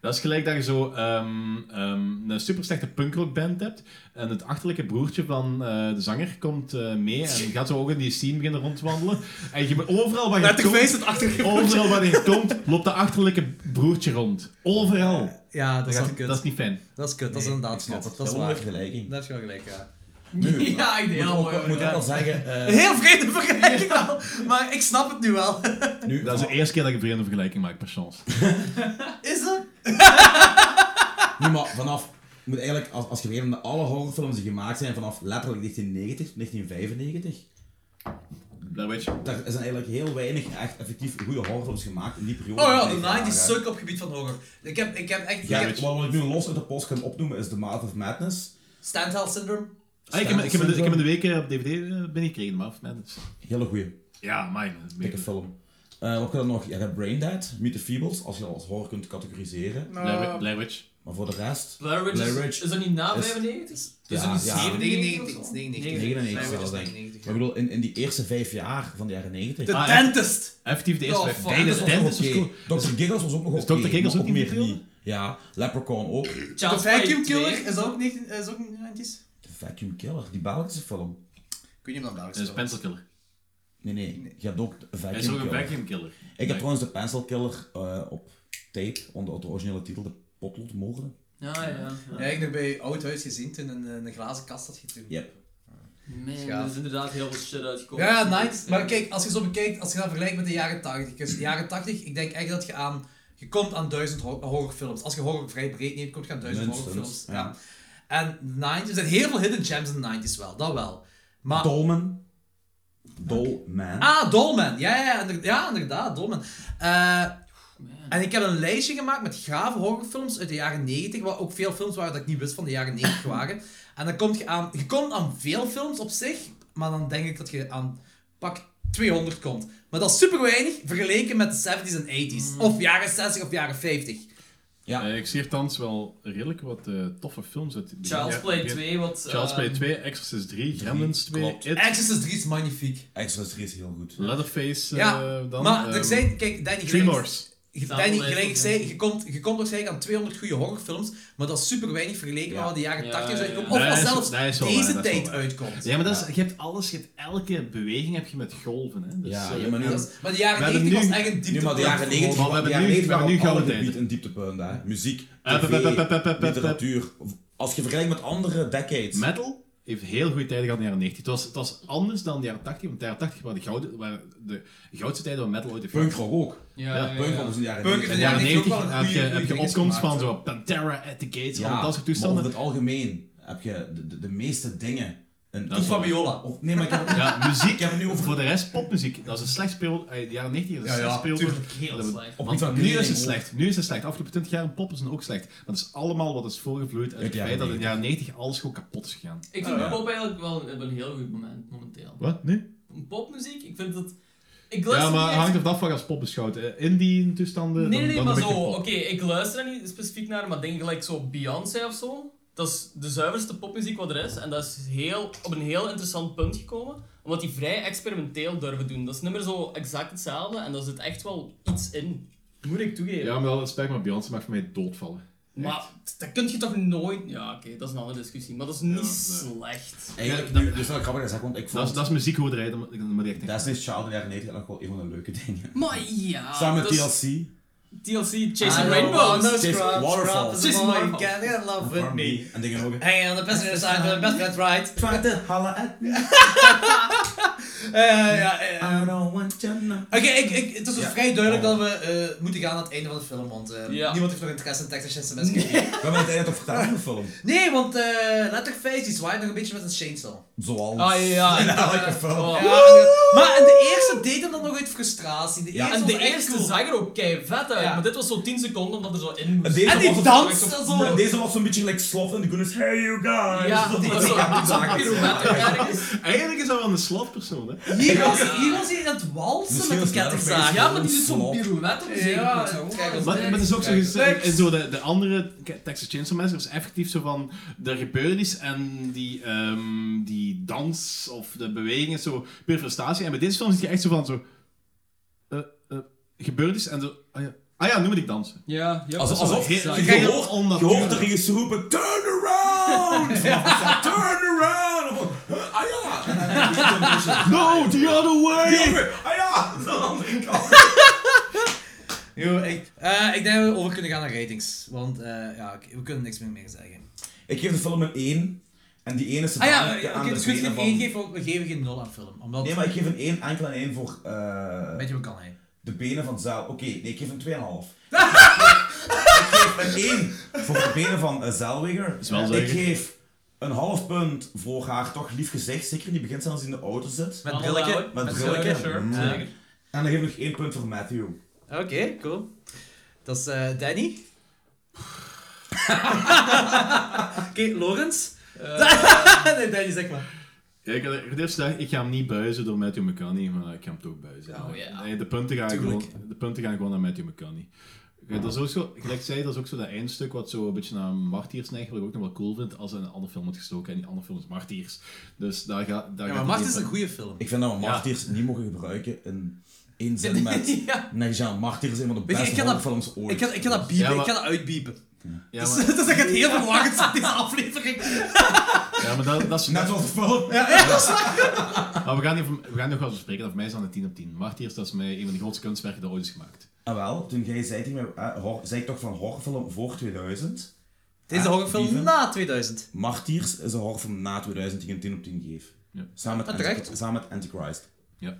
G: Dat is gelijk dat je zo ehm, ehm, een super slechte punkrockband hebt. En het achterlijke broertje van eh, de zanger komt eh, mee en gaat zo ook in die scene beginnen rondwandelen. En je, overal waar je
D: Laat ik
G: komt-
D: feest het achtergrond.
G: Overal waar je komt, loopt dat achterlijke broertje rond. Overal.
D: Ja, dat is wel
G: Dat,
D: kut.
G: dat is niet fijn.
D: Dat is kut, dat is inderdaad
A: snap
D: kut.
A: het.
D: Dat is
A: Wel een
D: waar.
A: vergelijking.
D: Dat is wel gelijk, ja.
A: Nu,
B: [laughs] ja, ik denk
A: moet
B: heel
A: ook,
B: mooi.
A: moet ook
B: ja.
A: wel
D: [laughs]
A: zeggen, eh,
D: Heel vreemde vergelijking wel, maar ik snap het nu wel. [laughs]
A: nu,
G: Dat is de eerste keer dat ik een vreemde vergelijking maak, per chance.
D: Is dat?
A: nu, maar vanaf, je moet eigenlijk, als, als je weet dat alle horrorfilms die gemaakt zijn vanaf letterlijk 1990, 1995,
G: Dat weet je.
A: daar zijn eigenlijk heel weinig echt effectief goede horrorfilms gemaakt in die periode.
D: Oh ja,
A: van
D: de
A: vijf jaar,
D: 90
A: hè.
D: suk op gebied van horror. Ik heb, ik heb echt...
A: Ja,
D: ik heb-
A: weet je, wat ik nu los uit de post kan opnoemen is The Mouth of Madness.
D: Standheld syndrome.
G: Ah, ik, heb, ik, heb, hem de- ik heb hem de week eh, op DVD eh, binnengekregen, maar man. Dus.
A: Hele goeie,
G: Ja, mijn.
A: dikke film. Eh, wat kan er nog? Je hebt Brain Dead, Meet the Feebles, als je dat als horror kunt categoriseren.
G: Nou, Witch.
A: Maar voor de rest...
B: Blair Witch
A: Blair
B: is,
A: Witch
B: is dat niet na
A: is-
B: 95? Is
A: Ja,
B: dat niet
A: ja.
B: 97 of zo?
A: 99 zelfs, denk
G: dus
A: ik. Maar ik bedoel, in, in die eerste vijf jaar van de jaren 90...
D: The
G: Ah, echt?
D: Dentist.
G: Effectief de
B: Oh,
G: eerste
B: fuck.
G: vijf. Dijn
B: Dat
G: is
B: was
G: Dijn
A: Oké,
G: is dus cool.
A: Dr. Giggles was ook nog
G: Is
A: oké,
G: Dr. Giggles
A: maar
G: ook niet
A: meer
G: verdeeld?
A: niet. Ja, Leprechaun ook.
D: The
B: Child's Play 2.
D: Vacuum Killer, is dat ook 19 is ook 90s?
A: The Vacuum Killer, die Belgische film.
D: Kun je hem dan daar
G: Dat is Pencil Killer.
A: Nee, nee, je hebt ook de
G: Hij is ook
A: Vacuum
G: een
A: Killer.
G: Vacuum Killer.
A: Ik heb trouwens de Pencil Killer eh, op tape, onder de originele titel, de potloodmoorden.
B: Ja, ja.
D: Ja, ik heb bij Oud Huis gezien toen een, een glazen kast had getoond.
A: Yep.
B: Man,
D: Schaaf.
B: er is inderdaad heel veel shit uitgekomen.
D: Ja, ja, nice. Maar kijk, als je zo bekijkt, als je dat vergelijkt met de jaren 80. Dus de jaren 80, ik denk echt dat je aan. Je komt aan duizend hor- horrorfilms. Als je horror vrij breed neemt, kom je aan duizend
A: Minstens,
D: horrorfilms. Ja.
A: ja.
D: En 90s, er zijn heel veel hidden gems in de 90s wel, dat wel.
A: Ah.
D: Maar.
A: Dolman. Dolman.
D: ah, Dolman. Ja, ja, ja, inder- ja inderdaad, Dolman. Eh, en ik heb een lijstje gemaakt met gave horrorfilms uit de jaren 90, waar ook veel films waren dat ik niet wist van de jaren
G: [laughs]
D: 90 waren. En dan kom je aan, je komt aan veel films op zich, maar dan denk ik dat je aan pak 200 komt. Maar dat is super weinig vergeleken met de 70s en
G: Mm.
D: 80s, of jaren 60 of jaren 50.
A: Ja.
G: Eh, ik zie hier thans wel redelijk wat eh, toffe films uit. die-
B: Child's
G: ja,
B: Play
G: begin-
B: 2, wat...
G: Child's
B: eh,
D: ehm,
G: Play 2, Exorcist 3, Gremlins 2,
A: klopt.
G: It,
D: Exorcist 3 is magnifiek.
A: Exorcist 3 is heel goed.
G: Leatherface. eh,
D: Ja,
G: dan,
D: maar
G: ehm,
D: er zijn, kijk, Danny
G: Three
D: gelijk-
G: Doors.
D: Je-
B: Zaal
D: Danny,
B: blijft
D: gelijk ik
B: ook,
D: zei, je komt, je komt waarschijnlijk aan 200 goede horrorfilms, maar dat is super weinig vergeleken
A: Ja.
D: met wat de jaren
B: Ja,
D: 80
B: ja,
D: uitkomt.
B: ja.
D: Of
G: Nee,
D: wat
G: is-
D: zelfs
G: nee, is wel waar,
D: deze
G: dat is wel
D: tijd
G: waar.
D: uitkomt.
G: Ja, maar dat is, je hebt alles, je hebt elke beweging heb je met golven. Hè? Dus,
A: Ja,
G: eh,
A: ja, maar nu-
G: en-
D: Dat is- Maar de
G: We
D: jaren
G: hebben
D: 90 was
G: nu-
D: echt een diepte.
A: Nu maar de jaren 90
G: Maar we hebben
A: de
G: nu-
A: jaren 90
G: we
A: waren
G: hebben nu
A: op alle
G: gouden
A: gebieden
G: tijden.
A: een dieptepunt. Hè. Muziek,
G: Eh, pep, pep, pep, pep,
A: tv,
G: pep, pep.
A: literatuur. Als je vergelijkt met andere decades.
G: Metal heeft heel goede tijden gehad in de jaren 90. Het was, het was anders dan de jaren 80, want de jaren 80 waren de, gouden, waren de goudste tijden waar metal ooit heeft
A: Punkrock ook.
B: Ja,
G: Ja,
B: ja, ja.
A: Punkrock is in de jaren
D: Punk is in
G: In de
D: Ja,
G: jaren
D: die heeft
G: 90
D: ook wel
G: heb je,
D: goeie-
G: heb je
D: goeie
G: opkomst
D: gemaakt,
G: van
D: hè.
G: zo Pantera at the Gates,
A: Ja,
G: allemaal dat soort
A: maar over
G: toestanden.
A: het algemeen heb je de, de, de meeste dingen. Een
G: Dat is wel-
D: Fabiola.
A: Of, nee, maar ik heb,
G: [laughs] Ja, muziek.
A: ik heb het nu over
G: Voor de rest, popmuziek. Dat is een slecht periode. eh, De jaren 90 is een
D: Ja, ja,
G: slecht periode.
D: tuurlijk,
B: Heel slecht.
A: op
G: Want
A: iets wat
G: nu is het
A: mening
G: slecht. Nu is het slecht. Afgelopen 20 jaar poppen zijn ook slecht. Maar Dat is allemaal wat is voorgevloeid uit
A: Uit
G: het
A: de
G: feit dat in
A: jaren
G: de jaren 90 alles gewoon kapot is gegaan.
B: Ik vind pop eigenlijk wel een, een heel goed moment, momenteel.
G: Wat? Nu?
B: Popmuziek, ik vind dat... Ik luister
G: Ja, maar
B: niet echt-
G: hangt ervan af wat je als pop beschouwt. Eh, Indie toestanden.
B: Nee, nee, nee,
G: dan-
B: maar
G: dan ben ik
B: zo...
G: geen pop.
B: Oké, ik luister er niet specifiek naar, maar denk gelijk zo Beyoncé of zo. Dat is de zuiverste popmuziek wat er is. En dat is heel, op een heel interessant punt gekomen. Omdat die vrij experimenteel durven doen. Dat is niet meer zo exact hetzelfde. En daar zit echt wel iets in. Moet ik toegeven.
G: Ja, maar wel, het spijt me, Beyoncé mag voor mij doodvallen.
B: Maar t- dat kun je toch nooit... Ja, oké, dat is een andere discussie. Maar dat is niet slecht.
A: Eigenlijk, nu, dat is wel grappig gezegd, want ik
G: Dat is,
A: vond
G: dat is muziekhoorderij, dat moet- dat moet je echt niet.
A: Destiny's Child in de jaren 90 nog wel een van de leuke dingen.
B: Maar ja...
A: Samen met
B: Ah, dat is- Ah,
A: TLC.
B: TLC,
D: I
B: Chasing
D: don't want
B: Rainbows.
D: no
A: Just
D: scrubs,
A: waterfalls.
D: scrubs is
B: Just
D: all you
B: waterfalls.
D: can get love with
A: Farm
D: me.
A: En dingen ook.
D: Hanging on the passenger side with the best friend right.
A: Try to holler at me.
D: Eh, ja, eh, eh.
A: I don't want you now.
D: Oké, ik, ik, het is dus
A: Ja.
D: vrij duidelijk dat we eh, moeten gaan aan het einde van de film, want eh,
B: Ja.
D: niemand heeft nog interesse in Texas Chainsaw Massacre.
A: We hebben het eigenlijk toch vertaald in de film.
D: Nee, want eh Letterface die zwaait nog een beetje met een chainsaw.
A: Zoals.
B: Ah ja, ja.
A: [laughs] In elke film.
B: Oh.
D: Ja, maar de eerste deed hem dan nog uit frustratie. De
I: Ja.
D: eerste
B: En
D: was
B: de
D: echt
B: eerste
D: cool.
B: zag er ook kei vet uit,
D: Ja.
B: maar dit was zo 10 seconden omdat er zo in moest.
A: En deze
D: En die
A: was-
D: danst
B: zo-
D: dan
A: Maar
D: zo.
A: deze was zo'n beetje like slot in de Goonies. Hey you guys!
B: Ja,
A: Dat
B: dat was
A: is
B: zo
A: echt
B: zo'n
A: zaak.
B: pirouette ergens.
G: Eigenlijk is dat wel een slap persoon, hè?
D: Hier was, hier was hij aan het walsen
A: Misschien
D: met die
A: was het
D: kettingzaag.
B: Ja, maar die doet zo'n
A: Slap.
B: pirouette op een zeker
D: Ja,
B: punt, zo.
D: kijk, als
G: Maar, maar dat is ook zo,
D: Kijk,
G: gez-
D: Lex.
G: en zo de, de andere K- Texas Chainsaw Massacre is effectief zo van, er gebeurt iets en die, ehm, die dans of de beweging is zo puur frustratie. En bij deze film zit je echt zo van, zo, eh, eh, gebeurt iets en zo, ah ja, ah ja, nu moet ik dansen.
B: Ja, ja.
A: Alsof, alsof je,
G: Heel-
A: je,
G: heel
A: hoort, je
G: onnatuurlijk.
A: hoort de regisseur roepen, turn around!
B: [laughs]
A: turn around! Ah ja! En dan-
B: [laughs]
G: No, the other way!
A: Ah ja! Aan de andere kant.
D: Yo, ik, eh, ik denk dat we over kunnen gaan naar ratings. Want eh, ja, ik- we kunnen niks meer, meer zeggen.
A: Ik geef de film een 1. En die 1 is
D: Ah ja,
A: aan
D: oké,
A: de
D: dus goed,
A: benen
D: geen
A: van-
D: 1 geven, we ook- we geven geen 0 aan film. Omdat,
A: Nee, maar ik geef een 1, enkel een 1 voor eh,
D: weet je wat kan hij?
A: de benen van Zaal. Oké, nee, ik geef een 2,5.
D: [laughs]
A: ik geef een 1 voor de benen van uh, Zellweger.
G: is wel
A: ik
G: zeker.
A: geef een half punt voor haar toch lief gezicht, zeker in die begint zelfs in de auto zit.
D: Met brilletje.
A: Met
B: brilletje,
A: brilletje.
B: sure.
A: Mm.
B: Zeker.
A: En dan geef ik nog 1 punt voor Matthew.
D: Oké, cool. Dat is eh, [laughs] Danny. Oké, Lorenz. [laughs] nee, Danny, zeg maar.
G: Ja, ik had ik had eerst gezegd, ik ga hem niet buizen door Matthew McConaughey, maar ik ga hem toch buizen.
B: Oh, ja.
G: nee, de, punten gaan
D: Tuurlijk.
G: gewoon, de punten gaan gewoon naar Matthew McConaughey. Ja, dat is ook zo, gelijk ik zei, dat is ook zo dat eindstuk wat zo een beetje naar Martiers neigt, wat ik ook nog wel cool vind, als er een andere film wordt gestoken en die andere film is Martiers. Dus daar gaat... Daar
D: Ja, maar
G: gaat
D: Macht
G: die
D: is een
G: punt-
D: goede film.
A: Ik vind dat we Martyrs niet mogen gebruiken in
D: [laughs]
A: één zin met
D: Ja.
A: Negejan. Martyrs is een van de
D: Weet je,
A: beste
D: ik kan dat-
A: horrorfilms ooit.
D: Ik kan, ik kan dat biepen,
G: Ja, maar-
D: ik kan dat uitbiepen. [laughs]
G: Ja,
D: Dus,
G: maar,
D: dus ik het heel verwarrend [laughs] zijn, deze aflevering.
G: ja, maar dat, dat is...
A: Net zoals de film.
G: Maar we gaan, hier, we gaan nog wel bespreken, dat voor mij is dat een 10 op 10. Martiers, dat is mij een van de grootste kunstwerken die ooit is gemaakt.
A: Ah wel, toen jij zei tegen mij, eh, hor- zei ik toch van horrorfilm voor 2000.
D: Deze
A: Ah,
D: horrorfilm
A: biepen.
D: na 2000.
A: Martyrs is een horrorfilm na 2000 die ik een 10 op 10 geef.
G: Ja.
A: Samen,
D: Ah,
A: met
D: terecht.
A: Anti- samen met Antichrist.
G: Ja.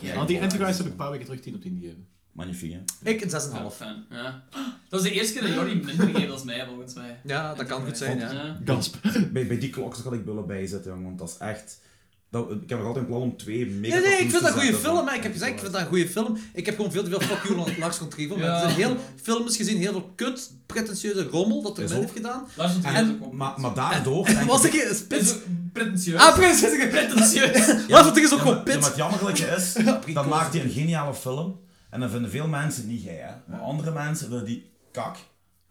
A: Ja,
G: Want die Antichrist heb ik een paar weken terug 10 op 10 gegeven.
A: Magnifiek, hè?
D: Ik een 6,5.
B: Ja, fan, ja. Dat is de eerste keer dat Jordi minder geeft als mij, volgens mij.
D: Ja, dat kan goed zijn, ja.
B: Ja.
G: Gasp.
A: Bij, bij die klok zal ik bullen bijzetten, jongen, want dat is echt... Dat, ik heb nog altijd een plan om twee mega
D: Nee, nee, ik
A: cartoons
D: vind
A: te
D: dat een goede
A: zetten
D: film,
A: van
D: hè. Ik heb gezegd, ik vind dat een goede film. Ik heb gewoon veel te veel fuck you Lars- Lars von Trier.
B: Ja.
D: Ja. Er zijn heel films gezien, heel veel kut, pretentieuze rommel dat er
A: Is
D: mee
A: ook.
D: heeft gedaan.
B: Lars van Trier
D: En-
B: is ook op.
A: Maar, maar
D: [laughs]
A: daardoor... denk
D: En
A: ik-
D: was ik een
B: Is
D: spits?
B: ook pretentieus.
D: Ah, precies, pretentieus. Lars von Trier is ook
A: Ja,
D: gewoon
A: maar- ja, maar
D: pit.
A: het jammerlijke
D: [laughs]
A: is,
D: precoce.
A: dan maakt hij een geniale film. En dan vinden veel mensen, niet jij hè, maar andere mensen vinden die kak.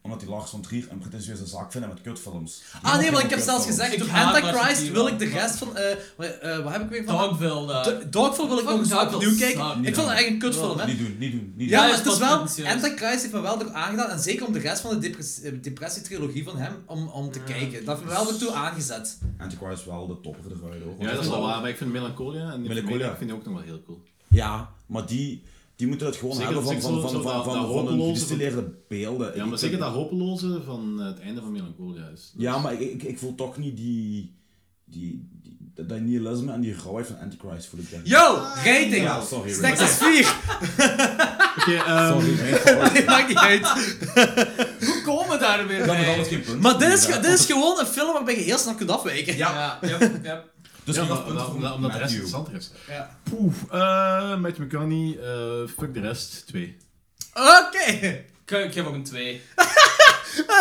A: Omdat die Lars van Trier een pretentieuze zak vinden met kutfilms.
D: Ah nee, want
A: want
D: ik heb zelfs gezegd,
B: Ik doe haat Lars
D: Antichrist
B: van
D: wil
B: Trier
D: ik de
B: wel.
D: rest van... eh eh, eh, wat heb ik weer van?
B: Dogville, eh, daar.
D: Do- Dogville wil ik nog eens
B: Fucking Dogville
D: opnieuw kijken.
B: sucked.
D: Ik vond het echt een kutfilm, hè.
A: Niet doen, niet doen, niet
D: Ja,
A: doen.
D: maar
B: is
D: het is
B: pas
D: wel...
B: potentieus.
D: Antichrist heeft me wel door aangedaan. En zeker om de rest van de depres- eh, depressietrilogie van hem om, om te kijken. Dat heeft me wel ertoe aangezet.
A: Antichrist is wel de topper eruit hoor.
G: Ja, dat is wel waar, maar ik vind Melancholia en
A: Melancholia.
G: ik vind die ook nog wel heel cool.
A: Ja, maar die, die moeten het gewoon
G: Zeker
A: hebben van,
G: dat
A: van,
G: ik
A: van,
G: zo-
A: van,
G: zo
A: van,
G: dat-
A: van,
G: dat
A: een
G: hopeloze-
A: gedistilleerde beelden.
G: Ja, maar
A: Ik-
G: zeker dat hopeloze van eh, het einde van Melancholia is.
A: Ja, maar ik, ik, ik voel toch niet die... die, die dat dat nihilisme en die rauwheid van Antichrist voel ik denk ik.
D: Yo, rating!
A: Ja, sorry.
D: Snacks [laughs] is 4!
G: Oké, ehm,
A: [laughs]
D: Nee, maakt niet uit.
B: [laughs] Hoe komen we daar weer
A: Dan nog
B: bij?
A: altijd geen punt.
D: Maar dit is, ge- dit is gewoon een film waarbij je heel snel kunt afwijken.
B: Ja, ja, ja.
A: Dus
G: ja,
A: ik
G: omdat,
A: had punten
G: omdat,
A: voor
G: omdat, omdat de rest
A: Matthew.
G: interessanter is.
D: Ja.
G: Poef. eh Matthew McConaughey, eh, fuck de rest, 2.
D: Oké.
B: Ik, ik geef ook een 2.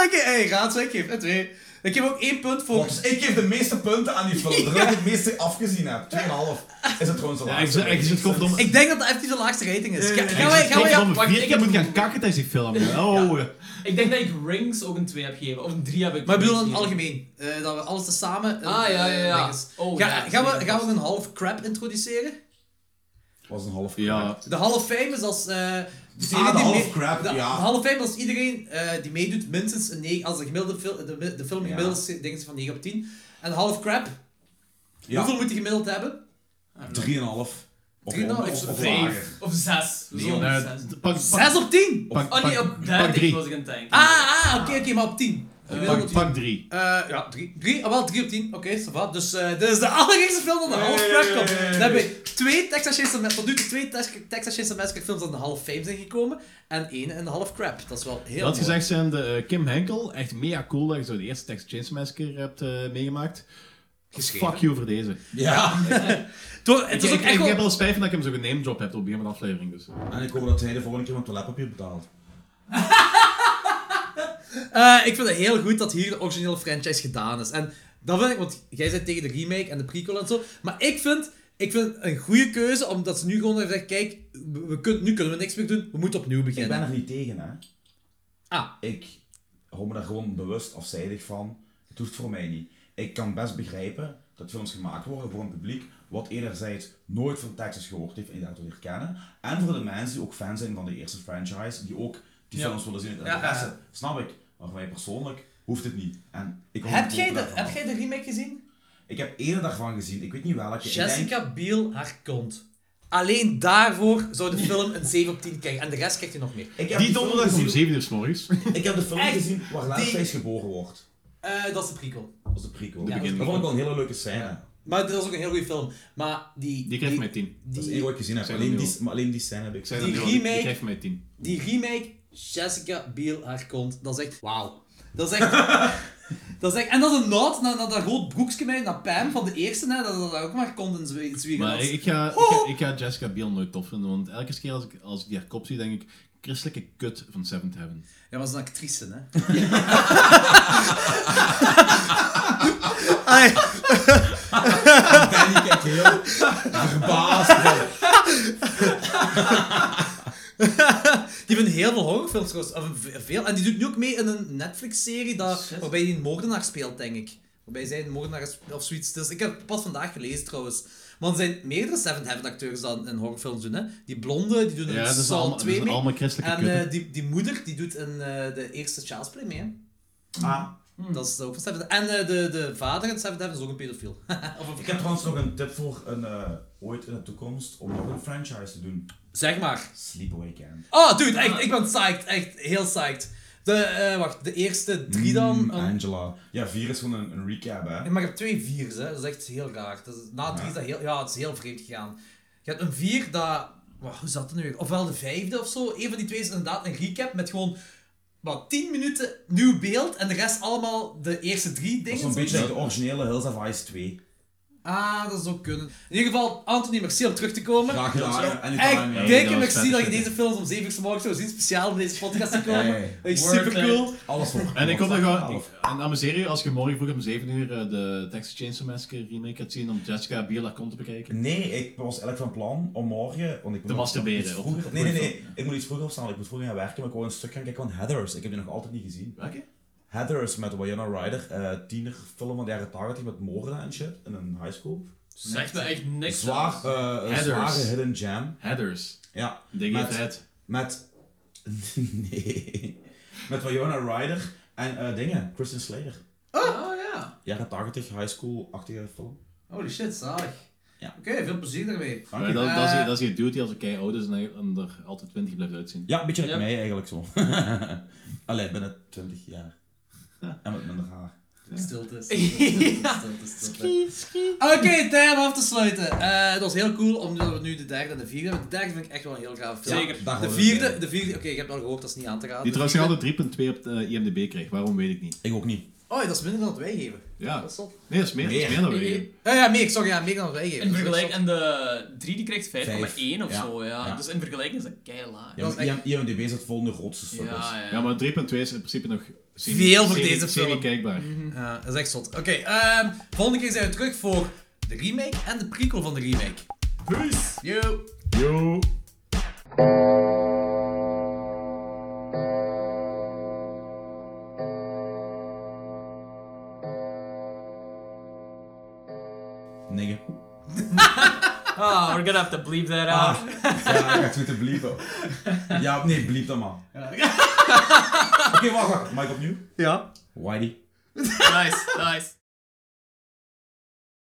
D: Oké, hey, raad ik geef een 2. Ik geef ook één punt voor...
A: Want ik geef de meeste punten aan die [laughs] film, terwijl ik het meeste afgezien heb. 2,5 is het gewoon zo
G: Ja, ik zit ik zit godverdomme...
D: Ik denk dat dat effectief de laagste rating is. Ga-
G: ik
D: Gaan wij...
G: zit
D: Gaan wij
G: godverdomme
B: wacht,
G: vier
B: ik
G: keer
B: heb-
G: moeten gaan kakken tijdens die film. hè. Oh, eh.
B: Ik denk dat ik Rings ook een 2 heb gegeven. Of een 3 heb ik
D: maar ik bedoel in
B: gegeven.
D: het algemeen. eh, dat we alles tezamen... eh,
B: Ah, ja, ja,
D: eh,
B: ja.
D: dinges.
B: Oh,
D: Ga-
B: ja,
D: gaan, we,
B: zeker.
D: gaan we een half crap introduceren?
A: was een half
G: Ja,
D: De Hall of Fame is als. eh degene
A: Ah, de
D: die
A: Hall
D: mee-
A: of Crap,
D: de,
A: ja.
D: de Hall of Fame is als iedereen eh, die meedoet minstens een 9. Als de, gemiddelde fil- de, de film
A: Ja.
D: gemiddeld is, denk ik, van 9 op 10. En de Hall of Crap, hoeveel moet die gemiddeld hebben?
A: 3,5.
D: 3,5
A: Of onder-
D: is
A: of
D: vijf.
A: lager.
B: Of 6. Zo'n
G: eh,
B: 6.
G: pak- pak-
D: 6 op 10!
G: pak-
B: Oh nee,
G: pak-
B: op
G: Pak
B: 30
G: drie.
B: was ik aan het denken.
D: Ah, ah oké, oké, maar op 10.
G: Pak-
D: Gemiddeld op
G: Pak 3.
D: 10. Eh, ja, 3. 3, ah wel, 3 op 10. Oké, ça va. Dus eh dit is de [laughs] allergekste film dat de Hall of Crap komt. Dan hebben we twee Texas Chainsaw Massacre, tot nu toe twee Tex- Texas Chainsaw Massacre films aan de Hall of Fame zijn gekomen. En één in de Hall of Crap. Dat is wel heel
G: Dat
D: mooi.
G: gezegd zijn de eh, Kim Henkel, echt mega cool dat je zo de eerste Texas Chainsaw Massacre hebt eh, meegemaakt.
D: geschreven.
G: Fuck you voor deze.
A: Ja.
D: Het was- Het
G: Ik,
D: is ook
G: ik,
D: echt
G: ik heb
D: wel...
G: al spijt van dat ik hem zo genamed drop heb op een van de aflevering. Dus.
A: En ik hoop dat hij de volgende keer mijn toiletpapier betaalt.
D: Eh, ik vind het heel goed dat hier de originele franchise gedaan is. En dat vind ik, want jij bent tegen de remake en de prequel en zo. Maar ik vind, ik vind het een goede keuze, omdat ze nu gewoon hebben gezegd, kijk, we, we kun- nu kunnen we niks meer doen, we moeten opnieuw
A: Ik ben
D: beginnen.
A: er niet tegen, hè.
D: Ah.
A: Ik hou me daar gewoon bewust afzijdig van. Het hoeft voor mij niet. Ik kan best begrijpen dat films gemaakt worden voor een publiek wat enerzijds nooit van Texas gehoord heeft en die daardoor herkennen. En voor de mensen die ook fan zijn van de eerste franchise, die ook die
D: Ja.
A: films willen zien uit
D: Ja,
A: interesse.
D: ja, ja.
A: Snap ik. Maar voor mij persoonlijk hoeft het niet. En ik hou
D: Heb
A: me
D: jij, de,
A: daarvan
D: heb
A: af.
D: jij de remake gezien?
A: Ik heb eerder daarvan gezien. Ik weet niet welke. Ik denk-
D: Jessica Biel haar kont. Alleen daarvoor zou de film een 7 op 10 krijgen. En de rest krijgt je nog meer.
A: ik heb
G: Die
A: de film
G: donderdag om
A: gezien-
G: 7 uur s morgens.
A: Ik heb de film
D: Echt?
A: gezien waar
D: Die-
A: Leatherface geboren wordt.
D: Eh, dat is de prequel.
A: Dat was de
D: Ja,
A: prequel.
D: dat is de
A: dat vond ik wel een hele leuke scène.
D: Maar dat is ook een heel goede film. Maar die...
G: Die krijgt mij 10.
A: Dat is
D: Die,
A: één wat ik gezien heb.
G: Zijn
A: Alleen
G: er
A: die,
G: nul.
A: maar alleen die scène heb ik
G: Ik zei
A: gezien.
G: dat
D: Die
G: nu al, die,
D: remake-
G: die geeft mij 10.
D: die remake, Jessica Biel haar kont. Dat is echt... Wauw. Dat is [laughs] echt... dat is echt... En dat is een nod naar, naar dat rood broekje bij, naar Pam van de eerste, hè, dat dat daar ook maar kont in zwie- zwieren
G: Maar
D: was.
G: ik ga, ik,
D: Oh!
G: ga, ik ga Jessica Biel nooit tof vinden, want elke keer als ik, als ik die haar kop zie, denk ik, christelijke kut van Seventh Heaven.
D: Ja, maar ze is een actrice, hè. Ah, ja.
A: En die kijkt heel verbaasd.
D: Die heeft heel veel horrorfilms trouwens. Of ve- veel. En die doet nu ook mee in een Netflix-serie dat, waarbij hij een moordenaar speelt, denk ik. Waarbij zij een moordenaar is of zoiets. Dus ik heb het pas vandaag gelezen trouwens. Want er zijn meerdere Seven Heaven acteurs dan in horrorfilms doen. Hè. Die blonde, die doen
G: Ja,
D: een
G: dat is
D: Saw
G: allemaal, dat
D: 2
G: is
D: mee.
G: allemaal christelijke
D: En
G: kut.
D: eh, die, die moeder, die doet in eh, de eerste Child's Play mee. Hè.
A: Ah,
D: Dat is ook van Seven Heaven. En eh, de, de vader in Seven Heaven is ook een pedofiel. [laughs] of een
A: ik heb trouwens nog een tip voor een, eh, ooit in de toekomst om nog een franchise te doen.
D: Zeg maar.
A: Sleepaway Camp.
D: Oh, dude, echt, ik ben psyched. Echt heel psyched. De, eh, wacht, de eerste drie dan.
A: Mm,
D: en-
A: Angela. Ja, vier is gewoon een, een recap, hè.
D: Ja, Maar je hebt twee viers, hè. dat is echt heel raar. Dat is, na drie is dat heel, ja, het is heel vreemd gegaan. Je hebt een vier dat... Wow, hoe zat dat nu weer? Ofwel de vijfde of zo. Een van die twee is inderdaad een recap met gewoon wat, tien minuten nieuw beeld en de rest allemaal de eerste drie
A: Dat
D: dingen.
A: is een beetje
D: zoiets.
A: like de originele Hills of Ice 2.
D: Ah, dat zou kunnen. In ieder geval, Anthony, merci om terug te komen.
A: Graag gedaan. En ik
D: Echt
A: ja.
D: dikke
G: dat was
D: merci
G: vet.
D: dat je deze films om zeven uur 's morgens zo ziet, speciaal om deze podcast te komen.
A: Ja, ja, ja.
D: Dat is
B: Worth
D: super cool.
A: Alles voor.
D: eh,
G: En ik hoop dat
A: Half.
G: je... ik- En amuseer je als je morgen vroeg om 7 uur eh, de Texas Chainsaw Massacre remake gaat zien om Jessica Biel haar kont te bekijken.
A: Nee, ik was eigenlijk van plan om morgen... Want ik moet
G: Te
A: nog-
G: masturberen,
A: iets
G: of-
A: vroeger-
G: of
A: nee, nee,
G: moet je-
A: nee. Ik moet iets vroeger opstaan. want Ik moet vroeger gaan werken. Maar ik wil een stuk gaan kijken van Heathers. Ik heb die nog altijd niet gezien.
G: Welke?
A: Heathers met Winona Ryder, eh tienerfilm van de jaren 80 met moorden en shit in een high school.
B: Zegt me echt niks.
A: Zwaar,
B: zelfs.
A: eh, een
G: Heathers.
A: zware hidden jam.
G: Headers.
A: Ja,
G: They
A: Met-
G: gave head.
A: met. [laughs] nee. Met Winona Ryder en eh, dingen, Christian Slater.
D: Oh ja.
A: Jaren 80 high school-achtige film.
D: Holy shit, zalig.
A: Ja.
D: Oké, veel plezier daarmee.
A: Dank
G: Maar
A: u.
G: dat, dat, is,
D: Eh.
G: dat is je duty als een kei oud is en hij- en er altijd 20 blijft uitzien.
A: Ja, een beetje like
B: Ja.
A: mij eigenlijk zo. [laughs] Allee, binnen 20 jaar. En met minder haar.
D: Stilte, [laughs] stilte, stilte. Oké, tijd om af te sluiten. Eh, dat was heel cool, omdat we nu de derde en de vierde hebben. De derde vind ik echt wel een heel gaaf film.
B: Zeker.
A: daar
D: De
A: houden we
D: vierde,
A: bij.
D: de vierde, oké, je hebt al gehoord, dat is niet aan te raden.
G: Die
D: De
G: trouwens nog
D: vierde-
G: altijd 3.2 op de eh, IMDb kreeg, waarom weet ik niet.
A: Ik ook niet.
D: Oh, dat is minder dan wat wij geven.
G: Ja.
D: Dat is top.
G: Nee, dat is meer, dat is meer dan we weten.
D: Ja, ja, meer, sorry, ja, meer dan wat wij geven.
B: In
D: Dat is echt
B: vergelijking, en de 3 die krijgt 5,1 of
A: Vijf.
B: zo, ja.
A: Ja.
B: Dus in vergelijking is dat kei laag.
A: Ja,
D: Dat is
A: maar IMDb zat vol in de rotste
B: Ja,
A: sukkels.
B: ja.
G: Ja, maar 3.2 is in principe nog serie-
D: Veel voor
G: serie-
D: deze film. Mhm.
G: serie kijkbaar.
D: zot. Ja, Eh, dat is echt zot. Oké, ehm, volgende keer zijn we terug voor de remake en de prequel van de remake. Peace! Yo!
G: Yo.
A: Nigga.
B: Ah, we're gonna have to bleep that out.
A: Ah, ja, ik ga het moeten bliepen. Ja, nee, bliep dan maar. Oké, wacht, wacht. Mike opnieuw.
D: Ja.
A: Whitey.
B: Nice, nice.